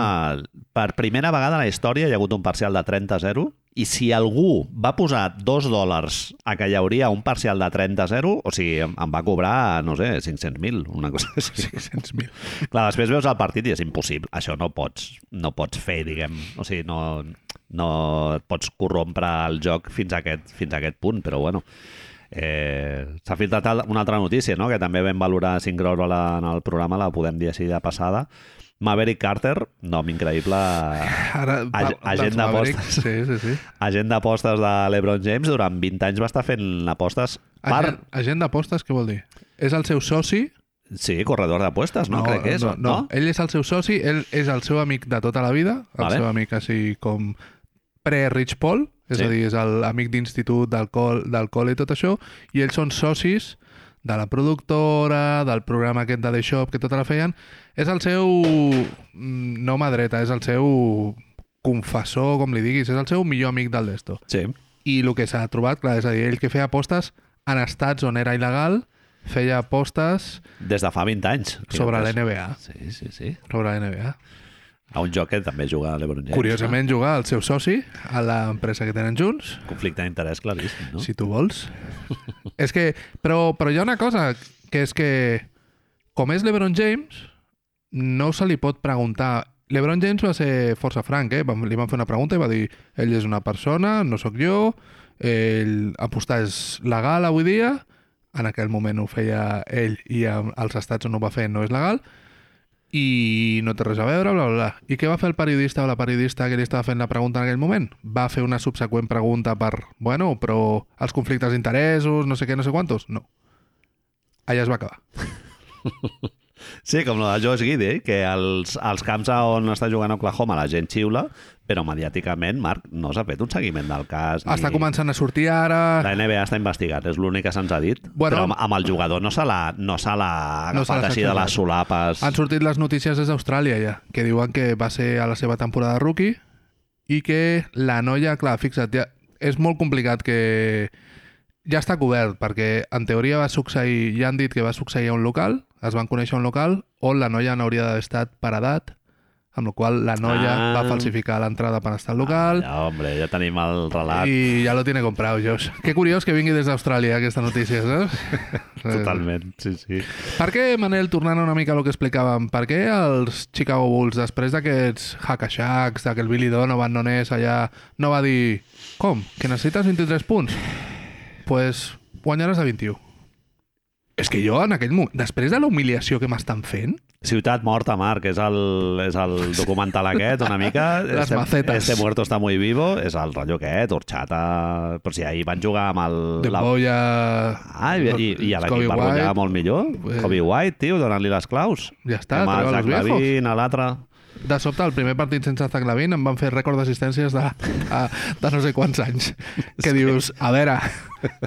Speaker 1: Per primera vegada a la història hi ha hagut un parcial de 30-0 i si algú va posar dos dòlars a que hi hauria un parcial de 30-0, o sigui, em, em va cobrar, no sé, 500.000, una cosa així.
Speaker 2: 600.000.
Speaker 1: Clar, després veus el partit i és impossible. Això no pots, no pots fer, diguem. O sigui, no, no et pots corrompre el joc fins a aquest, fins a aquest punt, però bueno. Eh, S'ha filtrat al- una altra notícia, no? que també vam valorar Sincròrola en el programa, la podem dir així de passada. Maverick Carter, nom increïble,
Speaker 2: Ara,
Speaker 1: Ag-
Speaker 2: pa-
Speaker 1: agent
Speaker 2: dels
Speaker 1: d'apostes.
Speaker 2: Mavericks, Sí, sí, sí.
Speaker 1: agent d'apostes de l'Ebron James, durant 20 anys va estar fent apostes per...
Speaker 2: Agent, agent d'apostes, què vol dir? És el seu soci...
Speaker 1: Sí, corredor d'apostes, no? Crec que és,
Speaker 2: no, no, Ell és el seu soci, ell és el seu amic de tota la vida, el
Speaker 1: Vale.
Speaker 2: seu amic així com pre-Rich Paul, és
Speaker 1: Sí.
Speaker 2: a dir, és el amic d'institut, del, col, del col·le i tot això, i ells són socis de la productora, del programa aquest de The Shop, que tota la feien. És el seu... mm, no mà dreta, és el seu confessor, com li diguis, és el seu millor amic del Desto.
Speaker 1: Sí.
Speaker 2: I el que s'ha trobat, clar, és a dir, ell que feia apostes en estats on era il·legal, feia apostes
Speaker 1: Des de fa 20 anys.
Speaker 2: sobre
Speaker 1: Fixa't.
Speaker 2: l'NBA.
Speaker 1: Sí, sí, sí.
Speaker 2: Sobre la NBA.
Speaker 1: A un joc que també juga a l'Ebron James.
Speaker 2: Curiosament jugar al seu soci, a l'empresa que tenen junts,
Speaker 1: clar. Conflicte d'interès claríssim, no?
Speaker 2: si tu vols. és que, però, però hi ha una cosa, que és que com és LeBron James, no se li pot preguntar... LeBron James va ser força franc, eh? Van- Li van fer una pregunta i va dir ell és una persona, no sóc jo, ell apostar és legal avui dia, en aquell moment ho feia ell i a- als estats on ho va fer no és legal, i no té res a veure, bla, bla, bla. I què va fer el periodista o la periodista que li estava fent la pregunta en aquell moment? Va fer una subseqüent pregunta per, bueno, però els conflictes d'interessos, no sé què, no sé quantos? No. Allà es va acabar.
Speaker 1: Sí, com la de Josh Giddy, que als, als camps on està jugant Oklahoma la gent xiula, però mediàticament, Marc, no s'ha fet un seguiment del cas.
Speaker 2: I... Està
Speaker 1: ni-
Speaker 2: començant a sortir ara...
Speaker 1: La NBA està investigat, és l'únic que se'ns ha dit.
Speaker 2: Bueno.
Speaker 1: però amb, amb el jugador no se l'ha no se l'ha
Speaker 2: No se l'ha
Speaker 1: agafat així de les
Speaker 2: sacsejat.
Speaker 1: solapes.
Speaker 2: Han sortit les notícies des d'Austràlia ja, que diuen que va ser a la seva temporada de rookie i que la noia, clar, fixa't, ja, és molt complicat que... Ja està cobert, perquè en teoria va succeir, ja han dit que va succeir a un local, es van conèixer a un local, on la noia no hauria d'haver estat per edat, amb la qual cosa la noia
Speaker 1: Ah.
Speaker 2: va falsificar l'entrada per estar al local,
Speaker 1: Ja, hombre, ja tenim el relat I...
Speaker 2: i ja lo tiene comprado, Josh. Que curiós que vingui des d'Austràlia aquesta notícia, saps?
Speaker 1: totalment. Sí, sí.
Speaker 2: Per què, Manel, tornant una mica a lo que explicàvem, per què els Chicago Bulls, després d'aquests hack-a-shacks, d'aquell Billy Donovan no n'és allà, no va dir com, que necessites 23 punts? pues guanyaràs a 21. És que jo, en aquell moment, després de la humiliació que m'estan fent,
Speaker 1: Ciutat morta, Marc, és el, és el documental aquest, una mica.
Speaker 2: Les
Speaker 1: este,
Speaker 2: macetes.
Speaker 1: Este muerto está muy vivo, és el rotllo aquest, horchata... Però si ahir van jugar amb el...
Speaker 2: De Boya...
Speaker 1: Ah, i, i, i a l'equip va guanyar molt millor.
Speaker 2: Eh.
Speaker 1: Kobe White, tio, donant-li les claus.
Speaker 2: Ja està,
Speaker 1: Amb el
Speaker 2: treu a
Speaker 1: Zach
Speaker 2: los viejos.
Speaker 1: Lavin, a l'altre...
Speaker 2: De sobte, el primer partit sense Zaglavin em van fer rècord d'assistències de, a, de no sé quants anys. Que dius, a veure,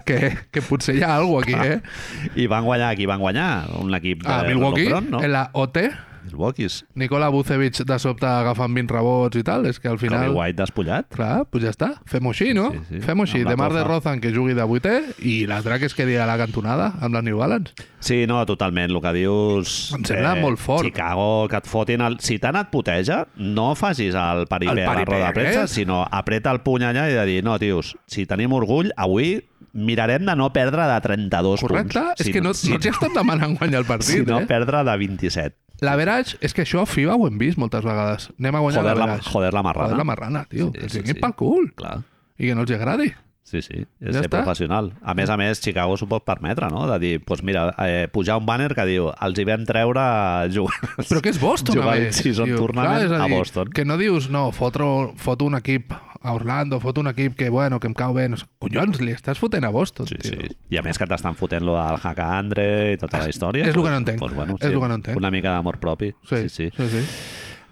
Speaker 2: que, que potser hi ha alguna aquí, eh?
Speaker 1: I van guanyar, qui van guanyar? Un equip de...
Speaker 2: A Ah, Milwaukee,
Speaker 1: LeBron, no?
Speaker 2: en la OT,
Speaker 1: Milwaukee's.
Speaker 2: Nicola Vucevic de sobte agafant 20 rebots i tal, és que al final...
Speaker 1: Kobe White despullat.
Speaker 2: Clar, doncs ja està. Fem-ho així, no?
Speaker 1: Sí,
Speaker 2: Sí,
Speaker 1: sí.
Speaker 2: sí. Fem-ho així.
Speaker 1: Amb la
Speaker 2: Demar de
Speaker 1: Tofa.
Speaker 2: Rozan, que jugui de vuitè, i l'altre que es quedi a la cantonada amb la New Balance.
Speaker 1: Sí, no, totalment. El que dius... eh,
Speaker 2: Em sembla molt fort.
Speaker 1: Chicago, que et fotin... El... Si tant et puteja, no facis el
Speaker 2: El
Speaker 1: paripé a la
Speaker 2: paripé
Speaker 1: roda de premsa,
Speaker 2: aquest.
Speaker 1: sinó apreta el puny allà i de dir, no, tios, si tenim orgull, avui mirarem de no perdre de 32
Speaker 2: Correcte?
Speaker 1: punts.
Speaker 2: és
Speaker 1: Si
Speaker 2: que no,
Speaker 1: si,
Speaker 2: no t'hi estan demanant guanyar el
Speaker 1: si
Speaker 2: partit,
Speaker 1: no
Speaker 2: eh?
Speaker 1: perdre de 27.
Speaker 2: L'average, és que això a FIBA ho hem vist moltes vegades. Anem a guanyar
Speaker 1: Joder la,
Speaker 2: l'average.
Speaker 1: joder la marrana.
Speaker 2: Joder la marrana, tio.
Speaker 1: Sí,
Speaker 2: Sí, que
Speaker 1: sí,
Speaker 2: sí,
Speaker 1: sí.
Speaker 2: pel cul.
Speaker 1: Clar.
Speaker 2: I que no els agradi.
Speaker 1: Sí, sí, és
Speaker 2: Ja
Speaker 1: ser
Speaker 2: està.
Speaker 1: professional. A més a més, Chicago s'ho pot permetre, no? De dir, doncs mira, eh, pujar un banner que diu els hi vam treure jugants.
Speaker 2: Però que és Boston,
Speaker 1: Jugar
Speaker 2: a
Speaker 1: el
Speaker 2: més.
Speaker 1: season
Speaker 2: tio.
Speaker 1: tournament
Speaker 2: és
Speaker 1: a
Speaker 2: dir,
Speaker 1: Boston.
Speaker 2: Que no dius, no, fotro, foto un equip a Orlando, foto un equip que, bueno, que em cau bé. No sé. Collons, li estàs fotent a Boston,
Speaker 1: Sí,
Speaker 2: tio. Ah,
Speaker 1: sí. I a més que t'estan fotent lo del hack a Andre i tota la història.
Speaker 2: és lo que
Speaker 1: doncs-
Speaker 2: no entenc.
Speaker 1: doncs
Speaker 2: És lo que no entenc.
Speaker 1: Una mica d'amor propi. Sí, sí. sí.
Speaker 2: sí, sí.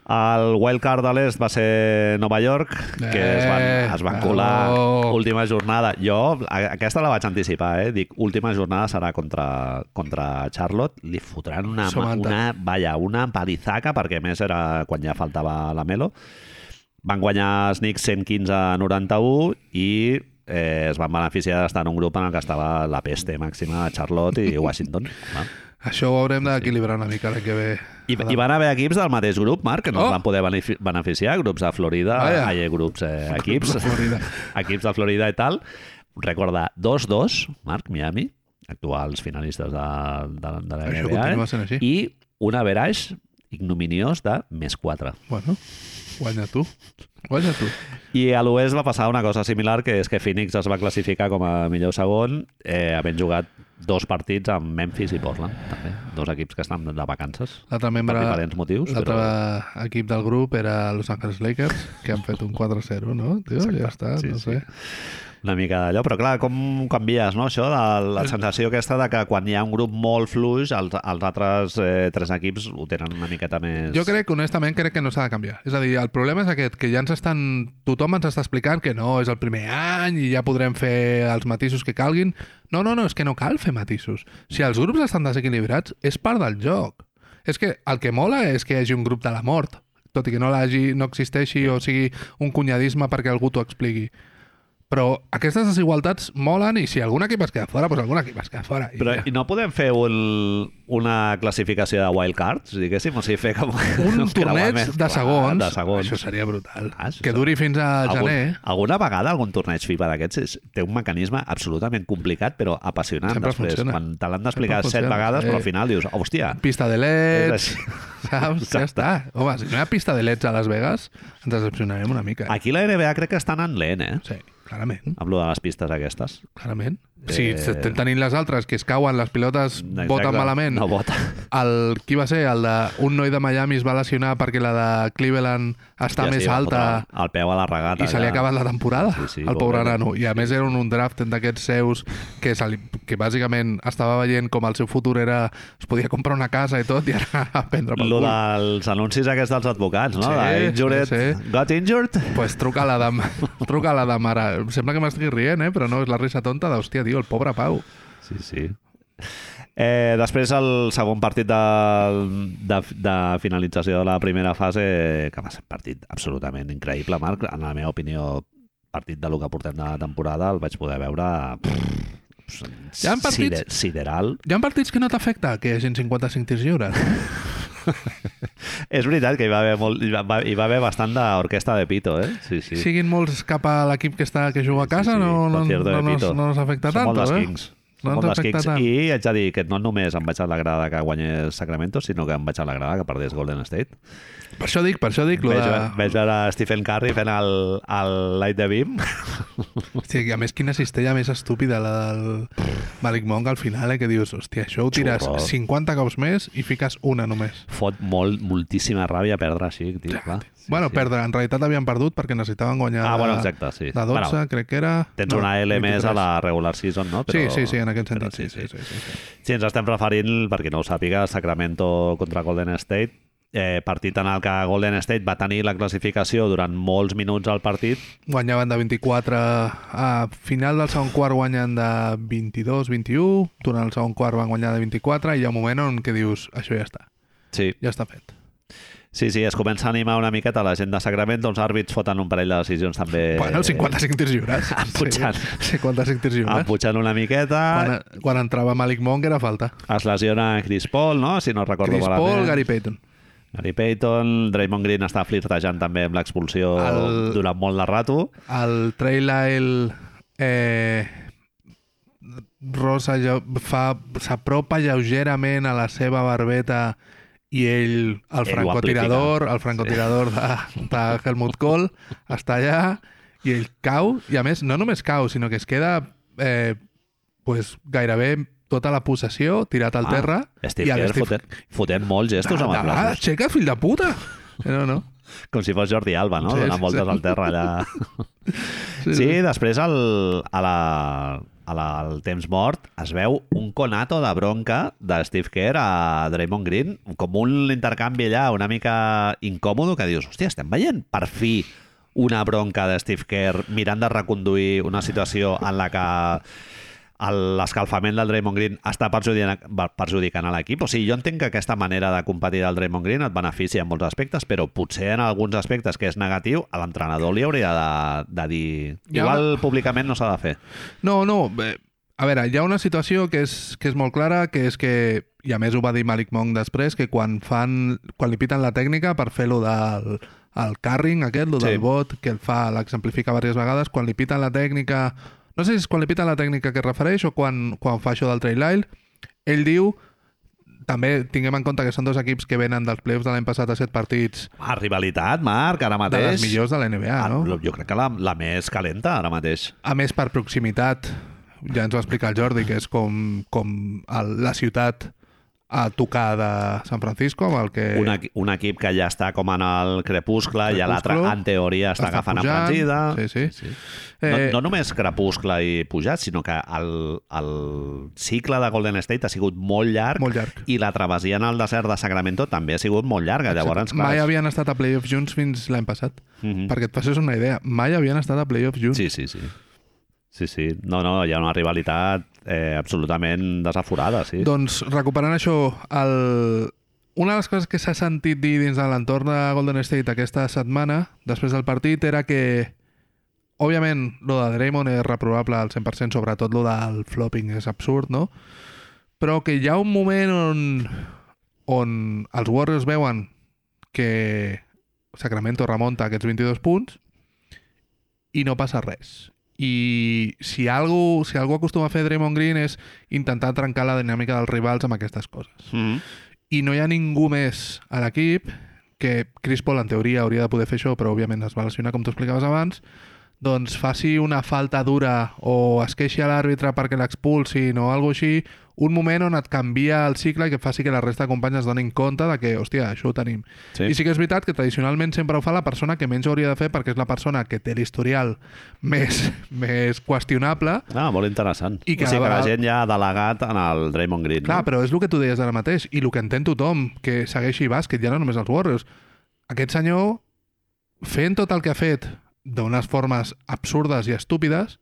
Speaker 1: El wildcard de l'est va ser Nova York, que
Speaker 2: Eh,
Speaker 1: es van, es van colar
Speaker 2: bravo.
Speaker 1: última jornada. Jo a- aquesta la vaig anticipar, eh? Dic, última jornada serà contra, contra Charlotte. Li fotran una, ma-
Speaker 2: Somanta.
Speaker 1: una, vaya, una palizaca, perquè a més era quan ja faltava la Melo. Van guanyar els Knicks 115 a 91 i eh, es van beneficiar d'estar en un grup en el que estava la peste màxima de Charlotte i Washington. Va.
Speaker 2: Això ho haurem d'equilibrar una mica l'any que ve.
Speaker 1: I, I van haver equips del mateix grup, Marc, que no oh.
Speaker 2: Oh.
Speaker 1: van poder benefi- beneficiar, grups de Florida,
Speaker 2: Vaja.
Speaker 1: ai, eh, grups, eh, equips,
Speaker 2: de Florida.
Speaker 1: equips de Florida i tal. Recorda, 2-2, Marc, Miami, actuals finalistes de, de, de la
Speaker 2: Això
Speaker 1: NBA,
Speaker 2: continua sent així.
Speaker 1: i un average ignominiós de més 4.
Speaker 2: Bueno, guanya tu. Guanya tu.
Speaker 1: I a l'Oest va passar una cosa similar, que és que Phoenix es va classificar com a millor segon, eh, havent jugat dos partits amb Memphis i Portland, també. Dos equips que estan de vacances,
Speaker 2: L'altre
Speaker 1: per
Speaker 2: membre...
Speaker 1: diferents motius.
Speaker 2: L'altre però... equip del grup era Los Angeles Lakers, que han fet un 4-0, no? Tio, ja està,
Speaker 1: Sí,
Speaker 2: sí, no
Speaker 1: sí.
Speaker 2: sé.
Speaker 1: una mica d'allò, però clar, com canvies, no? Això, de la sensació aquesta de que quan hi ha un grup molt fluix, els, els altres eh, tres equips ho tenen una miqueta més...
Speaker 2: Jo crec, honestament, crec que no s'ha de canviar. És a dir, el problema és aquest, que ja ens estan... Tothom ens està explicant que no, és el primer any i ja podrem fer els matisos que calguin. No, no, no, és que no cal fer matisos. Si els grups estan desequilibrats, és part del joc. És que el que mola és que hi hagi un grup de la mort, tot i que no, l'hagi- no existeixi o sigui un cunyadisme perquè algú t'ho expliqui. Però aquestes desigualtats molen i si algun equip es queda fora, doncs algun equip es queda fora. I
Speaker 1: Però
Speaker 2: ja.
Speaker 1: i no podem fer un, una classificació de wildcards, diguéssim? O sigui, fer com...
Speaker 2: un
Speaker 1: uns
Speaker 2: torneig
Speaker 1: creuaments.
Speaker 2: de segons,
Speaker 1: de segons.
Speaker 2: això seria brutal.
Speaker 1: Ah, això
Speaker 2: que
Speaker 1: serà-
Speaker 2: duri fins a
Speaker 1: Algun,
Speaker 2: gener. eh?
Speaker 1: alguna vegada algun torneig FIBA d'aquests és- té un mecanisme absolutament complicat però apassionant
Speaker 2: Sempre
Speaker 1: després,
Speaker 2: funciona.
Speaker 1: quan te l'han d'explicar
Speaker 2: Sempre
Speaker 1: set
Speaker 2: funciona,
Speaker 1: vegades però
Speaker 2: sí.
Speaker 1: al final dius, hòstia,
Speaker 2: Pista de
Speaker 1: és
Speaker 2: leds,
Speaker 1: així.
Speaker 2: saps? Ja està. Home, si no hi ha pista de leds a Las Vegas, ens decepcionarem una mica. eh?
Speaker 1: aquí la NBA crec que estan en lent, eh?
Speaker 2: Sí, clarament,
Speaker 1: amb lo de les pistes aquestes
Speaker 2: clarament. Si
Speaker 1: Eh.
Speaker 2: estem tenint les altres, que es cauen, les pilotes
Speaker 1: Exacte.
Speaker 2: voten malament.
Speaker 1: no vota
Speaker 2: El, qui va ser? El de, un noi de Miami es va lesionar perquè la de Cleveland està
Speaker 1: Ja
Speaker 2: més
Speaker 1: sí, va
Speaker 2: alta
Speaker 1: fotre El peu a la regata.
Speaker 2: i se li ha
Speaker 1: ja.
Speaker 2: acabat la temporada
Speaker 1: Sí, sí,
Speaker 2: al pobre
Speaker 1: pobre.
Speaker 2: nano. I a més era un, un draft d'aquests seus que, se li, que bàsicament estava veient com el seu futur era... es podia comprar una casa i tot i ara a prendre pel
Speaker 1: Lo
Speaker 2: cul.
Speaker 1: dels anuncis aquests dels advocats, no?
Speaker 2: Sí,
Speaker 1: de injured,
Speaker 2: sí.
Speaker 1: got injured.
Speaker 2: pues truca a la dama. truca a la dama ara. Em sembla que m'estic rient, eh? però no, és la risa tonta d'hòstia, tio, el pobre Pau.
Speaker 1: Sí, sí. Eh, després el segon partit de, de, de finalització de la primera fase que va ser un partit absolutament increïble Marc, en la meva opinió partit de lo que portem de la temporada el vaig poder veure pff,
Speaker 2: Hi ha partits-
Speaker 1: sider- sideral
Speaker 2: Hi ha partits que no t'afecta que hi hagin 55 tirs lliures.
Speaker 1: és veritat que hi va haver, molt, hi va, hi va haver bastant d'orquestra de pito eh? sí, sí.
Speaker 2: Sí. Siguin molts cap a l'equip que, està, que juga a casa,
Speaker 1: Sí, sí,
Speaker 2: no, no,
Speaker 1: concierto de
Speaker 2: no, no,
Speaker 1: Pito.
Speaker 2: no nos afecta
Speaker 1: Són
Speaker 2: tant.
Speaker 1: molt dels
Speaker 2: Eh?
Speaker 1: Kings.
Speaker 2: No
Speaker 1: molt
Speaker 2: t'ha
Speaker 1: dels
Speaker 2: afectat
Speaker 1: Kings.
Speaker 2: tant.
Speaker 1: I haig de dir que no només em vaig alegrar que guanyés Sacramento, sinó que em vaig alegrar que perdés Golden State.
Speaker 2: Per això dic, per això dic, lo
Speaker 1: Veig,
Speaker 2: de...
Speaker 1: veig veure Stephen Curry fent el, el light de beam.
Speaker 2: Hòstia, i a més, quina cistella més estúpida, la del Malik Monk al final, eh, que dius, hòstia, això ho tires
Speaker 1: Xurro.
Speaker 2: 50 cops més i fiques una només.
Speaker 1: Fot molt, moltíssima ràbia perdre així, tio, clar.
Speaker 2: Sí, bueno,
Speaker 1: sí.
Speaker 2: perdre, en realitat havien perdut perquè necessitaven guanyar
Speaker 1: Ah,
Speaker 2: de-
Speaker 1: bueno, exacte, sí.
Speaker 2: de 12,
Speaker 1: Bueno,
Speaker 2: crec que era...
Speaker 1: Tens
Speaker 2: no,
Speaker 1: una L més
Speaker 2: 23.
Speaker 1: a la regular season, no?
Speaker 2: Sí, sí, sí, en aquest
Speaker 1: però
Speaker 2: sentit, sí, sí, sí, sí, sí.
Speaker 1: Sí, ens estem referint, perquè no ho sàpiga, a Sacramento contra Golden State, eh, partit en el que Golden State va tenir la classificació durant molts minuts al partit,
Speaker 2: Guanyaven de 24, a final del segon quart guanyen de 22, 21, durant el segon quart van guanyar de 24 i hi ha un moment on que dius, això ja està,
Speaker 1: sí,
Speaker 2: ja està fet.
Speaker 1: sí, sí es comença a animar una miqueta la gent de Sacramento, els àrbits foten un parell de decisions també...
Speaker 2: Bueno, 55 tirs lliures.
Speaker 1: Empujant.
Speaker 2: Sí, 55 tirs lliures.
Speaker 1: Empujant una miqueta,
Speaker 2: eh? Quan, quan entrava Malik Monk era falta.
Speaker 1: es lesiona Chris Paul, no? Si no recordo
Speaker 2: Chris
Speaker 1: malament.
Speaker 2: Paul, Gary Payton.
Speaker 1: Gary Payton, Draymond Green està flirtejant també amb l'expulsió
Speaker 2: El-
Speaker 1: durant molt de rato.
Speaker 2: El Trail Isle... Eh, Rosa ja- fa- s'apropa lleugerament a la seva barbeta i ell, el
Speaker 1: ho
Speaker 2: francotirador,
Speaker 1: amplifica.
Speaker 2: el francotirador de, de Helmut Kohl, està allà i ell cau, i a més, no només cau, sinó que es queda eh, pues, gairebé tota la possessió tirat al terra.
Speaker 1: Ah, Steve
Speaker 2: i el
Speaker 1: Kerr
Speaker 2: Steve-
Speaker 1: fotent, fotent molts gestos amb els
Speaker 2: Ah, de- ah,
Speaker 1: braços.
Speaker 2: Aixeca, fill de puta! Eh, No, no.
Speaker 1: Com si fos Jordi Alba, no?
Speaker 2: Sí,
Speaker 1: Sí, Donant
Speaker 2: sí,
Speaker 1: voltes
Speaker 2: sí.
Speaker 1: al terra allà. Sí, després al, a la, a la, al temps mort es veu un conato de bronca de Steve Kerr a Draymond Green, com un intercanvi allà una mica incòmodo, que dius, hòstia, estem veient per fi una bronca de Steve Kerr mirant de reconduir una situació en la que el- l'escalfament del Draymond Green està perjudicant, va- perjudicant a l'equip. O sigui, jo entenc que aquesta manera de competir del Draymond Green et beneficia en molts aspectes, però potser en alguns aspectes que és negatiu, a l'entrenador li hauria de, de dir...
Speaker 2: Ja.
Speaker 1: Igual públicament no s'ha de fer.
Speaker 2: No, no, bé, a veure, hi ha una situació que és, que és molt clara, que és que, i a més ho va dir Malik Monk després, que quan fan, quan li piten la tècnica per fer lo del el carring aquest, lo
Speaker 1: Sí.
Speaker 2: del bot, que el fa, l'exemplifica diverses vegades, quan li piten la tècnica... No sé si és quan li piten la tècnica que es refereix o quan, quan fa això del trail aisle, ell diu també tinguem en compte que són dos equips que venen dels playoffs de l'any passat a set partits
Speaker 1: Ah, rivalitat, Marc, ara
Speaker 2: de
Speaker 1: mateix.
Speaker 2: les millors de la NBA,
Speaker 1: Ah,
Speaker 2: no?
Speaker 1: Jo crec que la, la més calenta ara mateix.
Speaker 2: A més, per proximitat, ja ens va explicar el Jordi, que és com, com el, la ciutat a tocar de San Francisco, amb el que...
Speaker 1: Un, equi- un equip que ja està com en el crepuscle, i a l'altre,
Speaker 2: Crepuscle.
Speaker 1: en teoria, està,
Speaker 2: Està
Speaker 1: agafant
Speaker 2: pujant.
Speaker 1: embranzida.
Speaker 2: Sí, sí.
Speaker 1: No,
Speaker 2: Eh,
Speaker 1: no només crepuscle i pujat, sinó que el, el cicle de Golden State ha sigut molt llarg,
Speaker 2: Molt llarg.
Speaker 1: i la travessia en el desert de Sacramento també ha sigut molt llarga. Llavors, clar,
Speaker 2: Mai
Speaker 1: és-
Speaker 2: havien estat a playoffs junts fins l'any passat.
Speaker 1: Mhm.
Speaker 2: Perquè et passes una idea, mai havien estat a playoffs junts.
Speaker 1: Sí, sí, sí. Sí, sí. No, no, hi ha una rivalitat eh, absolutament desaforada, sí.
Speaker 2: Doncs, recuperant això, el... una de les coses que s'ha sentit dir dins de l'entorn de Golden State aquesta setmana, després del partit, era que, òbviament, lo de Draymond és reprovable al 100%, sobretot lo del flopping és absurd, no? Però que hi ha un moment on, on els Warriors veuen que Sacramento remunta aquests 22 punts i no passa res. I si algú, si algú acostuma a fer Draymond Green és intentar trencar la dinàmica dels rivals amb aquestes coses.
Speaker 1: Mhm.
Speaker 2: I no hi ha ningú més a l'equip que Chris Paul, en teoria, hauria de poder fer això, però òbviament es va lesionar, com t'ho explicaves abans, doncs faci una falta dura o es queixi a l'àrbitre perquè l'expulsin o alguna així, un moment on et canvia el cicle i que faci que la resta de companys es donin compte de que, hòstia, això ho tenim.
Speaker 1: Sí.
Speaker 2: I sí que és veritat que tradicionalment sempre ho fa la persona que menys ho hauria de fer perquè és la persona que té l'historial més, més qüestionable
Speaker 1: Ah, molt interessant.
Speaker 2: I
Speaker 1: I que, o
Speaker 2: cada
Speaker 1: sigui, que la
Speaker 2: vegada-
Speaker 1: gent ja ha delegat en el Draymond Green.
Speaker 2: Clar,
Speaker 1: no?
Speaker 2: però és el que tu deies ara mateix i el que entén tothom que segueixi bàsquet, ja no només els Warriors. Aquest senyor, fent tot el que ha fet d'unes formes absurdes i estúpides,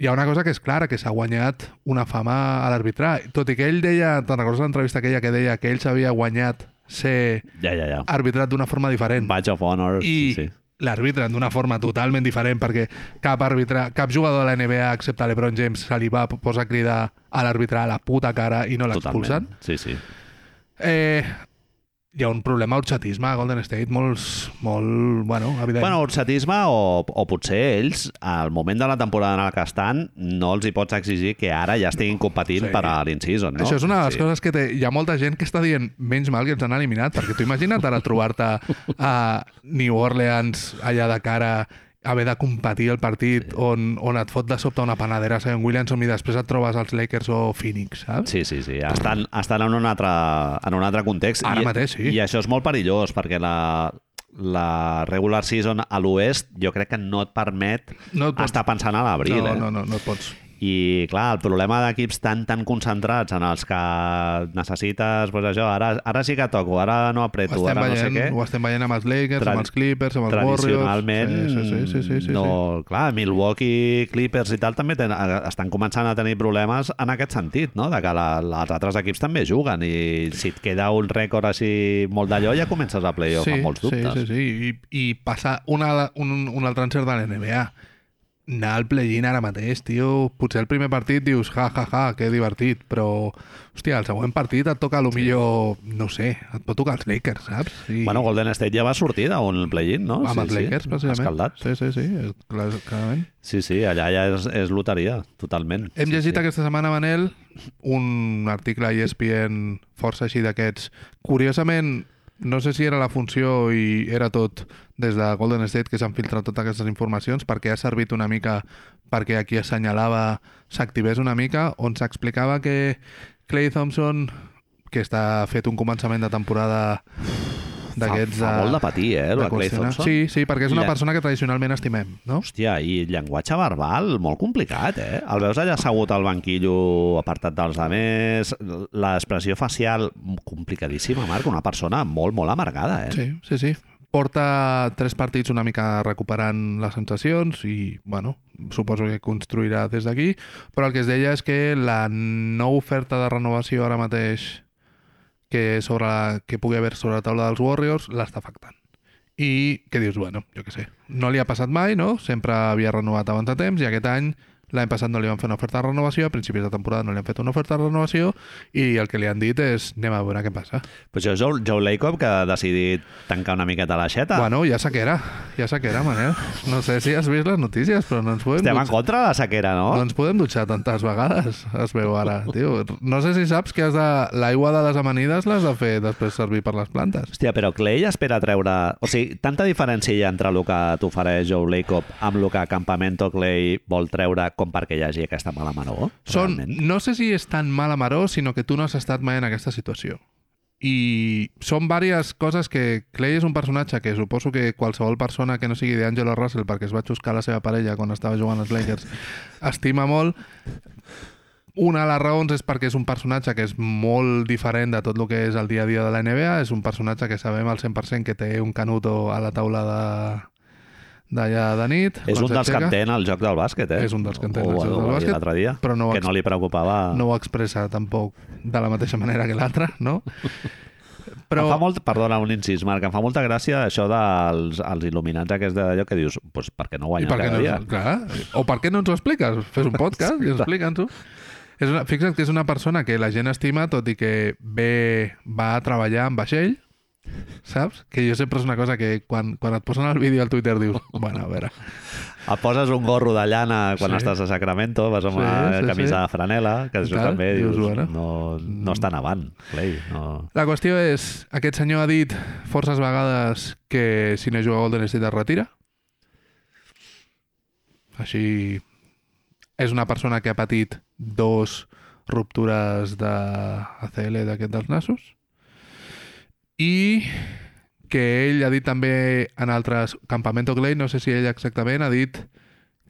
Speaker 2: hi ha una cosa que és clara, que s'ha guanyat una fama a l'arbitrar. Tot i que ell deia, te'n recordes l'entrevista aquella que deia que ell s'havia guanyat ser
Speaker 1: Ja, ja, ja.
Speaker 2: arbitrat d'una forma diferent
Speaker 1: Badge of Honor.
Speaker 2: Ah, i
Speaker 1: Sí, sí.
Speaker 2: l'arbitren d'una forma totalment diferent perquè cap àrbitre, cap jugador de la NBA excepte LeBron James se li va posar a cridar a l'àrbitre a la puta cara i no l'expulsen
Speaker 1: Totalment. Sí, sí.
Speaker 2: eh, hi ha un problema orxatisme a Golden State molts, molt, bueno, evident.
Speaker 1: Bueno, orxatisme o, o potser ells, al moment de la temporada en la que estan, no els hi pots exigir que ara ja estiguin competint
Speaker 2: sí.
Speaker 1: per a l'in-season, no?
Speaker 2: Això és una de les sí. coses que té. hi ha molta gent que està dient menys mal que ens han eliminat, perquè tu imagina't ara trobar-te a New Orleans allà de cara haver de competir el partit sí. on, on et fot de sobte una panadera a Zion Williamson i després et trobes els Lakers o Phoenix, saps?
Speaker 1: Sí, sí, sí. Estan, estan en, un altre, en un altre context.
Speaker 2: Ara
Speaker 1: I,
Speaker 2: mateix, sí.
Speaker 1: I això és molt perillós, perquè la, la regular season a l'oest jo crec que no et permet
Speaker 2: No et pots-
Speaker 1: estar pensant a l'abril.
Speaker 2: no,
Speaker 1: eh?
Speaker 2: no, no, no et pots.
Speaker 1: I, clar, el problema d'equips tan, tan concentrats en els que necessites, doncs això, ara, ara sí que toco, ara no
Speaker 2: Ho
Speaker 1: apreto,
Speaker 2: estem,
Speaker 1: ara
Speaker 2: veient,
Speaker 1: no sé
Speaker 2: ho
Speaker 1: què.
Speaker 2: estem veient amb els Lakers,
Speaker 1: Tra-
Speaker 2: amb els Clippers, amb els Warriors...
Speaker 1: Tradicionalment,
Speaker 2: sí, sí, sí, sí, sí,
Speaker 1: no,
Speaker 2: sí.
Speaker 1: clar, Milwaukee, Clippers i tal també ten, estan començant a tenir problemes en aquest sentit, no? de que la, els altres equips també juguen i si et queda un rècord així molt d'allò ja comences a playoff amb molts dubtes.
Speaker 2: Sí, sí, sí. I, i passar una, un, un altre encert de la NBA. Anar al play-in ara mateix, tio, potser el primer partit dius, ja, ja, ja, que divertit, però, hòstia, el següent partit et toca, a lo millor, no ho sé, et pot tocar els Lakers, saps? I,
Speaker 1: Bueno, Golden State ja va sortir d'un play-in, no?
Speaker 2: amb els Lakers,
Speaker 1: sí.
Speaker 2: precisament.
Speaker 1: Escaldat.
Speaker 2: Sí, sí, sí, és clar, clarament.
Speaker 1: Sí, sí, allà ja és, és loteria, totalment.
Speaker 2: Hem
Speaker 1: sí,
Speaker 2: llegit
Speaker 1: sí.
Speaker 2: aquesta setmana, Manel, un article a E ESPN força així d'aquests. Curiosament, no sé si era la funció i era tot des de Golden State que s'han filtrat totes aquestes informacions perquè ha servit una mica perquè aquí assenyalava, s'activés una mica, on s'explicava que Clay Thompson, que està fet un començament de temporada d'aquests...
Speaker 1: Fa, fa molt de patir, eh, el Clay
Speaker 2: qüestionar.
Speaker 1: Thompson.
Speaker 2: Sí, sí, perquè és una
Speaker 1: Mira.
Speaker 2: persona que tradicionalment estimem, no?
Speaker 1: Hòstia, i llenguatge verbal molt complicat, eh? El veus allà assegut al banquillo, apartat dels altres, l'expressió facial complicadíssima, Marc, una persona molt, molt amargada, eh?
Speaker 2: Sí, sí, sí. Porta tres partits una mica recuperant les sensacions i, bueno, suposo que construirà des d'aquí, però el que es deia és que la no oferta de renovació ara mateix que, sobre la, que pugui haver sobre la taula dels Warriors l'està afectant. I que dius, bueno, jo què sé, no li ha passat mai, no? Sempre havia renovat abans de temps i aquest any l'any passat no li van fer una oferta de renovació, a principis de temporada no li han fet una oferta de renovació i el que li han dit és anem a veure què passa.
Speaker 1: Però això és Joe, Joe Lacob que ha decidit tancar una miqueta l'aixeta.
Speaker 2: Bueno, ja sequera, ja sequera, Manel. No sé si has vist les notícies, però no ens podem,
Speaker 1: Estem en
Speaker 2: dutxar,
Speaker 1: contra de la sequera, no?
Speaker 2: no ens podem dutxar tantes vegades, es veu ara. Tio, no sé si saps que has de... l'aigua de les amanides l'has de fer després servir per les plantes.
Speaker 1: Hòstia, però Clay espera treure... O sigui, tanta diferència hi ha entre el que t'ofereix Joe Lacob amb el que Campamento Clay vol treure com perquè hi hagi aquesta mala manó?
Speaker 2: Són,
Speaker 1: realment?
Speaker 2: no sé si és tan mala maró, sinó que tu no has estat mai en aquesta situació. I són diverses coses que Clay és un personatge que suposo que qualsevol persona que no sigui d'Angelo Russell, perquè es va xuscar la seva parella quan estava jugant als Lakers, estima molt. Una de les raons és perquè és un personatge que és molt diferent de tot el que és el dia a dia de la NBA. És un personatge que sabem al 100% que té un canuto a la taula de d'allà de nit.
Speaker 1: És
Speaker 2: quan
Speaker 1: un dels que
Speaker 2: s'aixeca.
Speaker 1: entén el joc del bàsquet, eh?
Speaker 2: És un dels que entén
Speaker 1: Ho-
Speaker 2: el
Speaker 1: ho
Speaker 2: joc del
Speaker 1: va dir
Speaker 2: bàsquet,
Speaker 1: L'altre dia,
Speaker 2: però no ho
Speaker 1: que no li preocupava...
Speaker 2: no ho expressa tampoc de la mateixa manera que l'altre, no? Però
Speaker 1: Em fa molt, perdona, un incís, Marc, em fa molta gràcia això dels els il·luminats aquests d'allò que dius, pues, per què no
Speaker 2: I
Speaker 1: guanyem
Speaker 2: per què
Speaker 1: cada
Speaker 2: no,
Speaker 1: dia?
Speaker 2: clar, o per què no ens ho expliques? Fes un podcast i explica'ns-ho. És una, fixa't que és una persona que la gent estima, tot i que ve, va a treballar amb vaixell, saps? Que jo sempre és una cosa que quan, quan et posen el vídeo al Twitter dius, bueno, a veure,
Speaker 1: Et poses un gorro de llana quan
Speaker 2: Sí.
Speaker 1: estàs a Sacramento, vas amb
Speaker 2: Sí,
Speaker 1: una
Speaker 2: sí,
Speaker 1: camisa
Speaker 2: sí.
Speaker 1: de franela, que això
Speaker 2: Tal,
Speaker 1: també
Speaker 2: dius,
Speaker 1: dius,
Speaker 2: bueno. mm."
Speaker 1: no, no està nevant, Clay. No.
Speaker 2: La qüestió és, aquest senyor ha dit forces vegades que si no juga a Golden State es retira. Així, és una persona que ha patit dos ruptures de ACL d'aquest dels nassos i que ell ha dit també en altres... Campamento Clay, no sé si ell exactament, ha dit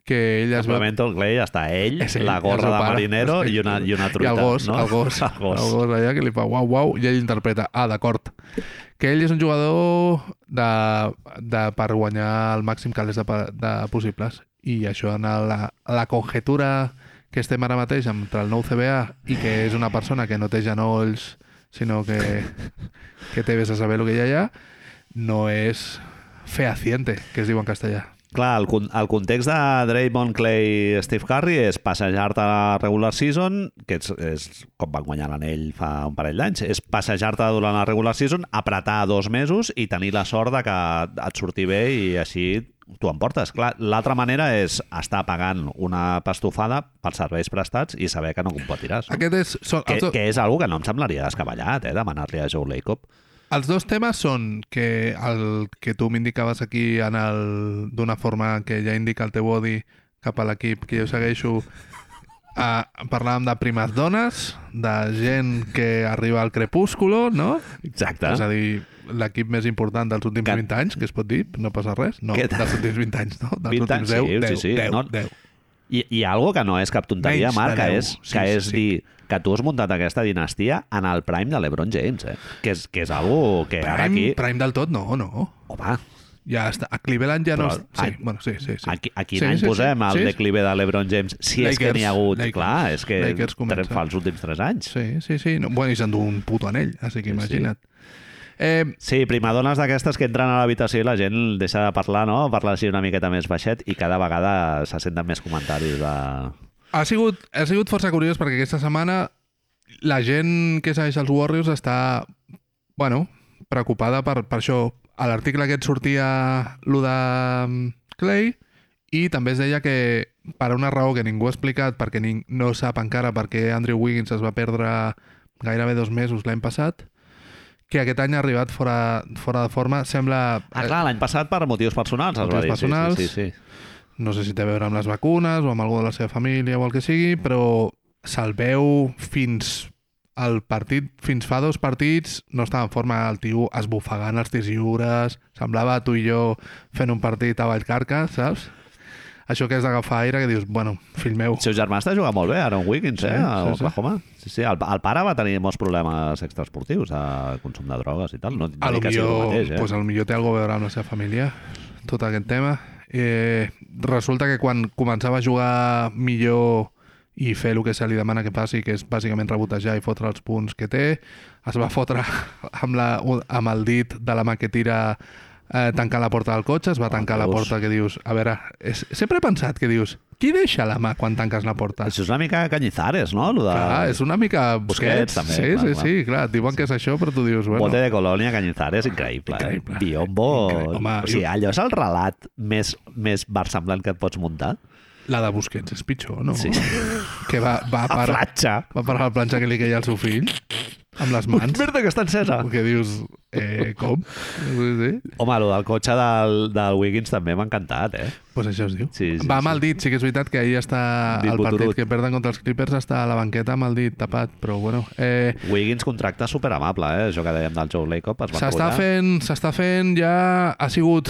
Speaker 2: que ell es Eh, va...
Speaker 1: Simplement el Clay està ell,
Speaker 2: És ell,
Speaker 1: la
Speaker 2: i el
Speaker 1: gorra
Speaker 2: seu
Speaker 1: de
Speaker 2: pare.
Speaker 1: marinero i una, i una truita.
Speaker 2: I el gos,
Speaker 1: no?
Speaker 2: el gos,
Speaker 1: el gos.
Speaker 2: El gos allà que li fa uau, uau, i ell interpreta, ah, d'acord. Que ell és un jugador de, de, per guanyar el màxim que de, pa- de possibles. I això en la, la conjetura que estem ara mateix entre el nou CBA i que és una persona que no té genolls, sinó que, que té vés a saber el que hi ha allà, no és fehaciente, que es diu en castellà.
Speaker 1: Clar, el, con- el context de Draymond Clay i Steve Curry és passejar-te a regular season, que és, és com van guanyar l'anell fa un parell d'anys, és passejar-te durant la regular season, apretar dos mesos i tenir la sort de que et surti bé i així t'ho emportes. Clar, l'altra manera és estar pagant una pastofada per serveis prestats i saber que no competiràs.
Speaker 2: Aquest és... Són,
Speaker 1: Que,
Speaker 2: els, do,
Speaker 1: que és algo que no em semblaria descabellat, eh, demanar-li a Joe Lacob.
Speaker 2: els dos temes són que el que tu m'indicaves aquí en el d'una forma que ja indica el teu body cap a l'equip que jo segueixo a, parlàvem de primes dones, de gent que arriba al crepúsculo, no?
Speaker 1: Exacte.
Speaker 2: És a dir, l'equip més important dels últims
Speaker 1: Ah. Que-
Speaker 2: 20 anys, que es pot dir, no passa res. No,
Speaker 1: Que-
Speaker 2: dels últims 20 anys, no? Dels
Speaker 1: 20
Speaker 2: últims
Speaker 1: anys,
Speaker 2: 10,
Speaker 1: sí, sí,
Speaker 2: 10,
Speaker 1: sí,
Speaker 2: 10,
Speaker 1: no-
Speaker 2: 10.
Speaker 1: I, I algo que no és cap tonteria,
Speaker 2: Menys de
Speaker 1: Marc, que
Speaker 2: deu,
Speaker 1: és,
Speaker 2: sí,
Speaker 1: que
Speaker 2: sí,
Speaker 1: és
Speaker 2: sí.
Speaker 1: dir que tu has muntat aquesta dinastia en el prime de l'Ebron James, eh? Que és, que és algo que ara
Speaker 2: Prime,
Speaker 1: aquí...
Speaker 2: prime del tot, no, no.
Speaker 1: Home,
Speaker 2: Ja està. A Cleveland ja no...
Speaker 1: Però,
Speaker 2: es- Sí,
Speaker 1: ai,
Speaker 2: bueno, sí, sí, sí.
Speaker 1: a, qui- a quin sí, any sí, posem sí, el sí. declive de l'Ebron James? Si és que
Speaker 2: Lakers,
Speaker 1: n'hi ha hagut...
Speaker 2: Lakers.
Speaker 1: clar, és que
Speaker 2: Lakers comença.
Speaker 1: tre- fa els últims 3 anys. Sí.
Speaker 2: Sí, sí, sí. No, bueno, i s'endú un puto anell, així que
Speaker 1: Sí, sí.
Speaker 2: imagina't. Eh,
Speaker 1: Sí, primadones d'aquestes que entren a l'habitació i la gent deixa de parlar, no? Parla així una miqueta més baixet i cada vegada se senten més comentaris de...
Speaker 2: ha, sigut, ha sigut força curiós perquè aquesta setmana la gent que segueix els Warriors està, bueno, preocupada per, per això. A l'article aquest sortia lo de mm, Clay i també es deia que per una raó que ningú ha explicat, perquè ning no sap encara perquè Andrew Wiggins es va perdre gairebé dos mesos l'any passat, que aquest any ha arribat fora, fora de forma, sembla...
Speaker 1: Ah, clar, l'any passat per motius personals, es va
Speaker 2: Motius
Speaker 1: dir. Sí,
Speaker 2: personals.
Speaker 1: sí, sí, sí.
Speaker 2: no sé si té a veure amb les vacunes o amb algú de la seva família o el que sigui, però se'l veu fins al partit, fins fa dos partits, no estava en forma el tio esbufegant els tirs lliures, semblava tu i jo fent un partit a Vallcarca, saps? Això que és d'agafar aire, que dius, bueno, fill meu,
Speaker 1: El seu germà està jugant molt bé, Aaron Wiggins,
Speaker 2: Sí,
Speaker 1: eh, a
Speaker 2: sí, sí.
Speaker 1: Oklahoma. Sí, sí, el, el pare va tenir molts problemes extraesportius, a consum de drogues i tal. No, no
Speaker 2: a lo
Speaker 1: dic que sigui
Speaker 2: millor,
Speaker 1: el mateix, eh?
Speaker 2: pues, a lo millor té alguna cosa a veure amb la seva família, tot aquest tema. Eh, resulta que quan començava a jugar millor i fer el que se li demana que passi, que és bàsicament rebotejar i fotre els punts que té, es va fotre amb, la, amb el dit de la mà que tira eh, tancar la porta del cotxe, es va tancar la
Speaker 1: Dios.
Speaker 2: porta que dius... A veure, és, sempre he pensat que dius... Qui deixa la mà quan tanques la porta?
Speaker 1: Això és una mica Canyizares, no? Lo de...
Speaker 2: Clar, és una mica...
Speaker 1: Busquets, també,
Speaker 2: Sí,
Speaker 1: clar,
Speaker 2: sí,
Speaker 1: clar.
Speaker 2: sí, clar, et diuen que és això, però tu dius... Bueno,
Speaker 1: Bote de Colònia, Canyizares, increïble.
Speaker 2: Increïble.
Speaker 1: increïble. Eh? Biombo...
Speaker 2: Increïble.
Speaker 1: Home,
Speaker 2: Home,
Speaker 1: o sigui,
Speaker 2: jo-
Speaker 1: allò és el relat més, més versemblant que et pots muntar.
Speaker 2: La de Busquets és pitjor, no?
Speaker 1: Sí.
Speaker 2: Que va, va,
Speaker 1: A
Speaker 2: per,
Speaker 1: platja.
Speaker 2: va per la planxa que li queia al seu fill, amb les mans.
Speaker 1: Merda, que està encesa.
Speaker 2: que dius, eh, com? Sí, sí.
Speaker 1: Home, el del cotxe del, del Wiggins també m'ha encantat, eh?
Speaker 2: Pues això es diu.
Speaker 1: Sí, sí,
Speaker 2: va amb
Speaker 1: sí.
Speaker 2: el dit, sí que és veritat que ahir està
Speaker 1: Dit
Speaker 2: el partit
Speaker 1: boturut.
Speaker 2: que perden contra els Clippers està a la banqueta amb el dit tapat, però bueno... Eh,
Speaker 1: Wiggins contracte superamable, eh? Això que dèiem del Joe Lacob. es va
Speaker 2: S'està
Speaker 1: enrotllar.
Speaker 2: fent, s'està fent ja... Ha sigut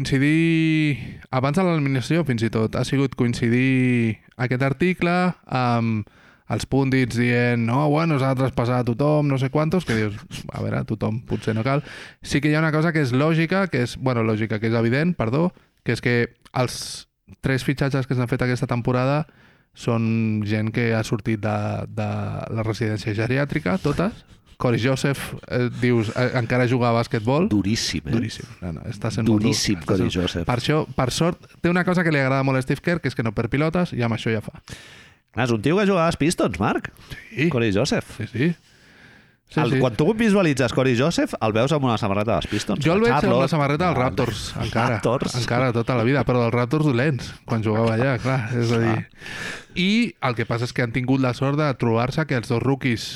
Speaker 2: coincidir... Abans de l'eliminació, fins i tot, ha sigut coincidir aquest article amb els púndits dient no, bueno, s'ha de traspassar a tothom, no sé quantos, que dius, a veure, tothom, potser no cal. Sí que hi ha una cosa que és lògica, que és, bueno, lògica, que és evident, perdó, que és que els tres fitxatges que s'han fet aquesta temporada són gent que ha sortit de, de la residència geriàtrica, totes. Cory Joseph, eh, dius, eh, encara juga a bàsquetbol.
Speaker 1: Duríssim, eh?
Speaker 2: Duríssim. No, no, està sent molt dur.
Speaker 1: Duríssim, eh.
Speaker 2: Està
Speaker 1: Cody
Speaker 2: sent-
Speaker 1: Joseph.
Speaker 2: Per això, per sort, té una cosa que li agrada molt a Steve Kerr, que és que no perd pilotes, i amb això ja fa.
Speaker 1: Clar, és un tio que jugava als Pistons, Marc.
Speaker 2: Sí.
Speaker 1: Corey Joseph.
Speaker 2: Sí, sí.
Speaker 1: Sí, el, sí. Quan tu visualitzes Corey Joseph, el veus amb una samarreta dels Pistons.
Speaker 2: Jo el
Speaker 1: del
Speaker 2: veig amb la
Speaker 1: Charlotte,
Speaker 2: samarreta dels
Speaker 1: del-
Speaker 2: Raptors, encara.
Speaker 1: Ah, Raptors.
Speaker 2: Encara, tota la vida, però dels Raptors dolents, quan jugava allà, clar. És a dir... I el que passa és que han tingut la sort de trobar-se que els dos rookies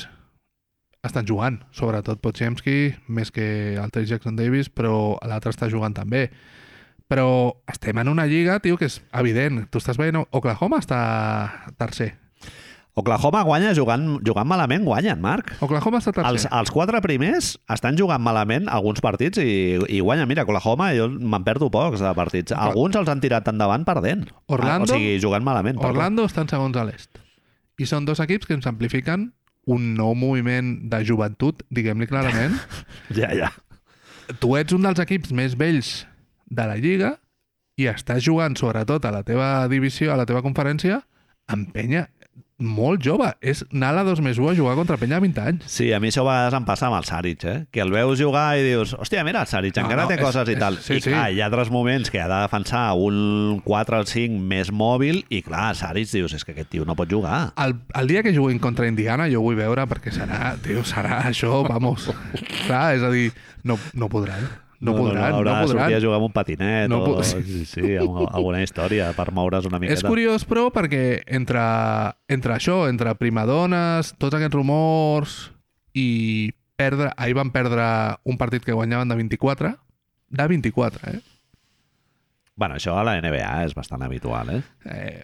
Speaker 2: estan jugant, sobretot Pochemski, més que el Trey Jackson Davis, però l'altre està jugant també. Però estem en una lliga, tio, que és evident. Tu estàs veient... Oklahoma està tercer.
Speaker 1: Oklahoma guanya jugant, jugant malament, guanyen, Marc.
Speaker 2: Oklahoma està tercer.
Speaker 1: Els, els quatre primers estan jugant malament alguns partits i, i guanyen. Mira, Oklahoma, jo me'n perdo pocs de partits. Alguns els han tirat endavant perdent. Ah,
Speaker 2: Orlando-
Speaker 1: o sigui, jugant malament. perdó.
Speaker 2: Orlando estan segons a l'est. I són dos equips que ens amplifiquen un nou moviment de joventut, diguem-li clarament.
Speaker 1: Ja, ja.
Speaker 2: tu ets un dels equips més vells de la Lliga i estàs jugant, sobretot, a la teva divisió, a la teva conferència, amb penya molt jove. És Nala 2 més 1 a jugar contra Penya a 20 anys.
Speaker 1: Sí, a mi això a vegades em passa amb el Saric, eh? Que el veus jugar i dius, hòstia, mira, el Saric
Speaker 2: No,
Speaker 1: encara
Speaker 2: no,
Speaker 1: té
Speaker 2: és-
Speaker 1: coses i
Speaker 2: és-
Speaker 1: tal.
Speaker 2: sí,
Speaker 1: I clar,
Speaker 2: sí.
Speaker 1: hi ha altres moments que ha de defensar un 4 al 5 més mòbil i clar, el Saric dius, és que aquest tio no pot jugar.
Speaker 2: El, el dia que juguin contra Indiana jo ho vull veure perquè serà, tio, serà això, vamos. Clar, és a dir, no, no podran. No, podran, no,
Speaker 1: haurà de
Speaker 2: podran.
Speaker 1: sortir a jugar amb un patinet
Speaker 2: No
Speaker 1: no o
Speaker 2: po-
Speaker 1: sí, sí, amb alguna història per moure's una miqueta.
Speaker 2: És curiós, però, perquè entre, entre això, entre primadones, tots aquests rumors i perdre... Ahir van perdre un partit que guanyaven de 24, de 24, eh?
Speaker 1: Bueno, això a la NBA és bastant habitual, eh?
Speaker 2: eh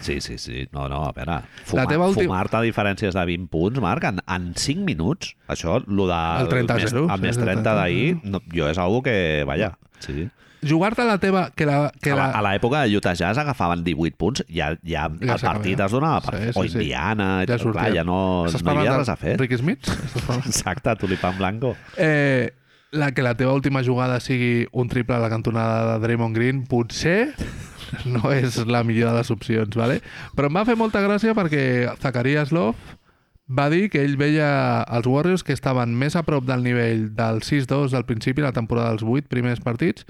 Speaker 1: Sí, sí, sí. No, no, a veure. Fumar,
Speaker 2: teva última-
Speaker 1: Fumar-te diferències de 20 punts, Marc, en, en 5 minuts, això, lo de...
Speaker 2: El 30 a
Speaker 1: més-
Speaker 2: zero,
Speaker 1: El
Speaker 2: sí,
Speaker 1: més
Speaker 2: el
Speaker 1: 30
Speaker 2: 30
Speaker 1: d'ahir, no, jo és algo que, vaja, sí.
Speaker 2: Jugar-te la teva... Que la, que
Speaker 1: A
Speaker 2: la,
Speaker 1: la- a l'època de Utah Jazz agafaven 18 punts, ja, ja,
Speaker 2: Ja
Speaker 1: ja el
Speaker 2: s'acaba,
Speaker 1: partit
Speaker 2: ja.
Speaker 1: es donava per... Sí,
Speaker 2: Sí, sí,
Speaker 1: sí, o
Speaker 2: sí.
Speaker 1: Indiana,
Speaker 2: Ja
Speaker 1: ja clar,
Speaker 2: sortia.
Speaker 1: ja no,
Speaker 2: Estàs
Speaker 1: no hi havia
Speaker 2: parlant
Speaker 1: res a fer.
Speaker 2: de Rick Smith? Estàs parlant-
Speaker 1: Exacte, tulipán blanco.
Speaker 2: Eh, la que la teva última jugada sigui un triple a la cantonada de Draymond Green, potser no és la millor de les opcions, ¿vale? però em va fer molta gràcia perquè Zacarias Love va dir que ell veia els Warriors que estaven més a prop del nivell del 6-2 del principi, la temporada dels 8 primers partits,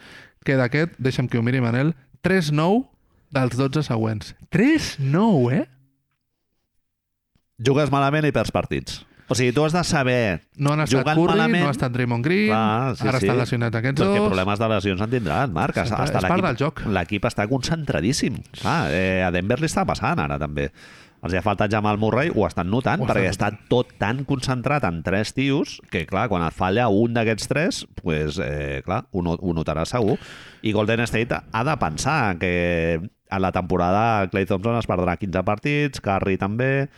Speaker 2: que d'aquest, deixa'm que ho miri Manel, 3-9 dels 12 següents. 3-9, eh?
Speaker 1: Jugues malament i perds partits. O sigui, tu has de saber
Speaker 2: No han estat
Speaker 1: Jugant
Speaker 2: Curry,
Speaker 1: malament-
Speaker 2: no ha estat Draymond Green,
Speaker 1: Clar, sí,
Speaker 2: ara
Speaker 1: sí.
Speaker 2: estan lesionats aquests
Speaker 1: Però és que
Speaker 2: dos...
Speaker 1: problemes de lesions en tindran, Marc.
Speaker 2: Sempre-
Speaker 1: Hasta
Speaker 2: és part
Speaker 1: l'equip-
Speaker 2: del joc.
Speaker 1: L'equip està concentradíssim. Clar, eh, a Denver li està passant ara també. Els hi ha faltat Jamal Murray, ho estan notant,
Speaker 2: Ho estan
Speaker 1: perquè està tot tan concentrat en tres tios que, clar, quan et falla un d'aquests tres, pues, eh, clar, ho, no, ho notarà segur. I Golden State ha de pensar que a la temporada Clay Thompson es perdrà 15 partits, Curry també...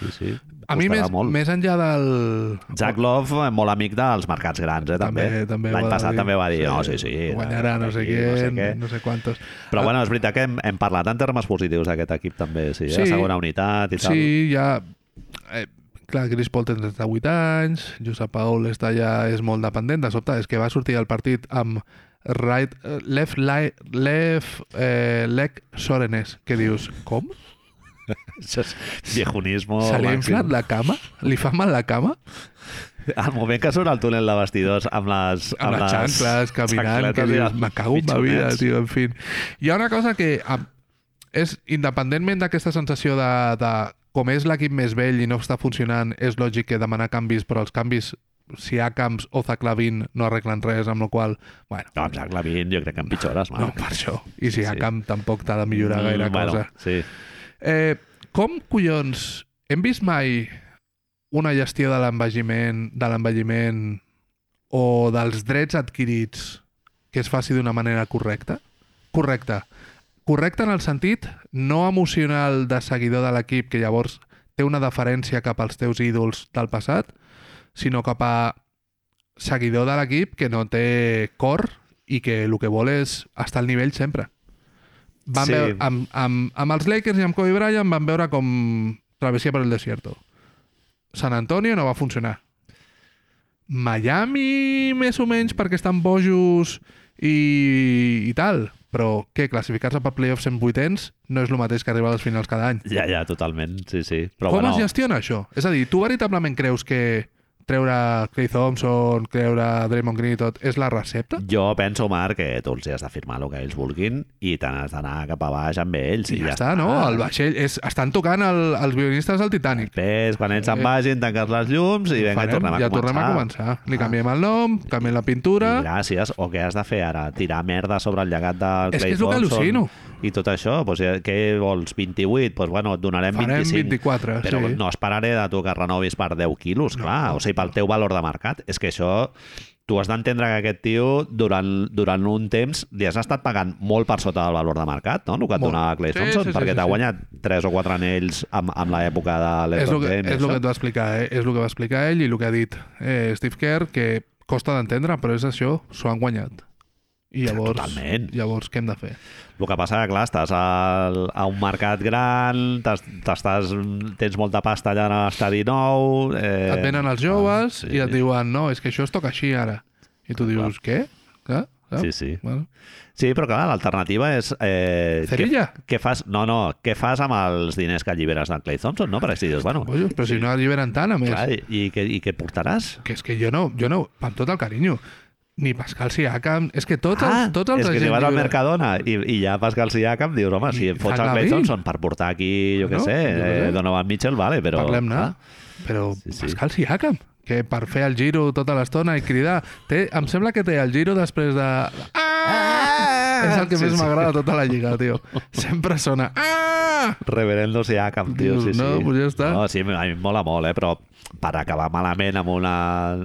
Speaker 1: Sí, sí.
Speaker 2: A mi,
Speaker 1: costarà
Speaker 2: més, més enllà del...
Speaker 1: Jack Love, eh, molt amic dels mercats grans, eh, també.
Speaker 2: També- també
Speaker 1: L'any
Speaker 2: va
Speaker 1: passat
Speaker 2: dir,
Speaker 1: també va dir,
Speaker 2: sí,
Speaker 1: no, sí, sí.
Speaker 2: Guanyarà no sé
Speaker 1: aquí,
Speaker 2: qui,
Speaker 1: no sé
Speaker 2: no,
Speaker 1: què.
Speaker 2: no sé quantos.
Speaker 1: Però bueno, és veritat que hem, hem parlat en termes positius d'aquest equip també, sí, sí.
Speaker 2: Sí.
Speaker 1: La segona unitat i tal.
Speaker 2: Sí, ja... Eh, clar, Chris Paul té 38 anys, Josep Paul està ja és molt dependent, de sobte és que va sortir al partit amb right, eh, left, li, left eh, leg sorenes, que dius, com?
Speaker 1: Això és viejunismo
Speaker 2: Se li ha
Speaker 1: màxim.
Speaker 2: inflat la cama? Li fa mal la cama?
Speaker 1: Al moment que surt al túnel de vestidors amb les...
Speaker 2: amb, les xancles, caminant, que
Speaker 1: xancletes i
Speaker 2: dius,
Speaker 1: els
Speaker 2: me cago en la vida,
Speaker 1: mitjonets".
Speaker 2: tio, en fi. Hi ha una cosa que a- és, independentment d'aquesta sensació de, de com és l'equip més vell i no està funcionant, és lògic que demanar canvis, però els canvis, si hi ha camps o Zaclavin, no arreglen res, amb la qual bueno,
Speaker 1: No, amb Jack Lavin jo crec que empitjores,
Speaker 2: no,
Speaker 1: Marc.
Speaker 2: per això. I si hi ha
Speaker 1: Sí.
Speaker 2: camp tampoc t'ha de millorar gaire
Speaker 1: Mm,
Speaker 2: cosa.
Speaker 1: Sí.
Speaker 2: Eh, com collons hem vist mai una gestió de l'envelliment de l'envelliment o dels drets adquirits que es faci d'una manera correcta? Correcta. Correcta en el sentit no emocional de seguidor de l'equip que llavors té una deferència cap als teus ídols del passat, sinó cap a seguidor de l'equip que no té cor i que el que vol és estar al nivell sempre. Van
Speaker 1: Sí.
Speaker 2: sí. veure, amb, amb, amb els Lakers i amb Kobe Bryant van veure com travessia per el desierto. San Antonio no va funcionar. Miami, més o menys, perquè estan bojos i, i tal. Però què, classificar-se per playoffs en vuitens no és el mateix que arribar a les finals cada any.
Speaker 1: Ja, ja, totalment, sí, sí. Però
Speaker 2: Però Com
Speaker 1: bueno,
Speaker 2: bueno. es gestiona això? És a dir, tu veritablement creus que treure Clay Thompson, treure Draymond Green i tot, és la recepta?
Speaker 1: Jo penso, Marc, que tu els hi has de firmar el que ells vulguin i te n'has d'anar cap a baix amb ells.
Speaker 2: Sí, ja, ja està, no? El vaixell... És, estan tocant el, els violinistes del Titanic.
Speaker 1: Després, quan ells se'n vagin, tanques les llums i vinga, i tornem a
Speaker 2: Eh. ja
Speaker 1: començar. Ah.
Speaker 2: tornem a començar. Li canviem el nom, canviem la pintura...
Speaker 1: I gràcies. O què has de fer ara? Tirar merda sobre el llegat de
Speaker 2: És
Speaker 1: Clay
Speaker 2: que és el que
Speaker 1: Thompson
Speaker 2: al·lucino.
Speaker 1: I tot això, doncs, eh, què vols? 28? Doncs bueno, et donarem
Speaker 2: Farem
Speaker 1: 25.
Speaker 2: 24,
Speaker 1: però
Speaker 2: sí.
Speaker 1: no esperaré de tu que renovis per 10 quilos, clar. O sigui, pel teu valor de mercat. És que això... Tu has d'entendre que aquest tio, durant, durant un temps, li has estat pagant molt per sota del valor de mercat, no? El que et
Speaker 2: Molt.
Speaker 1: donava Clay
Speaker 2: Sí,
Speaker 1: Thompson,
Speaker 2: sí, sí,
Speaker 1: perquè
Speaker 2: sí,
Speaker 1: t'ha
Speaker 2: sí.
Speaker 1: guanyat 3 o 4 anells amb, amb l'època de
Speaker 2: és el
Speaker 1: l'Ebron
Speaker 2: que,
Speaker 1: James.
Speaker 2: és el
Speaker 1: això.
Speaker 2: que et va explicar, eh? és el que va explicar ell i el que ha dit eh, Steve Kerr, que costa d'entendre, però és això, s'ho han guanyat. I llavors,
Speaker 1: Totalment.
Speaker 2: llavors què hem de fer?
Speaker 1: El que passa, clar, estàs al, a un mercat gran, t'es- t'estàs, tens molta pasta allà a l'estadi nou... Eh,
Speaker 2: et venen els joves
Speaker 1: ah,
Speaker 2: i et diuen no, és que això es toca així ara. I tu dius, què? Clar, saps?
Speaker 1: Sí, sí.
Speaker 2: Bueno,
Speaker 1: Sí, però clar, l'alternativa és... Eh,
Speaker 2: Cerilla?
Speaker 1: Què, què fas? No, no, què fas amb els diners que alliberes d'en Clay Thompson, no? Perquè si dius, bueno,
Speaker 2: bojos, però si no alliberen tant, a més.
Speaker 1: clar, i, i, què, i què portaràs?
Speaker 2: Que és que jo no, jo no, amb tot el carinyo, ni Pascal Siakam, és que tot, el, tot
Speaker 1: Ah,
Speaker 2: el
Speaker 1: és que si vas al Mercadona i, i ja Pascal Siakam, dius, home, si
Speaker 2: I
Speaker 1: em fots
Speaker 2: Zach
Speaker 1: el Clay
Speaker 2: Lavine.
Speaker 1: Thompson per portar aquí, jo què
Speaker 2: No,
Speaker 1: sé,
Speaker 2: jo què sé.
Speaker 1: eh, Donovan Mitchell, vale, però...
Speaker 2: Parlem-ne,
Speaker 1: clar,
Speaker 2: però
Speaker 1: Sí, sí.
Speaker 2: Pascal Siakam, que per fer el giro tota l'estona i cridar, té, em sembla que té el giro després de... Ah! És el que
Speaker 1: Sí,
Speaker 2: sí, més
Speaker 1: sí.
Speaker 2: m'agrada de tota la lliga, tio. Sempre sona... Ah!
Speaker 1: Reverendo Siakam, tio, sí, sí.
Speaker 2: No, pues ja està.
Speaker 1: No, sí, a mi em mola molt, eh, però per acabar malament amb, una,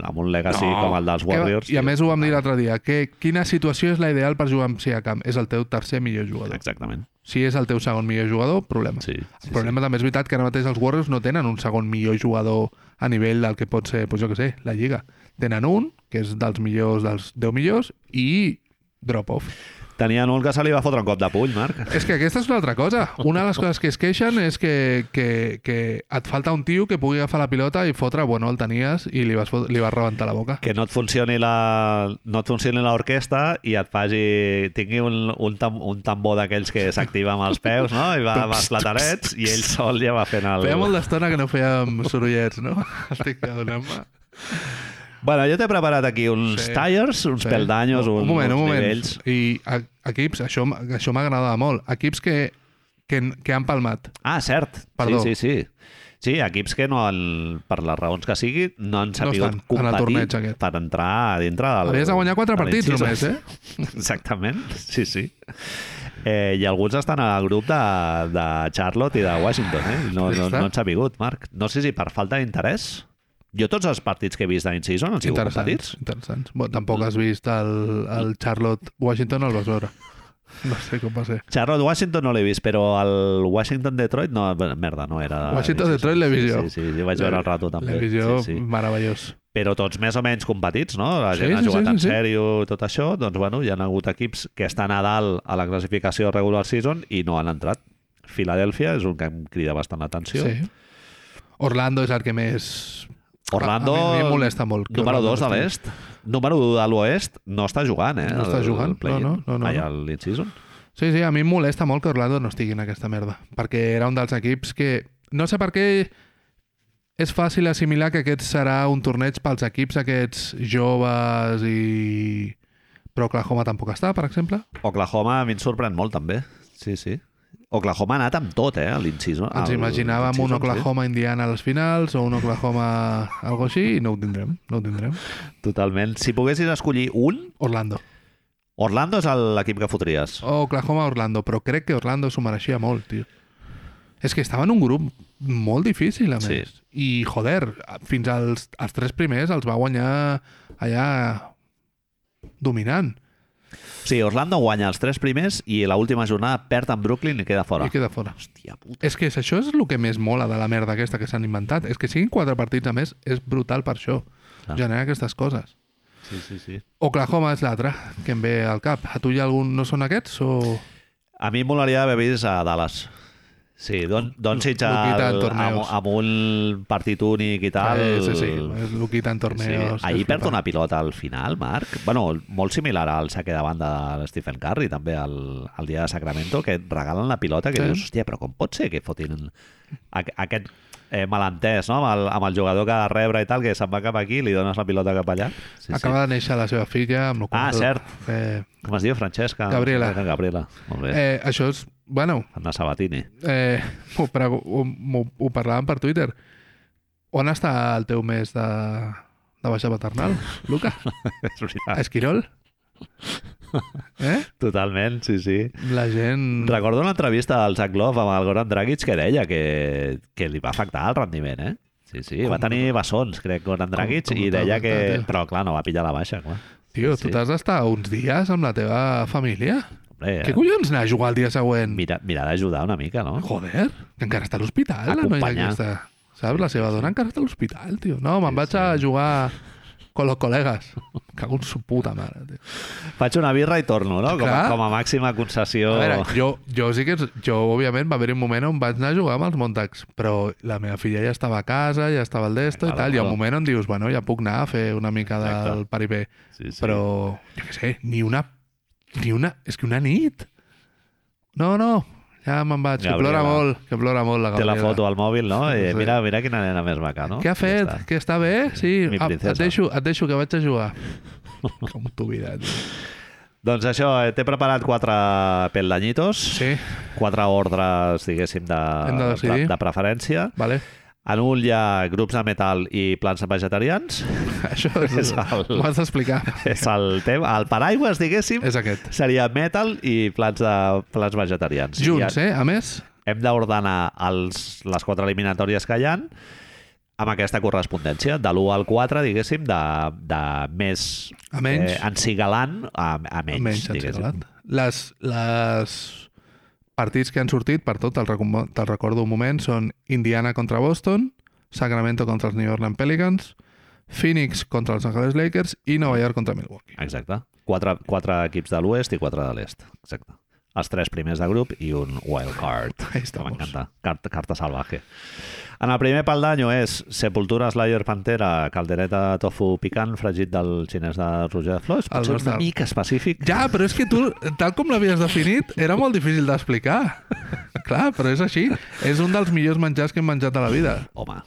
Speaker 1: amb un legacy no, com el dels Warriors...
Speaker 2: Que, I a
Speaker 1: tio.
Speaker 2: més ho vam dir l'altre dia, que quina situació és la ideal per jugar amb Siakam? És el teu tercer millor jugador.
Speaker 1: Exactament,
Speaker 2: Si és el teu segon millor jugador, problema.
Speaker 1: sí.
Speaker 2: El
Speaker 1: sí,
Speaker 2: problema també és veritat que ara mateix els Warriors no tenen un segon millor jugador a nivell del que pot ser, doncs jo que sé, la Lliga. Tenen un, que és dels millors, dels 10 millors, i drop-off.
Speaker 1: sí. Tenien un que se li va fotre un cop de puny, Marc.
Speaker 2: És que aquesta és una altra cosa. Una de les coses que es queixen és que, que, que et falta un tio que pugui agafar la pilota i fotre, bueno, el tenies i li vas, fot- li vas rebentar la boca.
Speaker 1: que no et funcioni la no et funcioni l'orquestra i et faci tingui un, un, tam, un tambor d'aquells que s'activa amb els peus no? i va amb els platarets i ell sol ja va fent el...
Speaker 2: Feia molt d'estona que no fèiem sorollets, no? Estic adonant-me.
Speaker 1: Bueno, jo t'he preparat aquí uns
Speaker 2: Sí.
Speaker 1: tires, uns
Speaker 2: Sí.
Speaker 1: peldanyos, un,
Speaker 2: un moment,
Speaker 1: uns
Speaker 2: un moment.
Speaker 1: nivells...
Speaker 2: I a, equips, això, m- això m'agradava molt, equips que, que, que han palmat.
Speaker 1: Ah, cert.
Speaker 2: Perdó.
Speaker 1: Sí, sí, sí. Sí, equips que no han, per les raons que sigui, no han sapigut
Speaker 2: estan en el
Speaker 1: competir
Speaker 2: torneig aquest.
Speaker 1: per entrar a dintre del...
Speaker 2: Havies de guanyar quatre
Speaker 1: de
Speaker 2: partits
Speaker 1: l'incís.
Speaker 2: només, eh?
Speaker 1: Exactament, sí, sí. Eh, I alguns estan al grup de, de Charlotte i de Washington, eh? No,
Speaker 2: Ja
Speaker 1: no,
Speaker 2: està.
Speaker 1: no han sapigut, Marc. No sé si per falta d'interès... Jo tots els partits que he vist d'in-season han sigut
Speaker 2: Interessants,
Speaker 1: competits.
Speaker 2: interessants. Bon, tampoc has vist el, el Charlotte Washington, el vas veure. No sé com va ser.
Speaker 1: Charlotte-Washington no l'he vist, però el Washington-Detroit no... Merda, no era...
Speaker 2: Washington-Detroit l'he vist jo.
Speaker 1: Sí, sí, sí, jo vaig veure el rato també.
Speaker 2: L'he vist jo,
Speaker 1: sí, sí.
Speaker 2: meravellós.
Speaker 1: però tots més o menys competits, no? La
Speaker 2: Sí,
Speaker 1: gent sí, ha
Speaker 2: sí,
Speaker 1: jugat
Speaker 2: sí,
Speaker 1: sí, en
Speaker 2: sí, sí.
Speaker 1: sèrio i tot això, doncs bueno, hi ha hagut equips que estan a dalt a la classificació regular season i no han entrat. Filadèlfia és un que em crida bastant
Speaker 2: Sí.
Speaker 1: l'atenció.
Speaker 2: sí. Orlando és el que més...
Speaker 1: Orlando,
Speaker 2: A mi, a mi em molesta molt. que
Speaker 1: número
Speaker 2: Orlando
Speaker 1: 2 de
Speaker 2: estigui.
Speaker 1: l'est. Número 1 de l'oest no està jugant, eh?
Speaker 2: No està
Speaker 1: al-
Speaker 2: jugant,
Speaker 1: al play-in.
Speaker 2: no, no, no, no,
Speaker 1: Ai,
Speaker 2: no.
Speaker 1: al in-season.
Speaker 2: Sí, sí, a mi em molesta molt que Orlando no estigui en aquesta merda, perquè era un dels equips que... No sé per què és fàcil assimilar que aquest serà un torneig pels equips aquests joves i... Però Oklahoma tampoc està, per exemple.
Speaker 1: Oklahoma a mi em sorprèn molt, també. Sí, sí. Oklahoma ha anat amb tot, eh, a l'in-season.
Speaker 2: Ens
Speaker 1: al-
Speaker 2: imaginàvem un
Speaker 1: in-season,
Speaker 2: Oklahoma Indiana a les finals o un Oklahoma algo així i no ho tindrem, no ho tindrem.
Speaker 1: Sí. Totalment. Si poguessis escollir un,
Speaker 2: Orlando.
Speaker 1: Orlando és el- l'equip que fotries.
Speaker 2: Oklahoma Orlando, però crec que Orlando s'ho mereixia molt, tio. És que estava en un grup molt difícil, a més.
Speaker 1: Sí.
Speaker 2: I, joder, fins als, als tres primers els va guanyar allà dominant.
Speaker 1: Sí, Orlando guanya els tres primers i la última jornada perd amb Brooklyn i queda fora.
Speaker 2: I queda fora.
Speaker 1: Hòstia puta.
Speaker 2: És que és- això és el que més mola de la merda aquesta que s'han inventat. És que siguin quatre partits a més és brutal per això.
Speaker 1: Clar.
Speaker 2: Generar aquestes coses.
Speaker 1: Sí, sí, sí.
Speaker 2: Oklahoma és l'altre que em ve al cap. A tu hi ha algun... No són aquests o...?
Speaker 1: A mi em molaria haver vist a Dallas. Sí, Don, Don
Speaker 2: Luquita en
Speaker 1: al, amb,
Speaker 2: torneos.
Speaker 1: amb, un partit únic i tal.
Speaker 2: Eh, sí, sí. És Luquita en torneos.
Speaker 1: Ahir
Speaker 2: és
Speaker 1: perd
Speaker 2: brutal.
Speaker 1: una pilota al final, Marc. Bueno, molt similar al saque de banda de Stephen Curry, també, al, al dia de Sacramento, que et regalen la pilota, que
Speaker 2: Sí.
Speaker 1: sí. dius, hòstia, però com pot ser que fotin aqu aquest eh, malentès, no?, amb el, amb el jugador que ha de rebre i tal, que se'n va cap aquí, li dones la pilota cap allà. Sí, sí.
Speaker 2: Acaba de néixer la seva filla, amb la qual
Speaker 1: Ah,
Speaker 2: cosa-
Speaker 1: cert.
Speaker 2: Eh,
Speaker 1: Com es diu, Francesca?
Speaker 2: Gabriela.
Speaker 1: Gabriela, molt bé. Eh.
Speaker 2: eh, això és... Bueno,
Speaker 1: Anna Sabatini.
Speaker 2: eh, ho, prego- ho, m'ho- ho parlàvem per Twitter. On està el teu mes de, de baixa paternal, Luca?
Speaker 1: És
Speaker 2: A
Speaker 1: veritat.
Speaker 2: Esquirol? Eh?
Speaker 1: Totalment, sí, sí.
Speaker 2: La gent...
Speaker 1: Recordo una entrevista al Zach Love amb el Goran Dragic que deia que, que li va afectar el rendiment, eh? Sí, sí,
Speaker 2: Com-
Speaker 1: va tenir bessons, crec, Goran Dragic,
Speaker 2: com
Speaker 1: i
Speaker 2: t'ha
Speaker 1: deia
Speaker 2: afectat,
Speaker 1: que...
Speaker 2: eh?
Speaker 1: Però, clar, no va pillar la baixa, clar.
Speaker 2: Tio,
Speaker 1: sí.
Speaker 2: tu t'has d'estar uns dies amb la teva família?
Speaker 1: Hombre,
Speaker 2: Què collons anar a jugar el dia següent?
Speaker 1: mira, mirar d'ajudar una mica, no?
Speaker 2: Ah, Joder, que encara està a l'hospital, la noia
Speaker 1: Acompanyar.
Speaker 2: aquesta. Saps? La seva dona encara està a l'hospital, tio. No, me'n
Speaker 1: Sí,
Speaker 2: vaig
Speaker 1: sí.
Speaker 2: a jugar con los colegas. Cago en su puta mare, tio.
Speaker 1: Faig una birra i torno, no? Com, a,
Speaker 2: Clar.
Speaker 1: com a màxima concessió...
Speaker 2: A veure, jo, jo sí que... Jo, òbviament, va haver un moment on vaig anar a jugar amb els Montacs, però la meva filla ja estava a casa, ja estava al desto i
Speaker 1: Claro,
Speaker 2: tal, i hi ha
Speaker 1: claro.
Speaker 2: un moment on dius, bueno, ja puc anar a fer una mica
Speaker 1: Exacte.
Speaker 2: del paripé.
Speaker 1: Sí, sí.
Speaker 2: Però, jo què sé, ni una Ni una... És que una nit? No, no, ja me'n vaig, que
Speaker 1: Gabriela.
Speaker 2: plora molt, que plora molt la
Speaker 1: Té
Speaker 2: Gabriela.
Speaker 1: la foto al mòbil, no?
Speaker 2: Sí,
Speaker 1: Eh,
Speaker 2: sí.
Speaker 1: mira, mira quina nena més maca, no?
Speaker 2: Què ha fet?
Speaker 1: Ja està.
Speaker 2: que està bé? Sí,
Speaker 1: Mi
Speaker 2: ah, et
Speaker 1: princesa.
Speaker 2: deixo, et deixo que vaig a jugar. Com t'ho mirat.
Speaker 1: Doncs això, eh, t'he preparat quatre peldanyitos,
Speaker 2: Sí,
Speaker 1: quatre ordres, diguéssim, de,
Speaker 2: Hem de
Speaker 1: de,
Speaker 2: decidir.
Speaker 1: de preferència.
Speaker 2: vale.
Speaker 1: En un hi ha grups de metal i plans vegetarians.
Speaker 2: Això
Speaker 1: És
Speaker 2: és,
Speaker 1: el-
Speaker 2: ho has d'explicar.
Speaker 1: És el tema. El paraigües, diguéssim,
Speaker 2: És aquest.
Speaker 1: seria metal i plans, de, plans vegetarians. I
Speaker 2: Junts, eh? A més,
Speaker 1: hem d'ordenar els- les quatre eliminatòries que hi han amb aquesta correspondència, de l'1 al 4, diguéssim, de, de més
Speaker 2: A menys.
Speaker 1: encigalant a, a Eh, menys,
Speaker 2: menys han
Speaker 1: diguéssim.
Speaker 2: sigut. Les, les partits que han sortit, per tot, te'l recom- te'l recordo un moment, són Indiana contra Boston, Sacramento contra els New Orleans Pelicans, Phoenix contra els Angeles Lakers i Nova York contra Milwaukee.
Speaker 1: Exacte. Quatre, quatre equips de l'oest i quatre de l'est. Exacte. Els tres primers de grup i un wild card.
Speaker 2: Ahí
Speaker 1: Que
Speaker 2: estamos.
Speaker 1: M'encanta. Carta, carta salvaje. En el primer pal d'any és Sepultura, Slayer, Pantera, caldereta de tofu picant, fregit del xinès de Roger de Flors.
Speaker 2: El
Speaker 1: Potser
Speaker 2: nostre-
Speaker 1: una mica específic.
Speaker 2: Ja, però és que tu, tal com l'havies definit, era molt difícil d'explicar. Clar, però és així. És un dels millors menjars que hem menjat a la vida.
Speaker 1: Home,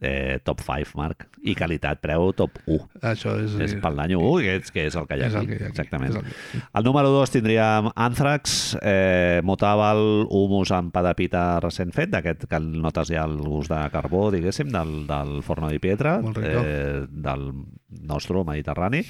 Speaker 1: eh, top 5, Marc. I qualitat, preu top 1.
Speaker 2: Això és...
Speaker 1: És pel d'any 1, que és, que és el que hi ha
Speaker 2: és el
Speaker 1: aquí.
Speaker 2: que hi ha aquí.
Speaker 1: Exactament.
Speaker 2: És el que-
Speaker 1: El número 2 tindríem Anthrax, eh, Motaval, humus amb padapita recent fet, d'aquest que notes ja el gust de carbó, diguéssim, del, del forno di pietra,
Speaker 2: Molt rico.
Speaker 1: eh, del nostre mediterrani.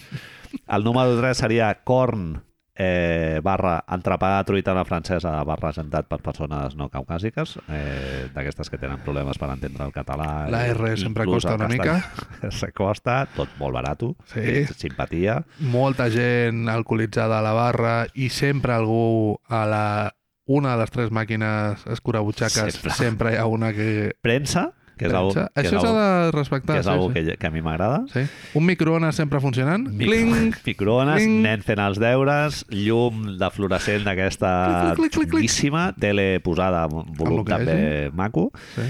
Speaker 1: El número 3 seria Corn, eh, barra entrepà de truita a la francesa barra sentat per persones no caucàsiques eh, d'aquestes que tenen problemes per entendre el català
Speaker 2: La
Speaker 1: i-
Speaker 2: R sempre
Speaker 1: inclús
Speaker 2: costa
Speaker 1: el
Speaker 2: una
Speaker 1: castellà. se costa, tot molt barat
Speaker 2: Sí.
Speaker 1: simpatia
Speaker 2: molta gent alcoholitzada a la barra i sempre algú a la una de les tres màquines escurabutxaques
Speaker 1: Sempre.
Speaker 2: sempre, sempre hi ha una que...
Speaker 1: premsa, que és algú
Speaker 2: Pensa.
Speaker 1: que, és
Speaker 2: Això s'ha
Speaker 1: algú-
Speaker 2: de
Speaker 1: que,
Speaker 2: respectar.
Speaker 1: és algú que, que a mi m'agrada.
Speaker 2: sí. Un microones sempre funcionant. Cling!
Speaker 1: microones,
Speaker 2: Cling.
Speaker 1: nen fent els deures, llum de fluorescent d'aquesta
Speaker 2: Clic, clic, clic, clic.
Speaker 1: xinguíssima, tele posada amb un volum
Speaker 2: Amb el que
Speaker 1: també maco.
Speaker 2: Sí.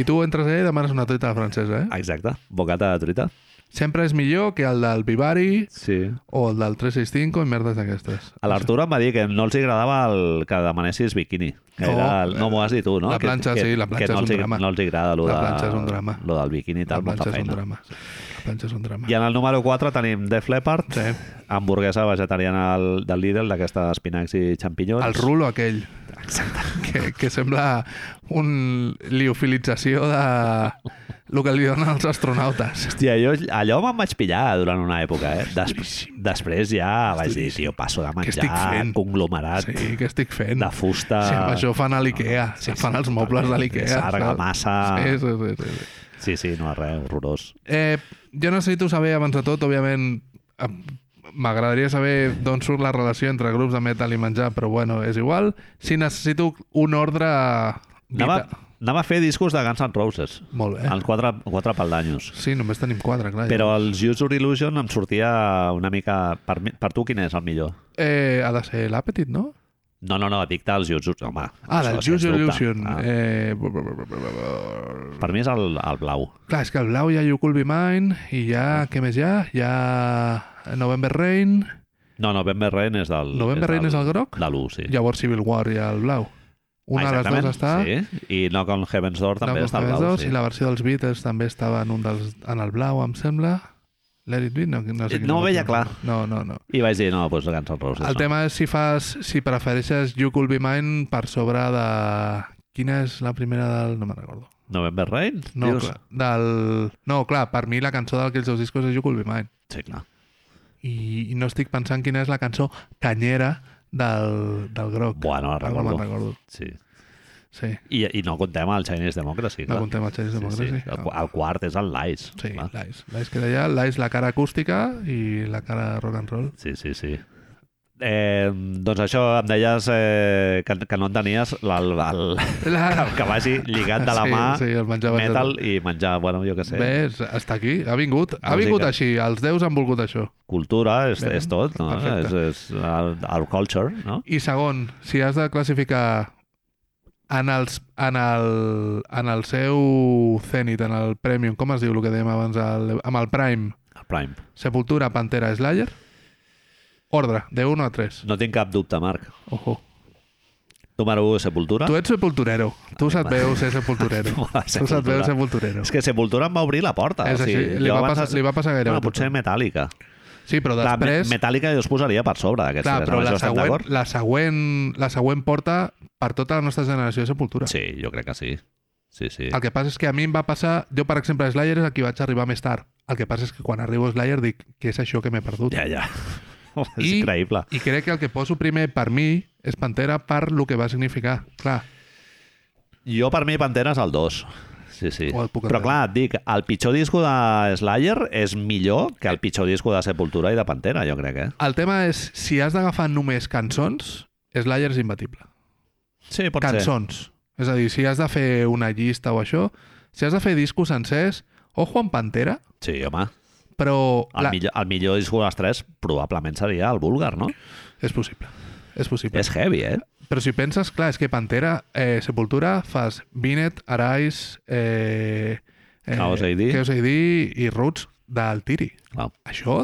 Speaker 2: I tu entres allà i demanes una truita a la francesa, eh?
Speaker 1: Exacte, bocata de truita.
Speaker 2: Sempre és millor que el del Vivari
Speaker 1: Sí.
Speaker 2: o el del 365 i merdes d'aquestes.
Speaker 1: A l'Artur em va dir que no els agradava el que demanessis biquini. Que
Speaker 2: No,
Speaker 1: era, el- no m'ho has dit tu, no?
Speaker 2: Oh, la
Speaker 1: Que-
Speaker 2: planxa,
Speaker 1: que,
Speaker 2: sí, la
Speaker 1: que
Speaker 2: planxa
Speaker 1: no
Speaker 2: és
Speaker 1: els
Speaker 2: un
Speaker 1: hi-
Speaker 2: drama.
Speaker 1: No els hi agrada lo
Speaker 2: La
Speaker 1: de-
Speaker 2: planxa és un drama.
Speaker 1: Lo del biquini i
Speaker 2: La
Speaker 1: tal, molta
Speaker 2: planxa és un
Speaker 1: feina.
Speaker 2: drama. La planxa és un drama.
Speaker 1: I en el número 4 tenim Def Leppard,
Speaker 2: Sí.
Speaker 1: hamburguesa vegetariana del, del Lidl, d'aquesta espinacs i xampinyons.
Speaker 2: El rulo aquell. que, que sembla un liofilització de el que li donen els astronautes.
Speaker 1: Hòstia, jo allò me'n vaig pillar durant una època, eh? Des, després ja vaig dir, tio, passo de
Speaker 2: estic
Speaker 1: menjar
Speaker 2: fent?"
Speaker 1: conglomerat sí.
Speaker 2: Sí, què estic fent?
Speaker 1: de fusta...
Speaker 2: Sí, amb això fan a l'IKEA,
Speaker 1: Sí,
Speaker 2: sí,
Speaker 1: sí,
Speaker 2: fan els mobles de
Speaker 1: totalment.
Speaker 2: l'IKEA.
Speaker 1: Sarga,
Speaker 2: saps?
Speaker 1: massa.
Speaker 2: Sí, sí, sí, sí, sí.
Speaker 1: Sí, sí, no, res, horrorós.
Speaker 2: Eh, jo necessito saber, abans de tot, òbviament, eh, m'agradaria saber d'on surt la relació entre grups de metal i menjar, però bueno, és igual. Si necessito un ordre...
Speaker 1: Anava,
Speaker 2: vita-
Speaker 1: anava a fer discos de Guns N' Roses,
Speaker 2: Molt bé.
Speaker 1: eh? els quatre, quatre paldanyos.
Speaker 2: Sí, només tenim quatre, clar.
Speaker 1: Però els User Illusion em sortia una mica... Per, mi- per tu, quin és el millor?
Speaker 2: Eh, ha de ser l'Apetit, no?
Speaker 1: No, no, no, dic dels User... Home,
Speaker 2: Ah,
Speaker 1: això
Speaker 2: del
Speaker 1: sens
Speaker 2: Juice
Speaker 1: dubte.
Speaker 2: Illusion.
Speaker 1: Ah,
Speaker 2: Eh, br- br- br- br- br-
Speaker 1: Per mi és el, el blau.
Speaker 2: Clar, és que el blau hi ha You Could Be Mine i ja... Què més hi ha? Hi ha November Rain.
Speaker 1: No, November Rain és del...
Speaker 2: November Rain és el groc.
Speaker 1: De l'1, sí. Ah,
Speaker 2: Llavors Civil War hi ha el blau. Una de les dues està...
Speaker 1: Sí. I Knock on Heaven's Door també
Speaker 2: Knock on
Speaker 1: està al
Speaker 2: Heaven's
Speaker 1: blau.
Speaker 2: Door, I la versió dels Beatles també estava en, un dels, en el blau, em sembla. Let it be? No, no, sé
Speaker 1: Eh,
Speaker 2: quina
Speaker 1: no ho veia
Speaker 2: versió.
Speaker 1: clar.
Speaker 2: No, no, no.
Speaker 1: I vaig dir, no, doncs Guns N' Roses.
Speaker 2: El
Speaker 1: no.
Speaker 2: tema és si fas, si prefereixes You Could Be Mine per sobre de... Quina és la primera del... No me'n recordo.
Speaker 1: November Rain?
Speaker 2: No,
Speaker 1: dius?
Speaker 2: clar, del... no, clar, per mi la cançó d'aquells dos discos és You Could Be Mine.
Speaker 1: Sí, clar.
Speaker 2: I, I no estic pensant quina és la cançó canyera del, del groc.
Speaker 1: Bueno, la
Speaker 2: Ara no
Speaker 1: recordo.
Speaker 2: me'n recordo.
Speaker 1: Sí.
Speaker 2: Sí,
Speaker 1: I, I no contem el Chinese Democracy,
Speaker 2: no
Speaker 1: clar.
Speaker 2: comptem els Xeris Democracy.
Speaker 1: El, qu- el quart és el Lies.
Speaker 2: Sí,
Speaker 1: clar.
Speaker 2: l'Ice. L'Ice queda allà, l'Ice la cara acústica i la cara rock and roll.
Speaker 1: Sí, sí, sí. Eh, doncs això, em deies eh, que, que no en tenies el, el,
Speaker 2: La...
Speaker 1: el que vagi lligat de la mà
Speaker 2: sí, sí, el menjar
Speaker 1: metal i menjar, bueno, jo què sé,
Speaker 2: Ves, està aquí, ha vingut. Ha
Speaker 1: Música.
Speaker 2: vingut així, els déus han volgut això.
Speaker 1: cultura, és,
Speaker 2: Bé,
Speaker 1: és tot, no? És,
Speaker 2: perfecte.
Speaker 1: és el, el culture, no?
Speaker 2: I segon, si has de classificar en, els, en, el, en el seu Zenit, en el Premium, com es diu el que dèiem abans, el, amb el Prime,
Speaker 1: El prime.
Speaker 2: Sepultura, Pantera, Slayer, Ordre, de 1 a 3.
Speaker 1: No tinc cap dubte, Marc.
Speaker 2: Ojo.
Speaker 1: Número 1, Sepultura.
Speaker 2: Tu ets sepulturero. Tu se't veus ser sepulturero. Tu se't
Speaker 1: Sepultura.
Speaker 2: veus sepulturero.
Speaker 1: És que Sepultura em va obrir la porta.
Speaker 2: És així, li
Speaker 1: jo
Speaker 2: va
Speaker 1: abans-
Speaker 2: passar- li va passar gairebé
Speaker 1: Bueno,
Speaker 2: tot.
Speaker 1: potser Metallica.
Speaker 2: Sí, però
Speaker 1: La me-
Speaker 2: després...
Speaker 1: Metallica jo us posaria per sobre d'aquests
Speaker 2: Clar,
Speaker 1: tres.
Speaker 2: però
Speaker 1: amb
Speaker 2: la
Speaker 1: això estem
Speaker 2: següent,
Speaker 1: d'acord?
Speaker 2: la, següent, la següent porta per tota la nostra generació de sepultura.
Speaker 1: Sí, jo crec que sí. Sí, sí.
Speaker 2: El que passa és que a mi em va passar... Jo, per exemple, a Slayer és el que vaig arribar més tard. El que passa és que quan arribo a Slayer dic que és això que m'he perdut.
Speaker 1: Ja, ja. És
Speaker 2: I-
Speaker 1: increïble.
Speaker 2: I crec que el que poso primer per mi és Pantera per lo que va significar. Clar,
Speaker 1: Jo, per mi, Pantera és el 2. Sí, sí.
Speaker 2: Oh, el puc
Speaker 1: Però
Speaker 2: entendre.
Speaker 1: clar, et dic, el pitjor disco de Slayer és millor que el pitjor disco de Sepultura i de Pantera, jo crec, eh?
Speaker 2: el tema és, si has d'agafar només cançons, Slayer és imbatible.
Speaker 1: Sí, pot
Speaker 2: cançons. És a dir, si has de fer una llista o això, si has de fer discos sencers, o Juan Pantera,
Speaker 1: ser. Sí, home.
Speaker 2: però
Speaker 1: El,
Speaker 2: la...
Speaker 1: millor, el millor disco dels tres probablement seria el Búlgar, no?
Speaker 2: és possible. És possible.
Speaker 1: És heavy, eh?
Speaker 2: Però si penses, clar, és que Pantera, eh, Sepultura, fas Binet, Arais, eh, eh,
Speaker 1: Chaos AD.
Speaker 2: Chaos AD i Roots del Tiri.
Speaker 1: Clar.
Speaker 2: Això,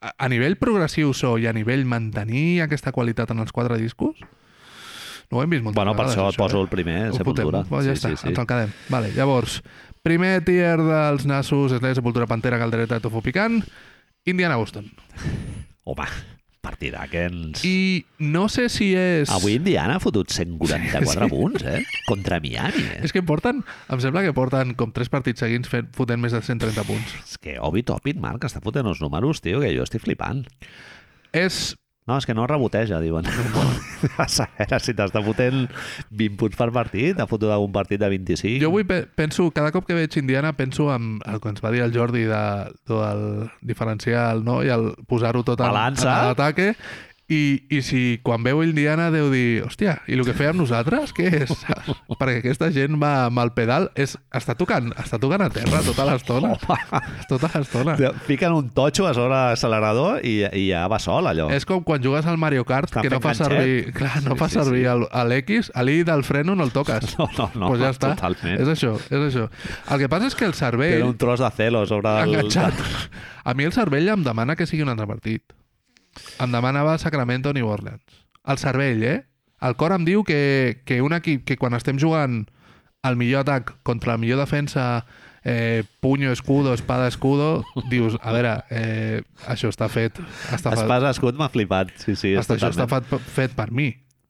Speaker 2: a, a nivell progressiu so i a nivell mantenir aquesta qualitat en els quatre discos, no ho hem vist moltes
Speaker 1: Bueno, per
Speaker 2: vegades,
Speaker 1: això et poso el primer,
Speaker 2: eh? Ho
Speaker 1: Sepultura.
Speaker 2: Fotem. Bueno, ja
Speaker 1: Sí,
Speaker 2: està,
Speaker 1: sí, sí.
Speaker 2: ens el quedem. Vale, llavors, primer tier dels nassos, Slayer, Sepultura, Pantera, Caldereta, Tofu Picant, Indiana Boston.
Speaker 1: Home, partida que ens... I...
Speaker 2: I no sé si és...
Speaker 1: Avui Indiana ha fotut 144
Speaker 2: Sí.
Speaker 1: sí. punts, eh? Contra Miami, eh?
Speaker 2: És que porten, em sembla que porten com tres partits seguins fent, fotent més de 130 punts.
Speaker 1: És que Obi Topit, Marc, està fotent uns números, tio, que jo estic flipant.
Speaker 2: És...
Speaker 1: No, és que no reboteja, diuen. a saber si t'està fotent 20 punts per partit, ha fotut algun partit de 25.
Speaker 2: Jo avui pe- penso, cada cop que veig Indiana, penso en el que ens va dir el Jordi de, del diferenciar el no i el posar-ho tot en, en
Speaker 1: Balança.
Speaker 2: l'ataque. I, I si quan veu Indiana deu dir, hòstia, i el que fèiem nosaltres, què és? Perquè aquesta gent va amb el pedal, és, està, tocant, està tocant a terra tota l'estona. Tota l'estona.
Speaker 1: Fiquen un totxo a sobre de l'accelerador i, i ja va sol, allò.
Speaker 2: És com quan jugues al Mario Kart,
Speaker 1: Estan
Speaker 2: que no
Speaker 1: fent
Speaker 2: fa
Speaker 1: ganxet.
Speaker 2: servir, clar, no
Speaker 1: Sí,
Speaker 2: fa
Speaker 1: sí,
Speaker 2: servir
Speaker 1: sí.
Speaker 2: el- a l'X, a l'I del freno no el toques.
Speaker 1: No, no, no,
Speaker 2: pues ja està.
Speaker 1: totalment.
Speaker 2: És això, és això. El que passa és que el cervell...
Speaker 1: Era un tros de celo sobre el...
Speaker 2: enganxat. A mi el cervell em demana que sigui un altre partit. Em demanava Sacramento New Orleans. El cervell, eh? El cor em diu que, que un equip que quan estem jugant el millor atac contra la millor defensa eh, puño, escudo, espada, escudo, dius, a veure, eh, això està fet. Està fet.
Speaker 1: Espasa escut m'ha flipat, sí, sí. és
Speaker 2: Hasta això està
Speaker 1: totalment.
Speaker 2: fet, fet per mi.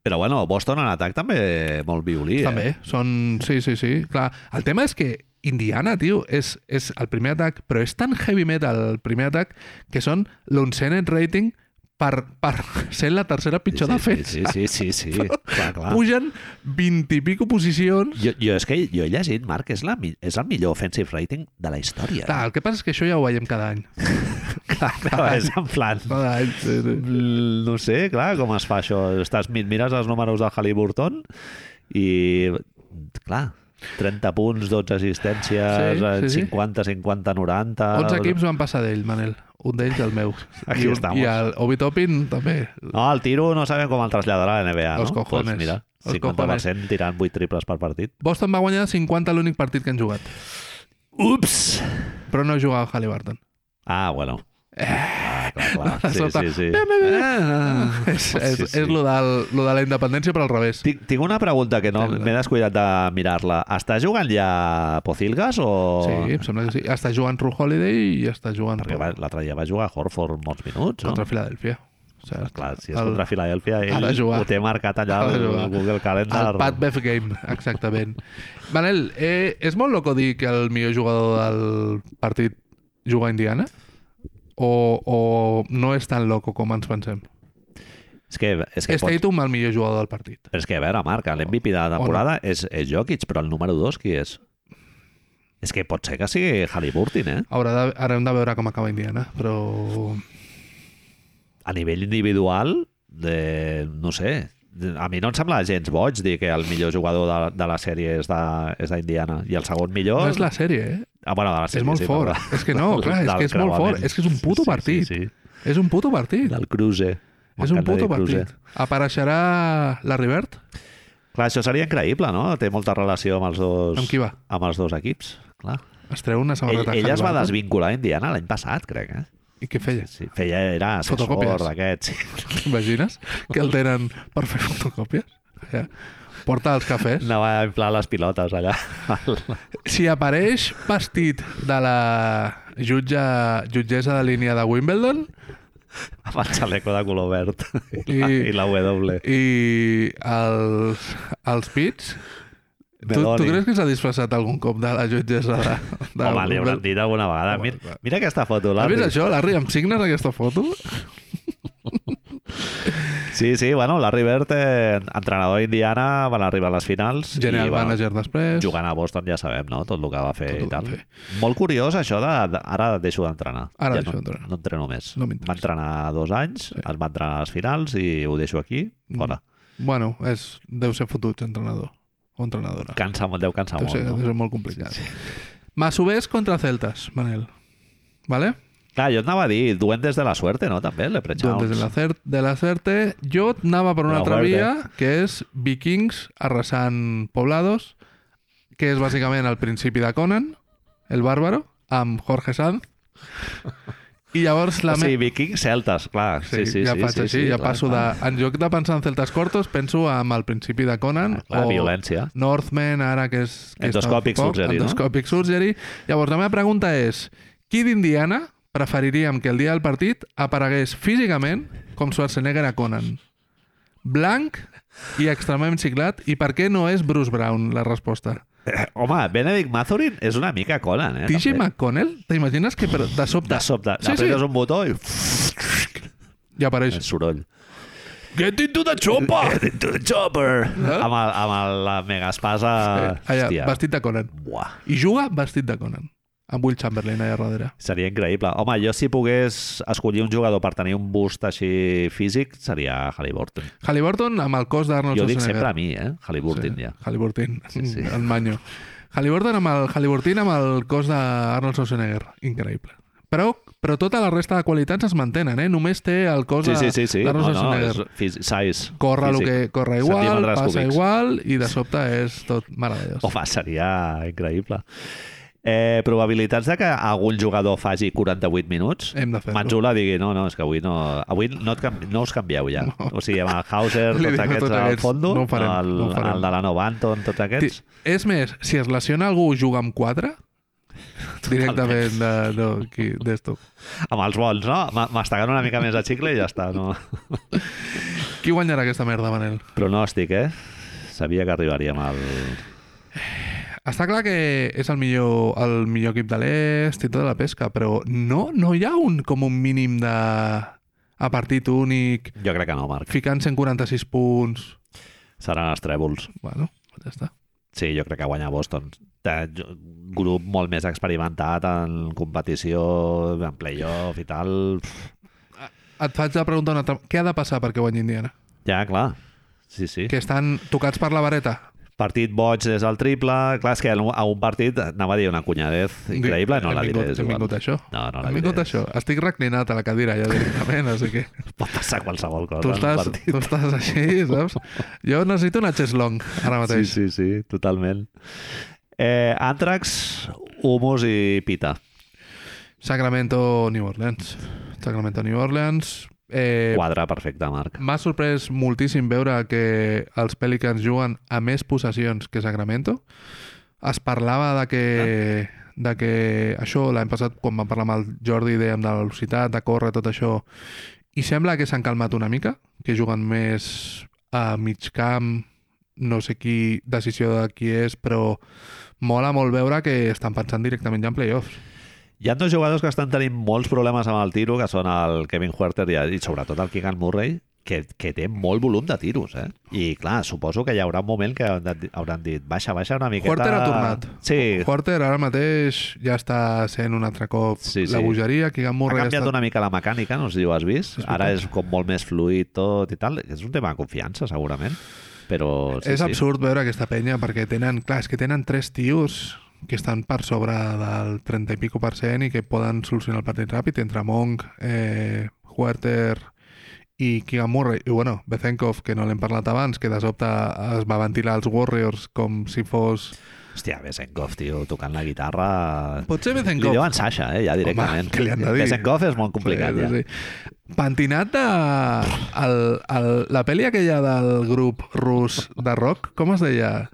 Speaker 1: Però bueno, Boston en atac també molt violí,
Speaker 2: Yeah.
Speaker 1: eh?
Speaker 2: També. Són... Sí, sí, sí. Clar, el tema és que Indiana, tio, és, és el primer atac, però és tan heavy metal el primer atac que són l'oncenet rating per, per ser la tercera pitjor
Speaker 1: sí,
Speaker 2: defensa.
Speaker 1: Sí, sí, sí, sí, sí. clar, clar.
Speaker 2: Pugen 20 i pico posicions.
Speaker 1: Jo, jo, és que jo he llegit, Marc, és, la, mi- és el millor offensive rating de la història.
Speaker 2: Clar, el que passa és que això ja ho veiem cada any.
Speaker 1: clar, clar és en plan...
Speaker 2: Cada any, sí, sí.
Speaker 1: Mm, No sé, clar, com es fa això. Estàs, mi- mires els números del Halliburton i, clar, 30 punts, 12 assistències,
Speaker 2: Sí, sí,
Speaker 1: sí,
Speaker 2: sí.
Speaker 1: sí, 50, 50, 90...
Speaker 2: 11 equips van passar d'ell, Manel. Un d'ells el meu.
Speaker 1: Aquí
Speaker 2: I, un-
Speaker 1: estamos.
Speaker 2: I el Obi Topin també.
Speaker 1: No, el tiro no sabem com el traslladarà a la NBA,
Speaker 2: Los
Speaker 1: no?
Speaker 2: cojones.
Speaker 1: Doncs mira,
Speaker 2: Los
Speaker 1: 50% tirant 8 triples per partit.
Speaker 2: Boston va guanyar 50 l'únic partit que han jugat,
Speaker 1: Ups!
Speaker 2: però no jugava Halliburton.
Speaker 1: Ah, bueno. Ah, clar, clar.
Speaker 2: De
Speaker 1: Sí,
Speaker 2: sota.
Speaker 1: sí, sí.
Speaker 2: Bé, bé, bé.
Speaker 1: Ah, ah.
Speaker 2: És, és,
Speaker 1: Sí, sí.
Speaker 2: és lo, del, lo de la independència, però al revés.
Speaker 1: Tinc, tinc una pregunta que no
Speaker 2: Fem-la.
Speaker 1: m'he descuidat de mirar-la. Està jugant ja Pocilgas o...?
Speaker 2: Sí, em sembla que sí. Està jugant Ru Holiday i està jugant
Speaker 1: Perquè
Speaker 2: contra
Speaker 1: va- l'altre dia va jugar Horford molts minuts, no?
Speaker 2: Filadèlfia. O sigui,
Speaker 1: Ah, Clar, si és
Speaker 2: el-
Speaker 1: contra Filadèlfia,
Speaker 2: ha de
Speaker 1: ell
Speaker 2: jugar.
Speaker 1: ho té marcat allà
Speaker 2: Ha de
Speaker 1: al
Speaker 2: jugar.
Speaker 1: Google Calendar.
Speaker 2: El Pat Bev Game, exactament. Manel, eh, és molt loco dir que el millor jugador del partit juga a Indiana? O, o no és tan loco com ens pensem?
Speaker 1: És que, és que, pot...
Speaker 2: Statum, el millor jugador del partit.
Speaker 1: però és que a veure, Marc, l'MVP de la temporada és, és Jokic, però el número 2 qui és? És que pot ser que sigui Halliburton, eh?
Speaker 2: Haurà de, ara hem de veure com acaba Indiana, però...
Speaker 1: A nivell individual, de, no sé, de- a mi no em sembla gens boig dir que el millor jugador de, de la sèrie és de- és d'Indiana i el segon millor...
Speaker 2: No és la sèrie, eh?
Speaker 1: Ah, bueno, de la sèrie,
Speaker 2: és molt
Speaker 1: sí,
Speaker 2: fort.
Speaker 1: perdó.
Speaker 2: És que no, clar, és
Speaker 1: Del
Speaker 2: que és molt fort.
Speaker 1: creuament.
Speaker 2: És que és un puto
Speaker 1: Sí, sí,
Speaker 2: partit.
Speaker 1: Sí, sí.
Speaker 2: És un puto partit.
Speaker 1: Del cruce.
Speaker 2: És
Speaker 1: M'encanta
Speaker 2: un
Speaker 1: dir
Speaker 2: puto
Speaker 1: cruce.
Speaker 2: partit. Apareixerà la Rivert?
Speaker 1: Clar, això seria increïble, no? Té molta relació amb els dos,
Speaker 2: Amb qui va?
Speaker 1: amb els dos equips, clar.
Speaker 2: Es treu una
Speaker 1: Ell,
Speaker 2: samarreta.
Speaker 1: ell es va
Speaker 2: Halliburton?
Speaker 1: desvincular a Indiana l'any passat, crec, eh?
Speaker 2: I què feia?
Speaker 1: Sí, feia, era assessor
Speaker 2: Fotocòpies.
Speaker 1: d'aquest. Sí.
Speaker 2: T'imagines que el tenen per fer fotocòpies? Ja. Porta els cafès.
Speaker 1: Anava a inflar les pilotes allà.
Speaker 2: Si apareix vestit de la jutge, jutgessa de línia de Wimbledon
Speaker 1: amb el xaleco de color verd i, la,
Speaker 2: I-
Speaker 1: i la W.
Speaker 2: i els, els pits, tu, tu
Speaker 1: Meloni.
Speaker 2: creus que s'ha disfressat algun cop de la jutgessa de, de
Speaker 1: Home, li hauran
Speaker 2: Wimbledon?
Speaker 1: dit alguna vegada.
Speaker 2: Home,
Speaker 1: Mira,
Speaker 2: clar.
Speaker 1: mira aquesta foto,
Speaker 2: Has vist
Speaker 1: l'Arri.
Speaker 2: això, Larry? Em signes aquesta foto?
Speaker 1: Sí, sí, bueno, l'Arri Bert, eh, entrenador d'Indiana, van arribar a les finals.
Speaker 2: General
Speaker 1: i, bueno,
Speaker 2: manager després.
Speaker 1: Jugant a Boston ja sabem, no?, tot el que va fer
Speaker 2: Tot el
Speaker 1: i tal.
Speaker 2: que va fer.
Speaker 1: Molt curiós això de... de ara deixo d'entrenar.
Speaker 2: Ara
Speaker 1: ja
Speaker 2: deixo
Speaker 1: no,
Speaker 2: d'entrenar.
Speaker 1: No entreno més.
Speaker 2: No m'interessa.
Speaker 1: va entrenar dos anys, sí. es va entrenar a les finals i ho deixo aquí, fora.
Speaker 2: Mm. Bueno, és, deu ser fotut entrenador o entrenadora.
Speaker 1: Cansa molt, deu cansar
Speaker 2: Deu
Speaker 1: molt,
Speaker 2: ser, deu
Speaker 1: no?
Speaker 2: ser molt complicat. Sí. Masovers contra Celtas, Manel. ¿Vale?
Speaker 1: Clar, jo et anava a dir, duendes de la suerte, no?, també, le
Speaker 2: Doncs de la, cer de la certe, jo anava per
Speaker 1: De la
Speaker 2: una altra
Speaker 1: muerte.
Speaker 2: via, que és vikings arrasant poblados, que és bàsicament el principi de Conan, el bàrbaro, amb Jorge Sanz. I llavors la,
Speaker 1: O
Speaker 2: me
Speaker 1: sigui, vikings celtes, clar. Sí, sí, sí.
Speaker 2: ja
Speaker 1: sí,
Speaker 2: faig
Speaker 1: sí,
Speaker 2: així,
Speaker 1: sí,
Speaker 2: ja
Speaker 1: clar,
Speaker 2: passo
Speaker 1: clar.
Speaker 2: de... En lloc de pensar en celtes cortos, penso en el principi de Conan.
Speaker 1: Ah, Clar,
Speaker 2: o
Speaker 1: violència.
Speaker 2: Northman, ara que és... Que
Speaker 1: Endoscopic
Speaker 2: està fa
Speaker 1: surgery, no?
Speaker 2: Endoscopic surgery. Llavors, la meva pregunta és, qui d'Indiana preferiríem que el dia del partit aparegués físicament com Schwarzenegger a Conan? Blanc i extremament ciclat? I per què no és Bruce Brown, la resposta?
Speaker 1: Eh, Home, Benedict Mathurin és una mica Conan, eh?
Speaker 2: TJ
Speaker 1: també.
Speaker 2: McConnell? T'imagines que per, de sobte...
Speaker 1: De sobte, sí,
Speaker 2: Sí, sí.
Speaker 1: apretes un botó i...
Speaker 2: I apareix... Eh,
Speaker 1: El soroll.
Speaker 2: Get into the chopper!
Speaker 1: Get into the chopper!
Speaker 2: No?
Speaker 1: Amb, el, amb el, la megaespasa...
Speaker 2: Eh? Allà,
Speaker 1: Ah, Hòstia.
Speaker 2: vestit de Conan.
Speaker 1: Buah.
Speaker 2: I juga vestit de Conan. Amb Will Chamberlain allà darrere.
Speaker 1: Seria increïble. Home, jo si pogués escollir un jugador per tenir un boost així físic, seria Halliburton.
Speaker 2: Halliburton amb el cos d'Arnold
Speaker 1: jo dic
Speaker 2: Schwarzenegger.
Speaker 1: sempre a mi, eh? Halliburton, ja.
Speaker 2: Halliburton, sí,
Speaker 1: sí.
Speaker 2: sí. el manyo. Halliburton amb el, Halliburton amb el cos d'Arnold Schwarzenegger. Increïble. Però, però tota la resta de qualitats es mantenen, eh? Només té el cos
Speaker 1: Sí,
Speaker 2: de-
Speaker 1: sí, sí. sí. No, no,
Speaker 2: d'Arnold
Speaker 1: és
Speaker 2: Schwarzenegger.
Speaker 1: fis- size.
Speaker 2: corre el
Speaker 1: físic.
Speaker 2: que corre igual,
Speaker 1: Centímetres
Speaker 2: passa
Speaker 1: cúbics.
Speaker 2: igual i de sobte és tot meravellós.
Speaker 1: Home, seria increïble. Eh, probabilitats de que algun jugador faci 48 minuts?
Speaker 2: Hem de fer-ho.
Speaker 1: Manzula digui, no, no, és que avui no, avui no, et canvi, no us canvieu ja. No. O sigui, amb el Hauser,
Speaker 2: Li
Speaker 1: tots
Speaker 2: diu a
Speaker 1: aquests,
Speaker 2: tots
Speaker 1: al
Speaker 2: aquests,
Speaker 1: fondo,
Speaker 2: no ho farem,
Speaker 1: el,
Speaker 2: no ho farem.
Speaker 1: el de la Novanton, tots
Speaker 2: Ti-
Speaker 1: aquests.
Speaker 2: És més, si es lesiona algú juga amb 4, directament de, no, aquí, d'esto.
Speaker 1: Amb els bons, no? Ma- Mastegant una mica més de xicle i ja està. No?
Speaker 2: Qui guanyarà aquesta merda, Manel?
Speaker 1: Pronòstic, eh? Sabia que arribaríem al...
Speaker 2: Està clar que és el millor, el millor equip de l'est i tota la pesca, però no, no hi ha un com un mínim de a partit únic,
Speaker 1: Jo crec que no, Marc.
Speaker 2: ficant 146 punts...
Speaker 1: Seran els trèvols.
Speaker 2: Bueno, ja està.
Speaker 1: Sí, jo crec que guanya Boston. Té jo- grup molt més experimentat en competició, en playoff i tal. Pff,
Speaker 2: Et faig la pregunta una altra... Què ha de passar perquè guanyi Indiana?
Speaker 1: Ja, clar. Sí, sí.
Speaker 2: Que estan tocats per la vareta?
Speaker 1: Partit boig és el triple. Clar, és que en un- a un partit anava a dir una cunyadez increïble, no
Speaker 2: Hem
Speaker 1: la
Speaker 2: vingut-
Speaker 1: diré. és
Speaker 2: Hem
Speaker 1: igual.
Speaker 2: vingut a això.
Speaker 1: No, no la
Speaker 2: hem vingut
Speaker 1: diré.
Speaker 2: a això. Estic reclinat a la cadira ja directament, així que
Speaker 1: Pot passar qualsevol cosa.
Speaker 2: tu
Speaker 1: en un
Speaker 2: estàs,
Speaker 1: partit.
Speaker 2: tu estàs així, saps? Jo necessito una chest long ara
Speaker 1: Sí,
Speaker 2: mateix.
Speaker 1: sí, sí, totalment. Eh, Àntrax, Humus i Pita.
Speaker 2: Sacramento, New Orleans. Sacramento, New Orleans. Eh,
Speaker 1: Quadre perfecte, Marc.
Speaker 2: M'ha sorprès moltíssim veure que els Pelicans juguen a més possessions que Sacramento. Es parlava de que, de que això l'any passat, quan vam parlar amb el Jordi, dèiem de la velocitat, de córrer, tot això, i sembla que s'han calmat una mica, que juguen més a mig camp, no sé qui, decisió de qui és, però mola molt veure que estan pensant directament ja en playoffs.
Speaker 1: Hi ha dos jugadors que estan tenint molts problemes amb el tiro, que són el Kevin Huerter i, i sobretot el Keegan Murray, que, que té molt volum de tiros, eh? I clar, suposo que hi haurà un moment que hauran dit- hauran dit baixa, baixa una miqueta...
Speaker 2: Huerter ha tornat.
Speaker 1: Sí,
Speaker 2: Porter ara mateix ja està sent un altre cop
Speaker 1: Sí,
Speaker 2: la
Speaker 1: sí.
Speaker 2: bogeria, Keegan
Speaker 1: ha
Speaker 2: Murray ja
Speaker 1: canviat
Speaker 2: està
Speaker 1: una mica la mecànica, no sé si ho has vist.
Speaker 2: És
Speaker 1: Ara és
Speaker 2: veritat.
Speaker 1: com molt més fluid tot i tal. És un tema de confiança, segurament. Però sí,
Speaker 2: és
Speaker 1: sí.
Speaker 2: absurd veure aquesta penya perquè tenen, clar, és que tenen tres tios que estan per sobre del 30 i pico per cent i que poden solucionar el partit ràpid entre Monk, eh, Huerter i Keegan Murray i bueno, Bezenkov, que no l'hem parlat abans que de sobte es va ventilar als Warriors com si fos
Speaker 1: Hòstia, Besenkov, tio, tocant la guitarra...
Speaker 2: Potser
Speaker 1: Li
Speaker 2: Bezenkov.
Speaker 1: diuen Sasha, eh, ja directament.
Speaker 2: què li han de dir?
Speaker 1: Besenkov és molt complicat,
Speaker 2: sí,
Speaker 1: ja.
Speaker 2: sí. Pentinat de... El, el, la pel·li aquella del grup rus de rock, com es deia?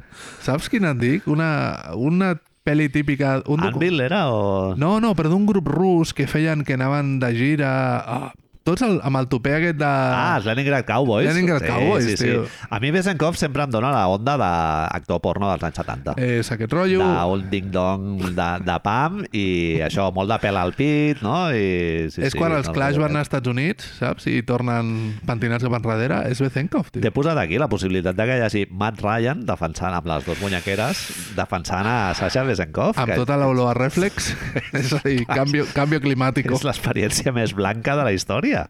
Speaker 2: Saps quina et dic? Una, una pel·li típica... Un docu-
Speaker 1: Anvil era o...
Speaker 2: No, no, però d'un grup rus que feien que anaven de gira... Ah, tots el, amb el topè aquest de...
Speaker 1: Ah, els Leningrad Cowboys.
Speaker 2: Leningrad Cowboys, tio.
Speaker 1: A mi Besenkov sempre em dóna la onda d'actor porno dels anys 70.
Speaker 2: és aquest rotllo...
Speaker 1: d'un ding-dong de, de pam i això, molt de pèl al pit, no? I, sí,
Speaker 2: és
Speaker 1: sí,
Speaker 2: quan els
Speaker 1: no,
Speaker 2: Clash
Speaker 1: no, eh.
Speaker 2: van als Estats Units, saps? I tornen pentinats cap enrere. És Bezenkov, tio.
Speaker 1: T'he posat aquí la possibilitat de que hi hagi Matt Ryan defensant amb les dues munyequeres defensant a Sasha Besenkov
Speaker 2: Amb
Speaker 1: que
Speaker 2: tota l'olor a reflex. és a dir, canvio, canvio climàtico.
Speaker 1: és l'experiència més blanca de la història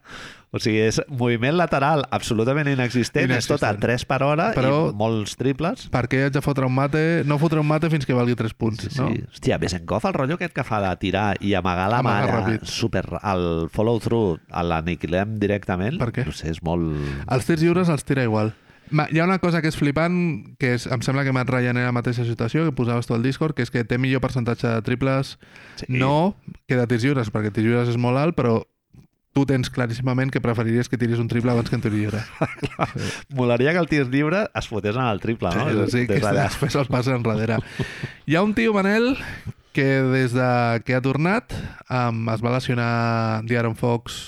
Speaker 1: o sigui, és moviment lateral absolutament inexistent, és tot a
Speaker 2: Inexistent.
Speaker 1: 3 per hora
Speaker 2: Però-
Speaker 1: i molts triples
Speaker 2: Per què haig de fotre un mate? No fotre un mate fins que valgui 3 punts,
Speaker 1: Sí,
Speaker 2: no?
Speaker 1: sí. Hòstia, Besenkov, el rotllo aquest que fa de tirar i amagar la
Speaker 2: Amagar
Speaker 1: mà
Speaker 2: ràpid.
Speaker 1: super, el follow-through l'aniquilem directament
Speaker 2: Per què? Ah,
Speaker 1: no sé, és molt...
Speaker 2: Els tirs lliures els tira igual. Ma, hi ha una cosa que és flipant, que és, em sembla que Matt Ryan era la mateixa situació que posaves tu al Discord, que és que té millor percentatge de triples,
Speaker 1: Sí.
Speaker 2: no que de tirs lliures, perquè tirs lliures és molt alt, però tu tens claríssimament que preferiries que tiris un triple abans que un tir lliure.
Speaker 1: Molaria que el tir lliure es fotés en el triple, no?
Speaker 2: No? Sí, que
Speaker 1: Des d'allà.
Speaker 2: després els passa enrere. Hi ha un tio, Manel, que des de que ha tornat um, es va lesionar d'Aaron Fox,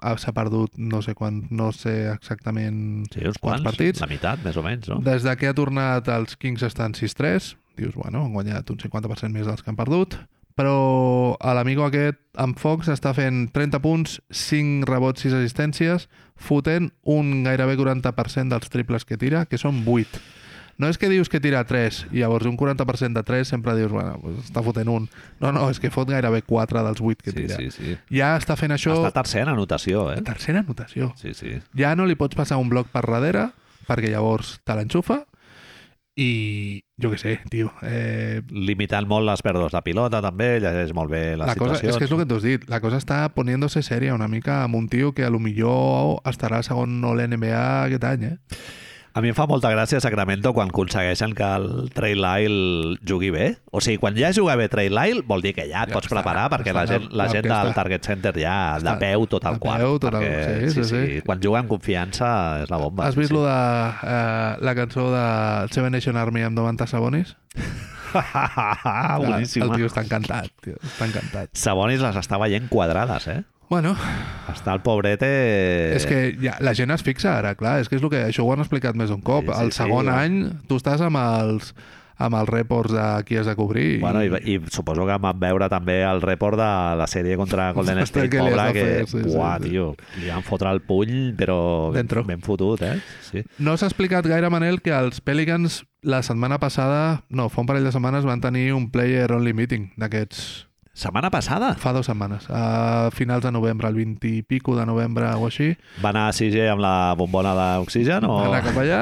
Speaker 2: ah, s'ha perdut no sé quan, no sé exactament...
Speaker 1: Sí, uns
Speaker 2: Quants
Speaker 1: quants,
Speaker 2: partits?
Speaker 1: la meitat, més o menys, no?
Speaker 2: Des de que ha tornat els Kings estan 6-3, dius, bueno, han guanyat un 50% més dels que han perdut, però a l'amigo aquest, en Fox, està fent 30 punts, 5 rebots, 6 assistències, fotent un gairebé 40% dels triples que tira, que són 8. No és que dius que tira 3 i llavors un 40% de 3 sempre dius, bueno, pues està fotent un. No, no, és que fot gairebé 4 dels 8 que
Speaker 1: sí,
Speaker 2: tira.
Speaker 1: sí, sí.
Speaker 2: Ja està fent això...
Speaker 1: Està tercer en anotació, eh?
Speaker 2: Tercera anotació
Speaker 1: Sí, sí.
Speaker 2: ja no li pots passar un bloc per darrere perquè llavors te l'enxufa i jo què sé, tio eh,
Speaker 1: Limitant molt les pèrdues de pilota, també, llegeix molt bé les
Speaker 2: la cosa, és
Speaker 1: situacions.
Speaker 2: que és el que t'ho has dit la cosa està poniéndose seria una mica amb un tio que a lo millor estarà segon o l'NBA aquest any eh?
Speaker 1: A mi em fa molta gràcia Sacramento quan aconsegueixen que el Trey Lyle jugui bé. O sigui, quan ja juga bé Trey Lyle, vol dir que ja et
Speaker 2: Ja
Speaker 1: pots
Speaker 2: està,
Speaker 1: preparar, perquè
Speaker 2: està
Speaker 1: la
Speaker 2: la-
Speaker 1: gent, la gent
Speaker 2: l'orquestra.
Speaker 1: del Target Center ja de
Speaker 2: Està
Speaker 1: peu tot el
Speaker 2: de
Speaker 1: quart.
Speaker 2: peu, tot el-
Speaker 1: perquè,
Speaker 2: sí, sí, sí.
Speaker 1: Quan juga amb confiança és la bomba.
Speaker 2: has
Speaker 1: sí,
Speaker 2: vist
Speaker 1: sí.
Speaker 2: lo de eh, la cançó de Seven Nation Army amb Domantas Sabonis?
Speaker 1: Ah,
Speaker 2: el
Speaker 1: boníssima.
Speaker 2: tio està encantat tio, està encantat
Speaker 1: Sabonis les està veient quadrades, eh?
Speaker 2: bueno,
Speaker 1: Està el pobrete...
Speaker 2: És que ja, la gent es fixa ara, clar, és que és el que això ho han explicat més d'un cop.
Speaker 1: Sí,
Speaker 2: Sí,
Speaker 1: sí,
Speaker 2: el
Speaker 1: sí,
Speaker 2: segon
Speaker 1: ja.
Speaker 2: any tu estàs amb els amb els reports de qui has de cobrir.
Speaker 1: Bueno, i, i suposo que van veure també el report de la sèrie contra Golden
Speaker 2: Ostres,
Speaker 1: State,
Speaker 2: que li has
Speaker 1: pobra,
Speaker 2: de
Speaker 1: que,
Speaker 2: fer, sí, sí,
Speaker 1: uah,
Speaker 2: sí.
Speaker 1: tio, li van fotre el puny, però ben,
Speaker 2: Dentro.
Speaker 1: ben fotut, eh? Sí.
Speaker 2: No s'ha explicat gaire, Manel, que els Pelicans la setmana passada, no, fa un parell de setmanes van tenir un player-only meeting d'aquests...
Speaker 1: Setmana passada
Speaker 2: Fa dues setmanes, a finals de novembre, el 20 i pico de novembre o així,
Speaker 1: va anar a CG amb la bombona d'oxigen o...
Speaker 2: oh. anar cap allà.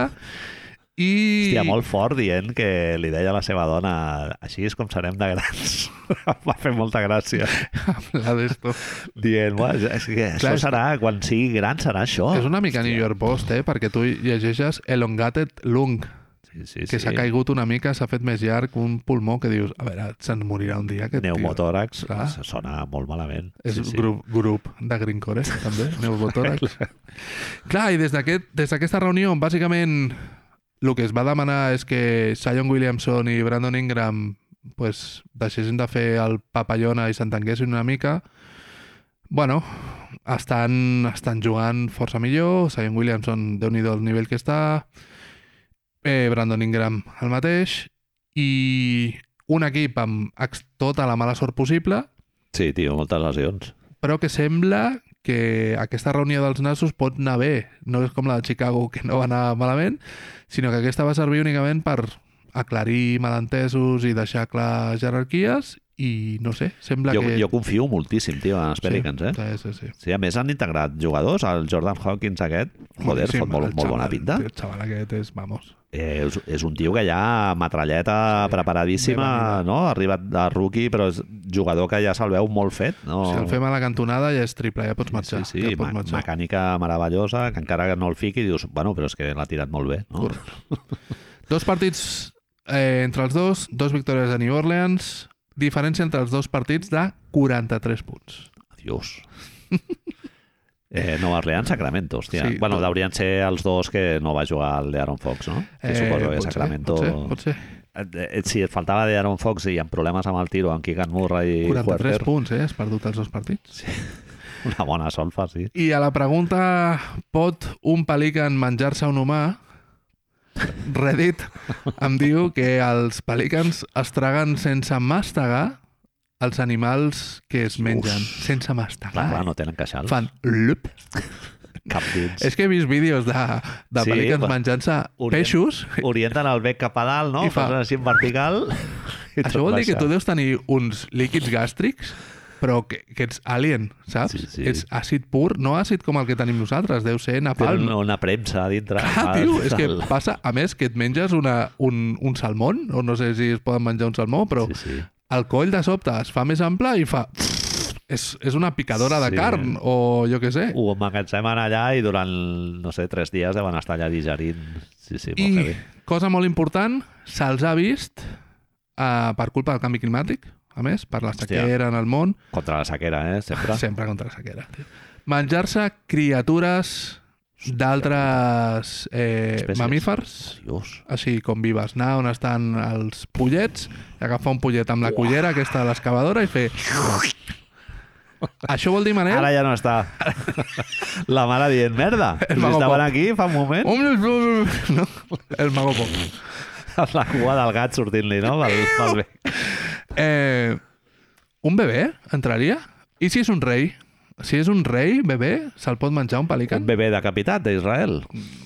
Speaker 2: I...
Speaker 1: Hòstia, molt fort dient que li deia a la seva dona així és com serem de grans. Em va fer molta gràcia.
Speaker 2: La d'esto.
Speaker 1: Dient, "Uah, és que això
Speaker 2: Clar, és-
Speaker 1: serà, quan sigui gran serà això.
Speaker 2: És una mica New York Post, eh? Perquè tu llegeixes Elongated Lung,
Speaker 1: Sí, sí,
Speaker 2: que s'ha caigut una mica, s'ha fet més llarg un pulmó que dius, a veure, se'n morirà un dia aquest
Speaker 1: Pneumotòrax,
Speaker 2: Clar.
Speaker 1: sona molt malament.
Speaker 2: tio. És sí, grup, grup de Greencore, també, pneumotòrax. Clar, i des d'aquest- des d'aquesta aquest, reunió, on bàsicament el que es va demanar és que Sion Williamson i Brandon Ingram pues, deixessin de fer el papallona i s'entenguessin una mica, bueno, estan, estan jugant força millor, Sion Williamson, déu nhi el nivell que està, eh, Brandon Ingram el mateix, i un equip amb ex- tota la mala sort possible,
Speaker 1: Sí, tio, moltes lesions.
Speaker 2: però que sembla que aquesta reunió dels nassos pot anar bé. No és com la de Chicago, que no va anar malament, sinó que aquesta va servir únicament per aclarir malentesos i deixar clar jerarquies i no sé, sembla
Speaker 1: Jo,
Speaker 2: que...
Speaker 1: jo confio moltíssim, tio, en els Pelicans, eh?
Speaker 2: Sí, sí, sí.
Speaker 1: Sí, a més han integrat jugadors, el Jordan Hawkins aquest, joder,
Speaker 2: Boníssim,
Speaker 1: fot molt,
Speaker 2: el
Speaker 1: molt bona
Speaker 2: xaval-
Speaker 1: pinta.
Speaker 2: El xaval aquest és, vamos...
Speaker 1: Eh, és, és un tio que ja metralleta
Speaker 2: Sí,
Speaker 1: preparadíssima,
Speaker 2: ben
Speaker 1: no? Ha arribat de rookie, però és jugador que ja se'l veu molt fet. No?
Speaker 2: Si el fem a la cantonada ja és triple, ja pots marxar.
Speaker 1: Oh. Sí, sí,
Speaker 2: ja
Speaker 1: me
Speaker 2: pots marxar.
Speaker 1: mecànica meravellosa, que encara que no el fiqui, dius, bueno, però és que l'ha tirat molt bé, no?
Speaker 2: Correcte. Dos partits Eh, entre els dos, dos victòries de New Orleans, diferència entre els dos partits de 43 punts.
Speaker 1: Adiós. Eh, Nova Orleans, Sacramento, hòstia.
Speaker 2: Sí,
Speaker 1: Sí, bueno,
Speaker 2: tot-
Speaker 1: deurien ser els dos que no va jugar el d'Aaron Fox, no?
Speaker 2: Eh,
Speaker 1: Que suposo que
Speaker 2: pot ser,
Speaker 1: Sacramento...
Speaker 2: Pot ser, pot ser.
Speaker 1: Eh, eh, Si et faltava d'Aaron Fox i amb problemes amb el tiro, amb Keegan Murray i
Speaker 2: 43
Speaker 1: Huerter,
Speaker 2: punts, eh? Has perdut els dos partits.
Speaker 1: una bona solfa, sí.
Speaker 2: I a la pregunta, pot un pelican menjar-se un humà? Reddit em diu que els pelicans es traguen sense mastegar els animals que es mengen.
Speaker 1: Uf.
Speaker 2: sense
Speaker 1: Clar, clar,
Speaker 2: mastegar.
Speaker 1: no tenen queixals.
Speaker 2: Fan lup.
Speaker 1: Cap dins.
Speaker 2: És que he vist vídeos de, de
Speaker 1: Sí,
Speaker 2: sí, pelicans
Speaker 1: quan-
Speaker 2: menjant-se
Speaker 1: Orient-
Speaker 2: peixos.
Speaker 1: Orienten el bec cap a dalt, no?
Speaker 2: I
Speaker 1: I
Speaker 2: fa-
Speaker 1: fa... Fas així en vertical... I
Speaker 2: Això
Speaker 1: tot
Speaker 2: vol dir que
Speaker 1: baixa.
Speaker 2: tu deus tenir uns líquids gàstrics, però que, que ets alien, saps?
Speaker 1: Sí, sí.
Speaker 2: Ets àcid pur, no àcid com el que tenim nosaltres, deu ser napalm.
Speaker 1: Tenen una premsa a dintre.
Speaker 2: Ah, tio, és que passa, a més, que et menges una, un, un salmón, o no sé si es poden menjar un salmó, però
Speaker 1: Sí, sí.
Speaker 2: el coll de sobte es fa més ample i fa... És, és una picadora de
Speaker 1: Sí.
Speaker 2: carn, o jo què sé.
Speaker 1: Ho emmagatzemen allà i durant, no sé, tres dies deuen estar allà digerint. Sí, sí, molt
Speaker 2: I,
Speaker 1: heavy.
Speaker 2: cosa molt important, se'ls ha vist uh, per culpa del canvi climàtic, a més, per la
Speaker 1: Hòstia.
Speaker 2: sequera en el món,
Speaker 1: Contra la sequera, eh? Sempre.
Speaker 2: sempre contra la sequera. tio. Menjar-se criatures d'altres eh,
Speaker 1: Espècies.
Speaker 2: mamífers,
Speaker 1: Dios.
Speaker 2: així com vives, anar on estan els pollets, i agafar un pollet amb la cullera aquesta de l'excavadora i fer... Això vol dir, Manel...
Speaker 1: Ara ja no està. La mare dient, merda, si
Speaker 2: mago
Speaker 1: estaven
Speaker 2: Pop.
Speaker 1: aquí fa un moment,
Speaker 2: No, el mago poc.
Speaker 1: amb la cua del gat sortint-li, no? Pel, pel bec.
Speaker 2: Eh, un bebè entraria? I si és un rei? Si és un rei, bebè, se'l pot menjar un pelican?
Speaker 1: Un bebè decapitat d'Israel.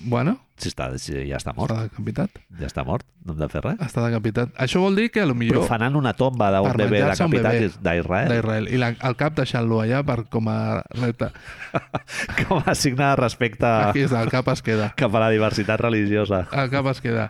Speaker 2: Bueno,
Speaker 1: Si, està, si ja està mort,
Speaker 2: està decapitat.
Speaker 1: ja està mort, no hem de fer res.
Speaker 2: Està decapitat. Això vol dir que a lo millor
Speaker 1: Profanant una tomba d'un
Speaker 2: Per
Speaker 1: bebè
Speaker 2: menjar-se un
Speaker 1: decapitat
Speaker 2: bebè.
Speaker 1: is- d'Israel
Speaker 2: d'Israel. I la, el cap deixant-lo allà per, com a repte.
Speaker 1: com a signe de respecte
Speaker 2: Aquí és, el cap es queda.
Speaker 1: cap a la diversitat religiosa.
Speaker 2: El cap es queda.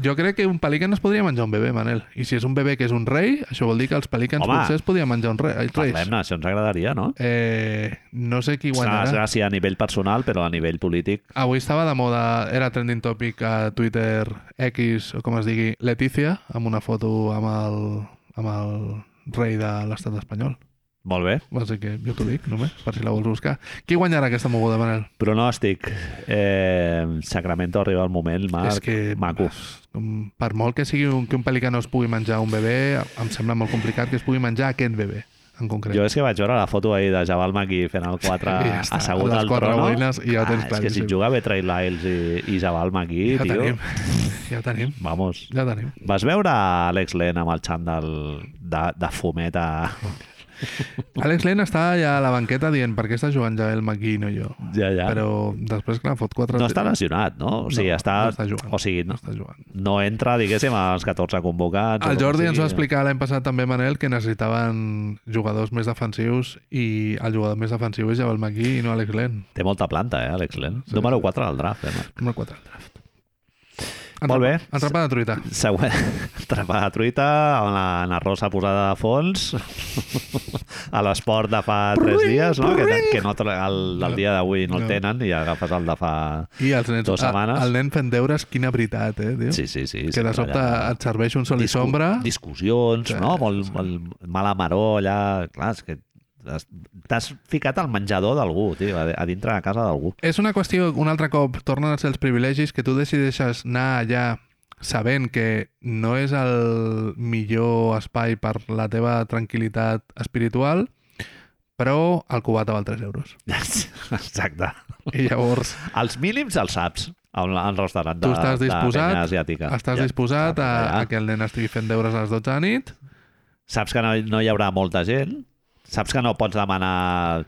Speaker 2: Jo crec que un pelican es podria menjar un bebè, Manel. I si és un bebè que és un rei, això vol dir que els pelicans
Speaker 1: Home.
Speaker 2: potser es podien menjar un rei. Els reis.
Speaker 1: Parlem-ne, això ens agradaria, no?
Speaker 2: Eh, no sé qui
Speaker 1: Una
Speaker 2: guanyarà.
Speaker 1: desgràcia a nivell personal, però a nivell polític
Speaker 2: Avui estava de moda, era trending topic a Twitter X, o com es digui, Letícia, amb una foto amb el, amb el rei de l'estat espanyol.
Speaker 1: molt bé.
Speaker 2: Així que jo t'ho dic, només, per si la vols buscar. Qui guanyarà aquesta moguda, Manel?
Speaker 1: Pronòstic. Eh, Sacramento arriba el moment, Marc.
Speaker 2: És que-
Speaker 1: Maco.
Speaker 2: Com, Per molt que sigui un, que un pelicà no es pugui menjar un bebè, em sembla molt complicat que es pugui menjar aquest bebè, en concret.
Speaker 1: Jo és que vaig veure la foto ahir de Jabal Maki fent el 4
Speaker 2: I ja està,
Speaker 1: assegut
Speaker 2: les
Speaker 1: al
Speaker 2: quatre
Speaker 1: trono. Ah,
Speaker 2: boines i ja ho
Speaker 1: és
Speaker 2: tens
Speaker 1: que si
Speaker 2: claríssim.
Speaker 1: juga bé Trey Lyles i, i Jabal Maki,
Speaker 2: ja ho
Speaker 1: tio,
Speaker 2: tenim. Ja ho tenim.
Speaker 1: vamos.
Speaker 2: Ja ho tenim.
Speaker 1: Vas veure Alex Len amb el xandall de, de fumet a...
Speaker 2: Alex Lane està ja a la banqueta dient per què està jugant ja el Maquí i no jo.
Speaker 1: Ja, ja.
Speaker 2: Però després, clar, fot quatre...
Speaker 1: No està lesionat, no? O sigui,
Speaker 2: No,
Speaker 1: està...
Speaker 2: no està jugant.
Speaker 1: O sigui,
Speaker 2: No
Speaker 1: no,
Speaker 2: està jugant.
Speaker 1: no entra, diguéssim, als 14 convocats. o
Speaker 2: El
Speaker 1: com
Speaker 2: Jordi ens
Speaker 1: sigui.
Speaker 2: va explicar l'any passat també, Manel, que necessitaven jugadors més defensius i el jugador més defensiu és Jabal Maquí i no Alex Len.
Speaker 1: Té molta planta, eh, Alex Len?
Speaker 2: Sí,
Speaker 1: Número
Speaker 2: sí.
Speaker 1: 4 del draft, eh, Marc?
Speaker 2: Número 4 del draft.
Speaker 1: Molt bé.
Speaker 2: Entrapa de truita.
Speaker 1: Següent, trepar de truita, amb la, Ana rosa posada de fons, a l'esport de fa 3 dies, no? Que, que no, tra- el, el dia d'avui no,
Speaker 2: No.
Speaker 1: el tenen i agafes el de fa...
Speaker 2: I els nens,
Speaker 1: Dos
Speaker 2: a-
Speaker 1: setmanes.
Speaker 2: el nen fent deures, quina veritat, eh, tio?
Speaker 1: Sí, sí, sí.
Speaker 2: que de
Speaker 1: sempre
Speaker 2: sobte
Speaker 1: allà.
Speaker 2: et serveix un sol i
Speaker 1: Discu-
Speaker 2: sombra.
Speaker 1: Discussions,
Speaker 2: Sí,
Speaker 1: no? Molt, molt mala maró allà... Clar, és que t'has- t'has ficat al menjador d'algú, tio, a a dintre de casa d'algú.
Speaker 2: És una qüestió, un altre cop, tornen a ser els privilegis que tu decideixes anar allà sabent que no és el millor espai per la teva tranquil·litat espiritual, però el cubat val 3 euros.
Speaker 1: Exacte.
Speaker 2: I llavors
Speaker 1: Els mínims els saps al, al restaurant de,
Speaker 2: Tu estàs
Speaker 1: de
Speaker 2: disposat-
Speaker 1: penya asiàtica.
Speaker 2: estàs
Speaker 1: Ja.
Speaker 2: disposat
Speaker 1: ja.
Speaker 2: a, a que el nen estigui fent deures a les 12 de nit.
Speaker 1: Saps que no, no hi haurà molta gent, saps que no pots demanar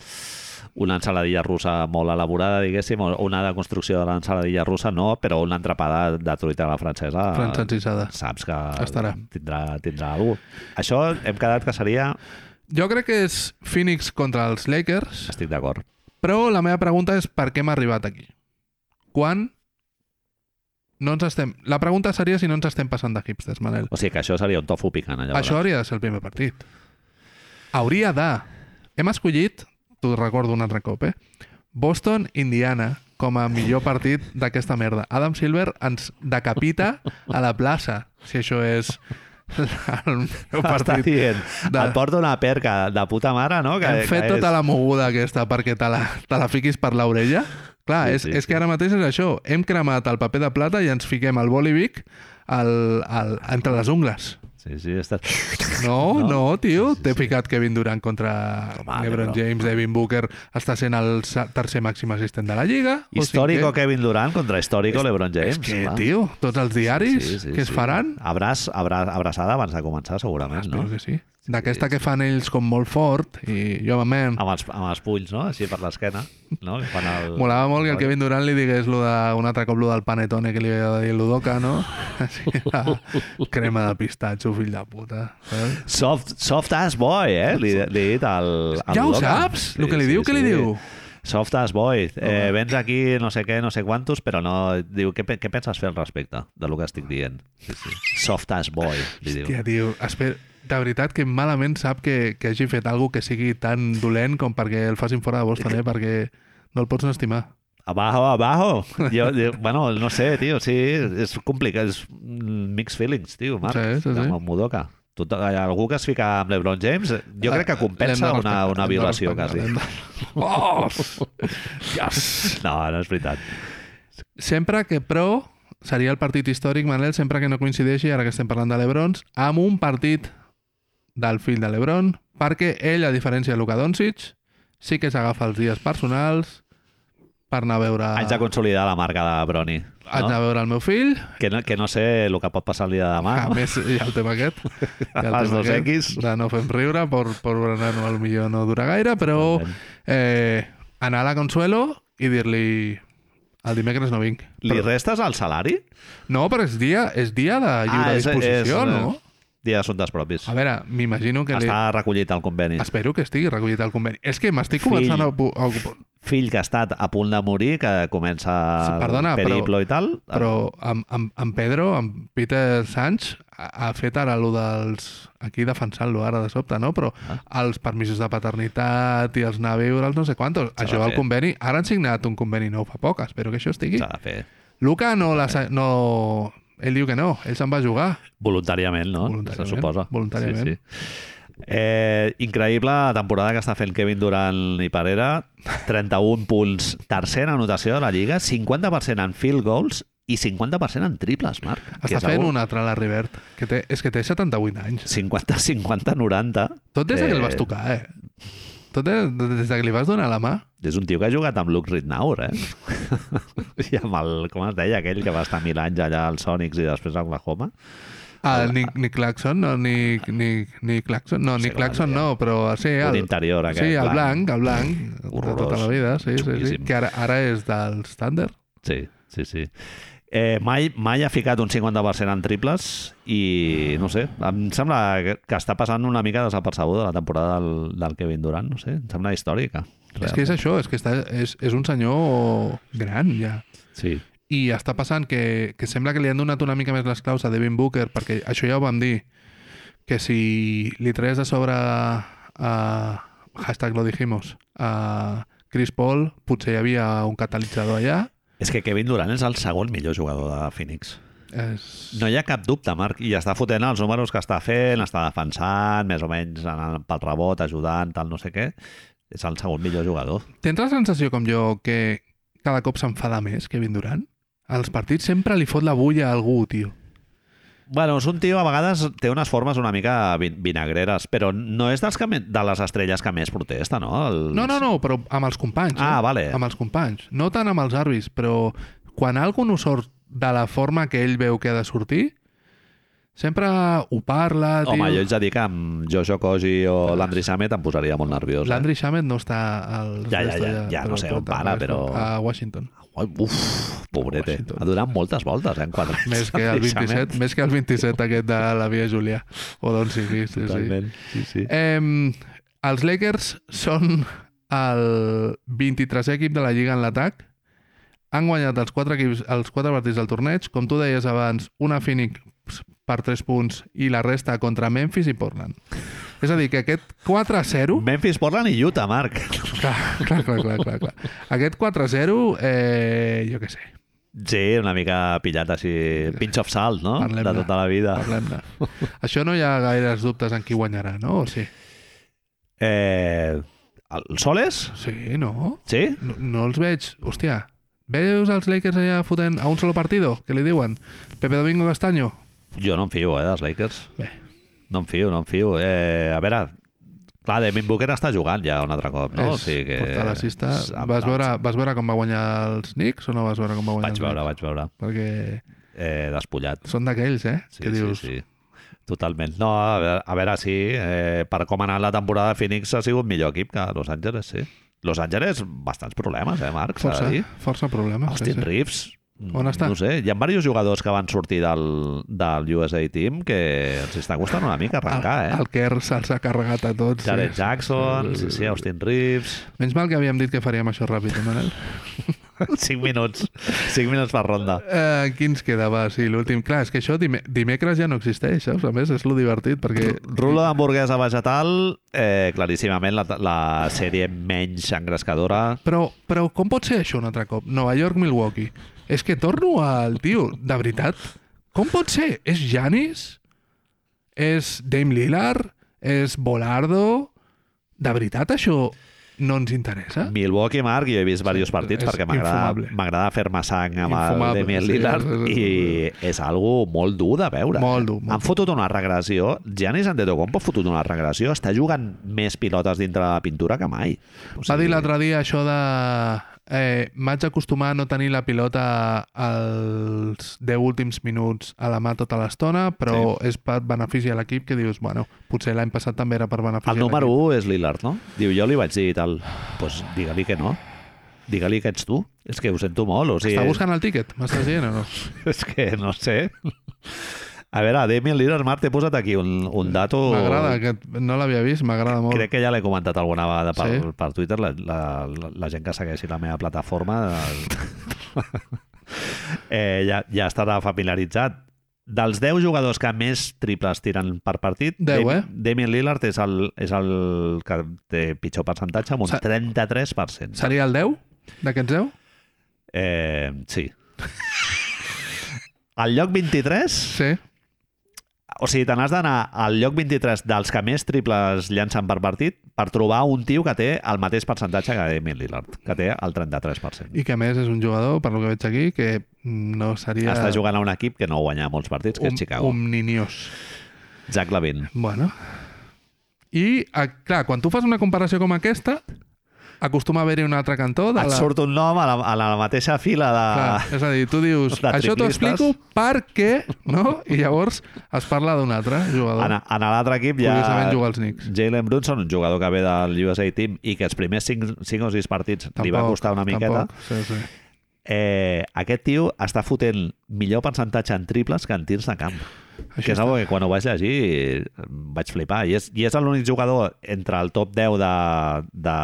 Speaker 1: una ensaladilla russa molt elaborada, diguéssim, o una de construcció de l'ensaladilla russa, no, però una entrepà de, de truita a la francesa...
Speaker 2: Francesisada.
Speaker 1: Saps que
Speaker 2: Estarà.
Speaker 1: tindrà, tindrà algú. Això hem quedat que seria...
Speaker 2: Jo crec que és Phoenix contra els Lakers,
Speaker 1: Estic d'acord.
Speaker 2: però la meva pregunta és per què hem arribat aquí? Quan no ens estem... La pregunta seria si no ens estem passant de hipsters, Manel.
Speaker 1: O sigui que això seria un tofu picant, allà.
Speaker 2: Això hauria de ser el primer partit. Hauria de. Hem escollit, t'ho recordo un altre cop, eh? Boston, Indiana, com a millor partit d'aquesta merda. Adam Silver ens decapita a la plaça, si això és el
Speaker 1: Està
Speaker 2: meu partit.
Speaker 1: dient,
Speaker 2: de-
Speaker 1: et porta una perca de puta mare, no?
Speaker 2: Hem fet
Speaker 1: és-
Speaker 2: tota la moguda aquesta perquè te la, te la fiquis per l'orella. Clar,
Speaker 1: Sí,
Speaker 2: és,
Speaker 1: sí,
Speaker 2: és que
Speaker 1: sí.
Speaker 2: ara mateix és això. Hem cremat el paper de plata i ens fiquem el bolivic al, al, entre les ungles.
Speaker 1: Sí, sí, estàs...
Speaker 2: No, no,
Speaker 1: No?
Speaker 2: tio. T'he picat Kevin Durant contra
Speaker 1: Home,
Speaker 2: LeBron
Speaker 1: però-
Speaker 2: James, Devin Booker. Està sent el sa- tercer màxim assistent de la Lliga. o
Speaker 1: Histórico
Speaker 2: cinquè.
Speaker 1: Kevin Durant contra histórico LeBron James.
Speaker 2: És que,
Speaker 1: clar.
Speaker 2: tio, tots els diaris
Speaker 1: Sí, sí,
Speaker 2: que es
Speaker 1: sí.
Speaker 2: faran...
Speaker 1: Abraç, abraç, abraçada abans de començar, segurament, no?
Speaker 2: Espero que sí. D'aquesta que fan ells com molt fort i jo, man,
Speaker 1: Amb els, amb els punys, no? Així per l'esquena, no? Quan el...
Speaker 2: Molava molt que el Kevin Durant li digués lo de, un altre cop lo del panetone que li havia de dir l'Udoca, no? Així, la crema de pistatxo, fill de puta. saps?
Speaker 1: Soft, soft ass boy, eh? Li, li he dit al... al
Speaker 2: Ja ho
Speaker 1: Logan.
Speaker 2: saps, lo que li diu, què li diu?
Speaker 1: Soft ass boy, eh, vens aquí no sé què, no sé quantos, però no... Diu, què, pe- què penses fer al respecte de lo que estic dient? Sí, sí. Soft ass boy, li diu.
Speaker 2: Hòstia, tio, esper... de veritat que malament sap que, que hagi fet algo que sigui tan dolent com perquè el facin fora de Boston, eh? Perquè no el pots no estimar.
Speaker 1: Abajo, abajo. Jo, jo, bueno, no sé, tio, sí, és complicat, és mm, mixed feelings, tio, Marc,
Speaker 2: Sí, sí, sí.
Speaker 1: amb el Mudoka. Tot, algú que es fica amb l'Ebron James, eh, jo crec que compensa
Speaker 2: Eh, L'hem de
Speaker 1: una,
Speaker 2: respectar,
Speaker 1: una
Speaker 2: l'hem de
Speaker 1: violació,
Speaker 2: respectar,
Speaker 1: quasi.
Speaker 2: l'hem de- Oh! Yes!
Speaker 1: No, no és veritat.
Speaker 2: Sempre que, però, seria el partit històric, Manel, sempre que no coincideixi, ara que estem parlant de l'Ebrons, amb un partit del fill de l'Ebron, perquè ell, a diferència de Luka Doncic, sí que s'agafa els dies personals per anar a veure...
Speaker 1: Haig de consolidar la marca de Broni.
Speaker 2: Haig de
Speaker 1: No?
Speaker 2: veure el meu fill,
Speaker 1: Que, no, que no sé el que pot passar el dia de demà.
Speaker 2: a
Speaker 1: no?
Speaker 2: més hi ha el tema aquest, hi ha el
Speaker 1: Ah. Els
Speaker 2: tema
Speaker 1: dos X.
Speaker 2: de no fem riure, per, per berenar no, millor no dura gaire, però eh, anar a la Consuelo i dir-li el dimecres no vinc.
Speaker 1: Li restes el salari?
Speaker 2: No, però és dia, és dia de lliure
Speaker 1: Ah, és-
Speaker 2: disposició,
Speaker 1: és, eh,
Speaker 2: no?
Speaker 1: Dia d'assumptes propis.
Speaker 2: A veure, m'imagino que... Li...
Speaker 1: Està recollit al conveni.
Speaker 2: Espero que estigui recollit al conveni. És que m'estic
Speaker 1: Fill.
Speaker 2: començant a... ocu- a... ocu-
Speaker 1: Fill que ha estat a punt de morir, que comença
Speaker 2: Sí, perdona,
Speaker 1: el
Speaker 2: però-
Speaker 1: periplo i tal.
Speaker 2: Però amb, amb, amb Pedro, amb Peter Sanz, ha, ha fet ara allò dels... Aquí defensant-lo ara de sobte, no? Però
Speaker 1: Ah.
Speaker 2: els permisos de paternitat i els anar a viure, els no sé quantos.
Speaker 1: S'ha de
Speaker 2: Això al
Speaker 1: fer.
Speaker 2: conveni... Ara han signat un conveni nou fa poc. Espero que això estigui.
Speaker 1: S'ha de fer.
Speaker 2: Luca no... La, sa- no... Ell diu que no. Ell se'n va jugar.
Speaker 1: Voluntàriament, no?
Speaker 2: Voluntàriament,
Speaker 1: Se suposa.
Speaker 2: voluntàriament.
Speaker 1: Sí, sí. Eh, increïble la temporada que està fent Kevin Durant i Parera. 31 punts, tercera anotació de la Lliga, 50% en field goals i 50% en triples, Marc. que
Speaker 2: Està
Speaker 1: és
Speaker 2: fent
Speaker 1: algú-
Speaker 2: un altre a la Rivert. Que té, és que té 78 anys.
Speaker 1: 50, 50, 90.
Speaker 2: Tot des eh... que el
Speaker 1: Eh,
Speaker 2: vas tocar, eh? Tot des, des de que li vas donar la mà.
Speaker 1: És un tio que ha jugat amb Luke Ritnaur, eh? I amb el, com es deia, aquell que va estar mil anys allà als Sonics i després a Oklahoma.
Speaker 2: Ah, ni, ni Claxon, no, ni, ni, ni Claxon, no,
Speaker 1: Sí,
Speaker 2: ni
Speaker 1: clar,
Speaker 2: Claxon
Speaker 1: ja.
Speaker 2: no, però sí,
Speaker 1: Un
Speaker 2: el,
Speaker 1: interior, aquest.
Speaker 2: sí, el blanc, el blanc, de
Speaker 1: Horrorós.
Speaker 2: tota la vida, sí, sí, sí,
Speaker 1: Xunguíssim.
Speaker 2: que ara, ara és dels Thunder.
Speaker 1: Sí, sí, sí. Eh, mai, mai ha ficat un 50% en triples i, no sé, em sembla que, que està passant una mica desapercebuda la temporada del, del Kevin Durant, no sé, em sembla històrica.
Speaker 2: És que és això, és que està, és, és un senyor gran, ja.
Speaker 1: Sí,
Speaker 2: I està passant que, que sembla que li han donat una mica més les claus a Devin Booker, perquè això ja ho vam dir, que si li traies de sobre a... hashtag lo dijimos, a Chris Paul, potser hi havia un catalitzador allà.
Speaker 1: és que Kevin Durant és el segon millor jugador de Phoenix.
Speaker 2: És...
Speaker 1: No hi ha cap dubte, Marc, i està fotent els números que està fent, està defensant, més o menys anant pel rebot, ajudant, tal, no sé què. És el segon millor jugador.
Speaker 2: Tens la sensació com jo que cada cop s'enfada més Kevin Durant? Als partits sempre li fot la bulla a algú, tio.
Speaker 1: Bueno, és un tio, a vegades té unes formes una mica vin- vinagreres, però no és dels que, me- de les estrelles que més protesta, no? Els...
Speaker 2: No, no, no, però amb els companys.
Speaker 1: Ah,
Speaker 2: eh?
Speaker 1: vale.
Speaker 2: Amb els companys. No tant amb els arbis, però quan algú no sort de la forma que ell veu que ha de sortir, sempre ho parla, tio.
Speaker 1: Home, jo haig de dir que amb Jojo Koji o l'Andri Samet em posaria molt nerviós. Eh?
Speaker 2: Landry Shamet no està al...
Speaker 1: Ja, ja, ja, ja, no sé on para, però-
Speaker 2: A Washington.
Speaker 1: Ui, Uf, pobrete.
Speaker 2: Washington.
Speaker 1: Ha donat moltes voltes, eh? en Quatre anys.
Speaker 2: Més que el
Speaker 1: l'Andri Samet.
Speaker 2: 27, més que el 27 aquest de la Via Julià. O d'on sigui, sí, sí.
Speaker 1: Totalment. Sí, sí.
Speaker 2: Eh, els Lakers són el 23è equip de la Lliga en l'atac. Han guanyat els quatre, equips, els quatre partits del torneig. Com tu deies abans, una Phoenix per 3 punts i la resta contra Memphis i Portland. És a dir, que aquest 4-0...
Speaker 1: Memphis, Portland i Utah, Marc.
Speaker 2: Clar, clar, clar, clar, clar, clar. Aquest 4-0, eh, jo què sé,
Speaker 1: Sí, una mica pillat així, pinch of salt, no?
Speaker 2: Parlem-ne.
Speaker 1: De tota la vida.
Speaker 2: parlem-ne. Això no hi ha gaires dubtes en qui guanyarà, no? O sí?
Speaker 1: Eh, el Soles?
Speaker 2: Sí, no?
Speaker 1: Sí?
Speaker 2: No, no els veig. Hòstia, veus els Lakers allà fotent a un solo partido? Què li diuen? Pepe Domingo Castaño?
Speaker 1: Jo no em fio, eh, dels Lakers.
Speaker 2: Bé.
Speaker 1: No em fio, no em fio. Eh, a veure, clar, Devin Booker està jugant ja un altre cop, no?
Speaker 2: és Portar la cista. Vas veure, vas veure com va guanyar els Knicks o no vas veure com va guanyar
Speaker 1: Vaig
Speaker 2: els
Speaker 1: veure, vaig veure.
Speaker 2: Knicks? Perquè
Speaker 1: Eh, despullat.
Speaker 2: són d'aquells, eh?
Speaker 1: Sí,
Speaker 2: que dius,
Speaker 1: sí, sí. Totalment. No, a veure, a veure si eh, per com ha anat la temporada Phoenix ha sigut millor equip que Los Angeles, sí. Los Angeles, bastants problemes, eh, Marc? s'ha de
Speaker 2: força,
Speaker 1: dir.
Speaker 2: força problema.
Speaker 1: Austin Reeves,
Speaker 2: On està?
Speaker 1: No ho sé, hi ha diversos jugadors que van sortir del, del USA Team que els està costant una mica arrencar, eh?
Speaker 2: El, el Kerr se'ls ha carregat a tots.
Speaker 1: Jared
Speaker 2: Sí.
Speaker 1: Jackson, sí, sí, Austin Reeves...
Speaker 2: Menys mal que havíem dit que faríem això ràpid, eh, Manel?
Speaker 1: 5 minuts, 5 minuts per ronda.
Speaker 2: Uh, qui ens quedava? Sí, l'últim. Clar, és que això dime dimecres ja no existeix, saps? A més, és lo divertit, perquè...
Speaker 1: Rulo d'hamburguesa vegetal, eh, claríssimament la, la sèrie menys engrescadora.
Speaker 2: Però, però com pot ser això un altre cop? Nova York-Milwaukee. És que torno al tio, de veritat. Com pot ser? És Janis? És Dame Lillard? És Bolardo? De veritat això no ens interessa?
Speaker 1: Milwaukee, Marc, jo he vist diversos partits
Speaker 2: és
Speaker 1: perquè m'agrada
Speaker 2: infumable.
Speaker 1: m'agrada fer-me sang amb
Speaker 2: Infumable,
Speaker 1: el Damian
Speaker 2: sí,
Speaker 1: Lillard
Speaker 2: és- és-
Speaker 1: i és algo molt dur de veure.
Speaker 2: Molt dur, molt
Speaker 1: Han fotut una regressió. Giannis Antetokounmpo ha fotut una regressió. Està jugant més pilotes dintre de la pintura que mai. O
Speaker 2: Va dir l'altre dia això de... Eh, M'haig acostumar a no tenir la pilota als 10 últims minuts a la mà tota l'estona, però sí. és per benefici a l'equip que dius, bueno, potser l'any passat també era per benefici
Speaker 1: El número 1 és Lillard, no? Diu, jo li vaig dir i tal. Doncs pues, digue-li que no. Digue-li que ets tu. És que ho sento molt. O sigui,
Speaker 2: Està buscant el tíquet, m'estàs dient o no?
Speaker 1: És que no sé. A veure, Damien Lillard, Marc, t'he posat aquí un, un dato...
Speaker 2: M'agrada, aquest no l'havia vist, m'agrada molt.
Speaker 1: Oh. Crec que ja l'he comentat alguna vegada per, sí.
Speaker 2: Sí.
Speaker 1: per Twitter, la, la, la, la gent que segueixi la meva plataforma eh, ja, ja estarà familiaritzat. Dels 10 jugadors que més triples tiren per partit,
Speaker 2: Deu,
Speaker 1: Dam-
Speaker 2: eh?
Speaker 1: Damien Lillard és el, és el que té pitjor percentatge, amb un
Speaker 2: Sa-
Speaker 1: 33%.
Speaker 2: Seria el 10 d'aquests 10?
Speaker 1: Eh, sí. Al lloc 23
Speaker 2: Sí.
Speaker 1: o sigui, te n'has d'anar al lloc 23 dels que més triples llancen per partit per trobar un tio que té el mateix percentatge que Emil Lillard, que té el 33%.
Speaker 2: I que a més és un jugador, per lo que veig aquí, que no seria...
Speaker 1: Està jugant a un equip que no guanya molts partits, que és Chicago. Um,
Speaker 2: Omniniós.
Speaker 1: Zach Lavin.
Speaker 2: Bueno. I, a, clar, quan tu fas una comparació com aquesta, acostuma a haver-hi un altre cantó de
Speaker 1: Et
Speaker 2: la...
Speaker 1: surt un nom a la, a la mateixa fila de...
Speaker 2: Clar, és a dir, tu dius,
Speaker 1: de
Speaker 2: això t'ho
Speaker 1: triplistes."
Speaker 2: explico perquè, no? I llavors es parla d'un altre jugador.
Speaker 1: En, en l'altre equip hi ha
Speaker 2: Curiosament juga als Knicks.
Speaker 1: Jalen Brunson, un jugador que ve del USA Team i que els primers 5, 5 o 6 partits li va costar una miqueta.
Speaker 2: Tampoc, sí, sí.
Speaker 1: Eh, aquest tio està fotent millor percentatge en triples que en tirs de camp.
Speaker 2: Això
Speaker 1: que és
Speaker 2: està.
Speaker 1: una que quan ho vaig llegir eh, vaig flipar. I és, i és l'únic jugador entre el top 10 de, de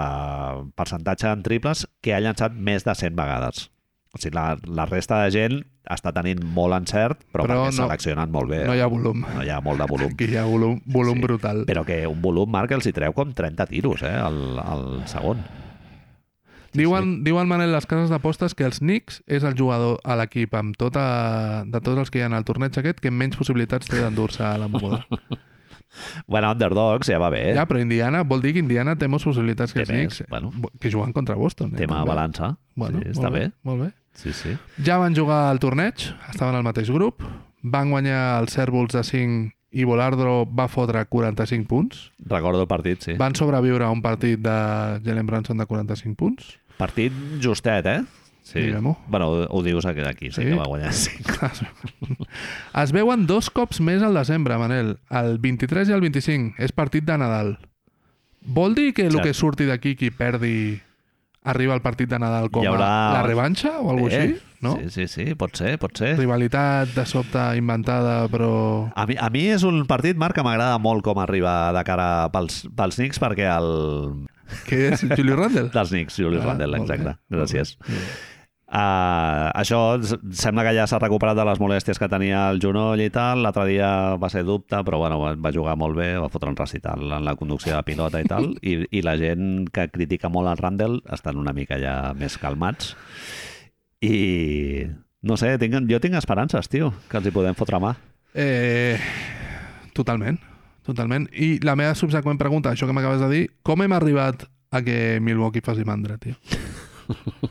Speaker 1: percentatge en triples que ha llançat més de 100 vegades. O sigui, la, la resta de gent està tenint molt encert, però,
Speaker 2: Però
Speaker 1: però perquè
Speaker 2: no-
Speaker 1: seleccionen molt bé.
Speaker 2: No hi ha volum.
Speaker 1: no hi ha molt de volum.
Speaker 2: Aquí hi ha volum, volum sí. brutal.
Speaker 1: Però que un volum, Marc, els hi treu com 30 tiros, eh, al, al segon.
Speaker 2: Diuen, diuen Manel les cases d'apostes que els Knicks és el jugador a l'equip amb tota, de tots els que hi ha al torneig aquest que menys possibilitats té d'endur-se a la moguda.
Speaker 1: Bueno, underdogs, ja va bé.
Speaker 2: Ja, però Indiana, vol dir que Indiana té moltes possibilitats que
Speaker 1: Eh? Té
Speaker 2: els
Speaker 1: més,
Speaker 2: Knicks, eh,
Speaker 1: bueno.
Speaker 2: que juguen contra Boston. eh,
Speaker 1: Tema
Speaker 2: també.
Speaker 1: balança.
Speaker 2: Bueno,
Speaker 1: sí, està
Speaker 2: molt
Speaker 1: bé.
Speaker 2: bé. Molt bé.
Speaker 1: Sí, sí.
Speaker 2: Ja van jugar al torneig, estaven al mateix grup, van guanyar els Cèrvols de 5 i Volardo va fotre 45 punts.
Speaker 1: Recordo el partit, sí.
Speaker 2: Van sobreviure a un partit de Jalen Branson de 45 punts.
Speaker 1: Partit justet, eh? Sí.
Speaker 2: Diguem-ho.
Speaker 1: Bueno, ho, ho dius aquí, aquí sí,
Speaker 2: Sí.
Speaker 1: sí, que va guanyar 5.
Speaker 2: Es veuen dos cops més al desembre, Manel. El 23 i el 25. És partit de Nadal. Vol dir que el
Speaker 1: Cert.
Speaker 2: que surti d'aquí qui perdi arriba al partit de Nadal com
Speaker 1: Hi haurà- Eh,
Speaker 2: a la revanxa o alguna cosa així? No?
Speaker 1: Sí, sí, sí, pot ser, pot ser.
Speaker 2: Rivalitat de sobte inventada, però...
Speaker 1: A mi, a mi és un partit, Marc, que m'agrada molt com arriba de cara pels, pels Knicks, perquè el...
Speaker 2: Què és? Julio Randle?
Speaker 1: dels Knicks, Julius
Speaker 2: Ah,
Speaker 1: Randle,
Speaker 2: molt bé,
Speaker 1: exacte.
Speaker 2: molt
Speaker 1: Gràcies.
Speaker 2: bé.
Speaker 1: Uh, això s- sembla que ja s'ha recuperat de les molèsties que tenia el genoll i tal. L'altre dia va ser dubte, però bueno, va- va jugar molt bé, va fotre un recital en la conducció de pilota i tal. I, i la gent que critica molt el Randall estan una mica ja més calmats. I no sé, tinc, jo tinc esperances, tio, que els hi podem fotre mà.
Speaker 2: Eh, totalment, totalment. I la meva subseqüent pregunta, això que m'acabes de dir, com hem arribat a que Milwaukee faci mandra, tio?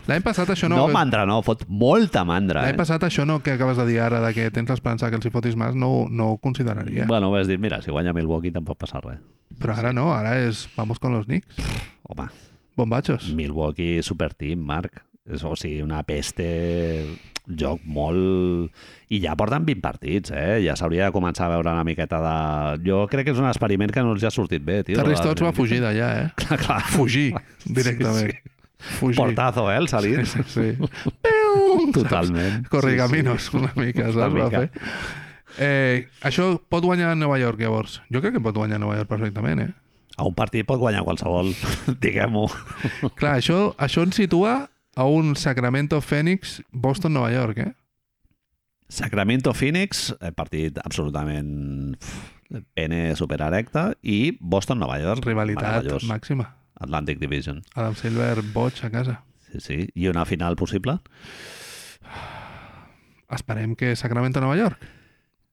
Speaker 2: L'any passat això no... eh.
Speaker 1: No, no mandra, no, fot molta mandra.
Speaker 2: L'any
Speaker 1: Eh?
Speaker 2: passat això no que acabes de dir ara, de que tens l'esperança que els hi fotis més, no, ho- no ho consideraria.
Speaker 1: Bueno, vas dir, mira, si guanya Milwaukee tampoc passa res.
Speaker 2: Però ara no, ara és vamos con los Knicks.
Speaker 1: Home,
Speaker 2: Bombachos.
Speaker 1: Milwaukee superteam, Marc. És, o sigui, una peste un joc molt... I ja porten 20 partits, eh? Ja s'hauria de començar a veure una miqueta de... Jo crec que és un experiment que no els ha sortit bé, tio.
Speaker 2: Terry Stotts va fugir d'allà, eh?
Speaker 1: Clar, clar.
Speaker 2: Fugir, directament.
Speaker 1: Sí,
Speaker 2: Fugir.
Speaker 1: Portazo, eh, el salir.
Speaker 2: Sí, sí. Piu!
Speaker 1: Totalment.
Speaker 2: Correcaminos, sí, sí. una mica,
Speaker 1: Una
Speaker 2: saps? Va
Speaker 1: mica.
Speaker 2: fer. Eh, això pot guanyar a Nova York, llavors. Jo crec que pot guanyar a Nova York perfectament, eh?
Speaker 1: A un partit pot guanyar qualsevol, diguem-ho.
Speaker 2: Clar, això, això ens situa a un Sacramento Phoenix Boston-Nova York, eh?
Speaker 1: Sacramento Phoenix, eh, partit absolutament pf, pene superarecta, i Boston-Nova York.
Speaker 2: Rivalitat
Speaker 1: meravellós.
Speaker 2: màxima.
Speaker 1: Atlantic Division.
Speaker 2: Adam Silver boig a casa.
Speaker 1: Sí, sí. I una final possible?
Speaker 2: Esperem que Sacramento-Nova York.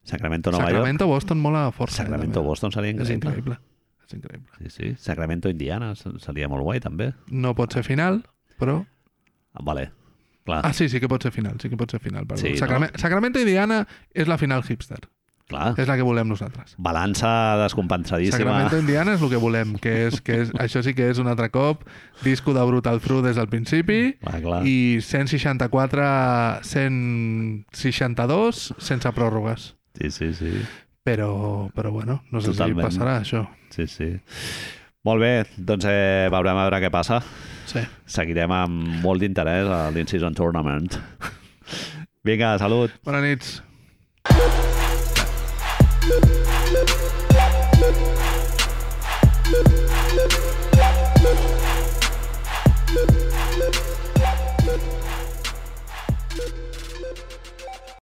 Speaker 1: Sacramento, Nova York.
Speaker 2: Sacramento, Boston, mola força. eh,
Speaker 1: Sacramento,
Speaker 2: també.
Speaker 1: Boston seria
Speaker 2: És
Speaker 1: increïble.
Speaker 2: increïble. És increïble.
Speaker 1: Sí, sí. Sacramento, Indiana se- seria molt guai, també.
Speaker 2: No pot ser final, però...
Speaker 1: Ah, Vale, clar,
Speaker 2: Ah, sí, sí que pot ser final, sí que pot ser final. perdó.
Speaker 1: Sí, no?
Speaker 2: Sacrame- Sacramento i Diana és la final hipster.
Speaker 1: clar.
Speaker 2: És la que volem nosaltres.
Speaker 1: Balança descompensadíssima.
Speaker 2: Sacramento Indiana és el que volem, que és, que és, això sí que és un altre cop, disco de Brutal Through des del principi,
Speaker 1: Clar, clar. I...
Speaker 2: i 164, 162, sense pròrrogues.
Speaker 1: Sí, sí, sí.
Speaker 2: Però, però bueno, no sé
Speaker 1: Totalment.
Speaker 2: si passarà això.
Speaker 1: sí, sí. Molt bé, doncs eh, veurem a veure què passa.
Speaker 2: Sí.
Speaker 1: Seguirem amb molt d'interès a l'Incision Tournament. Vinga, salut!
Speaker 2: Bona nits.
Speaker 3: Thank you.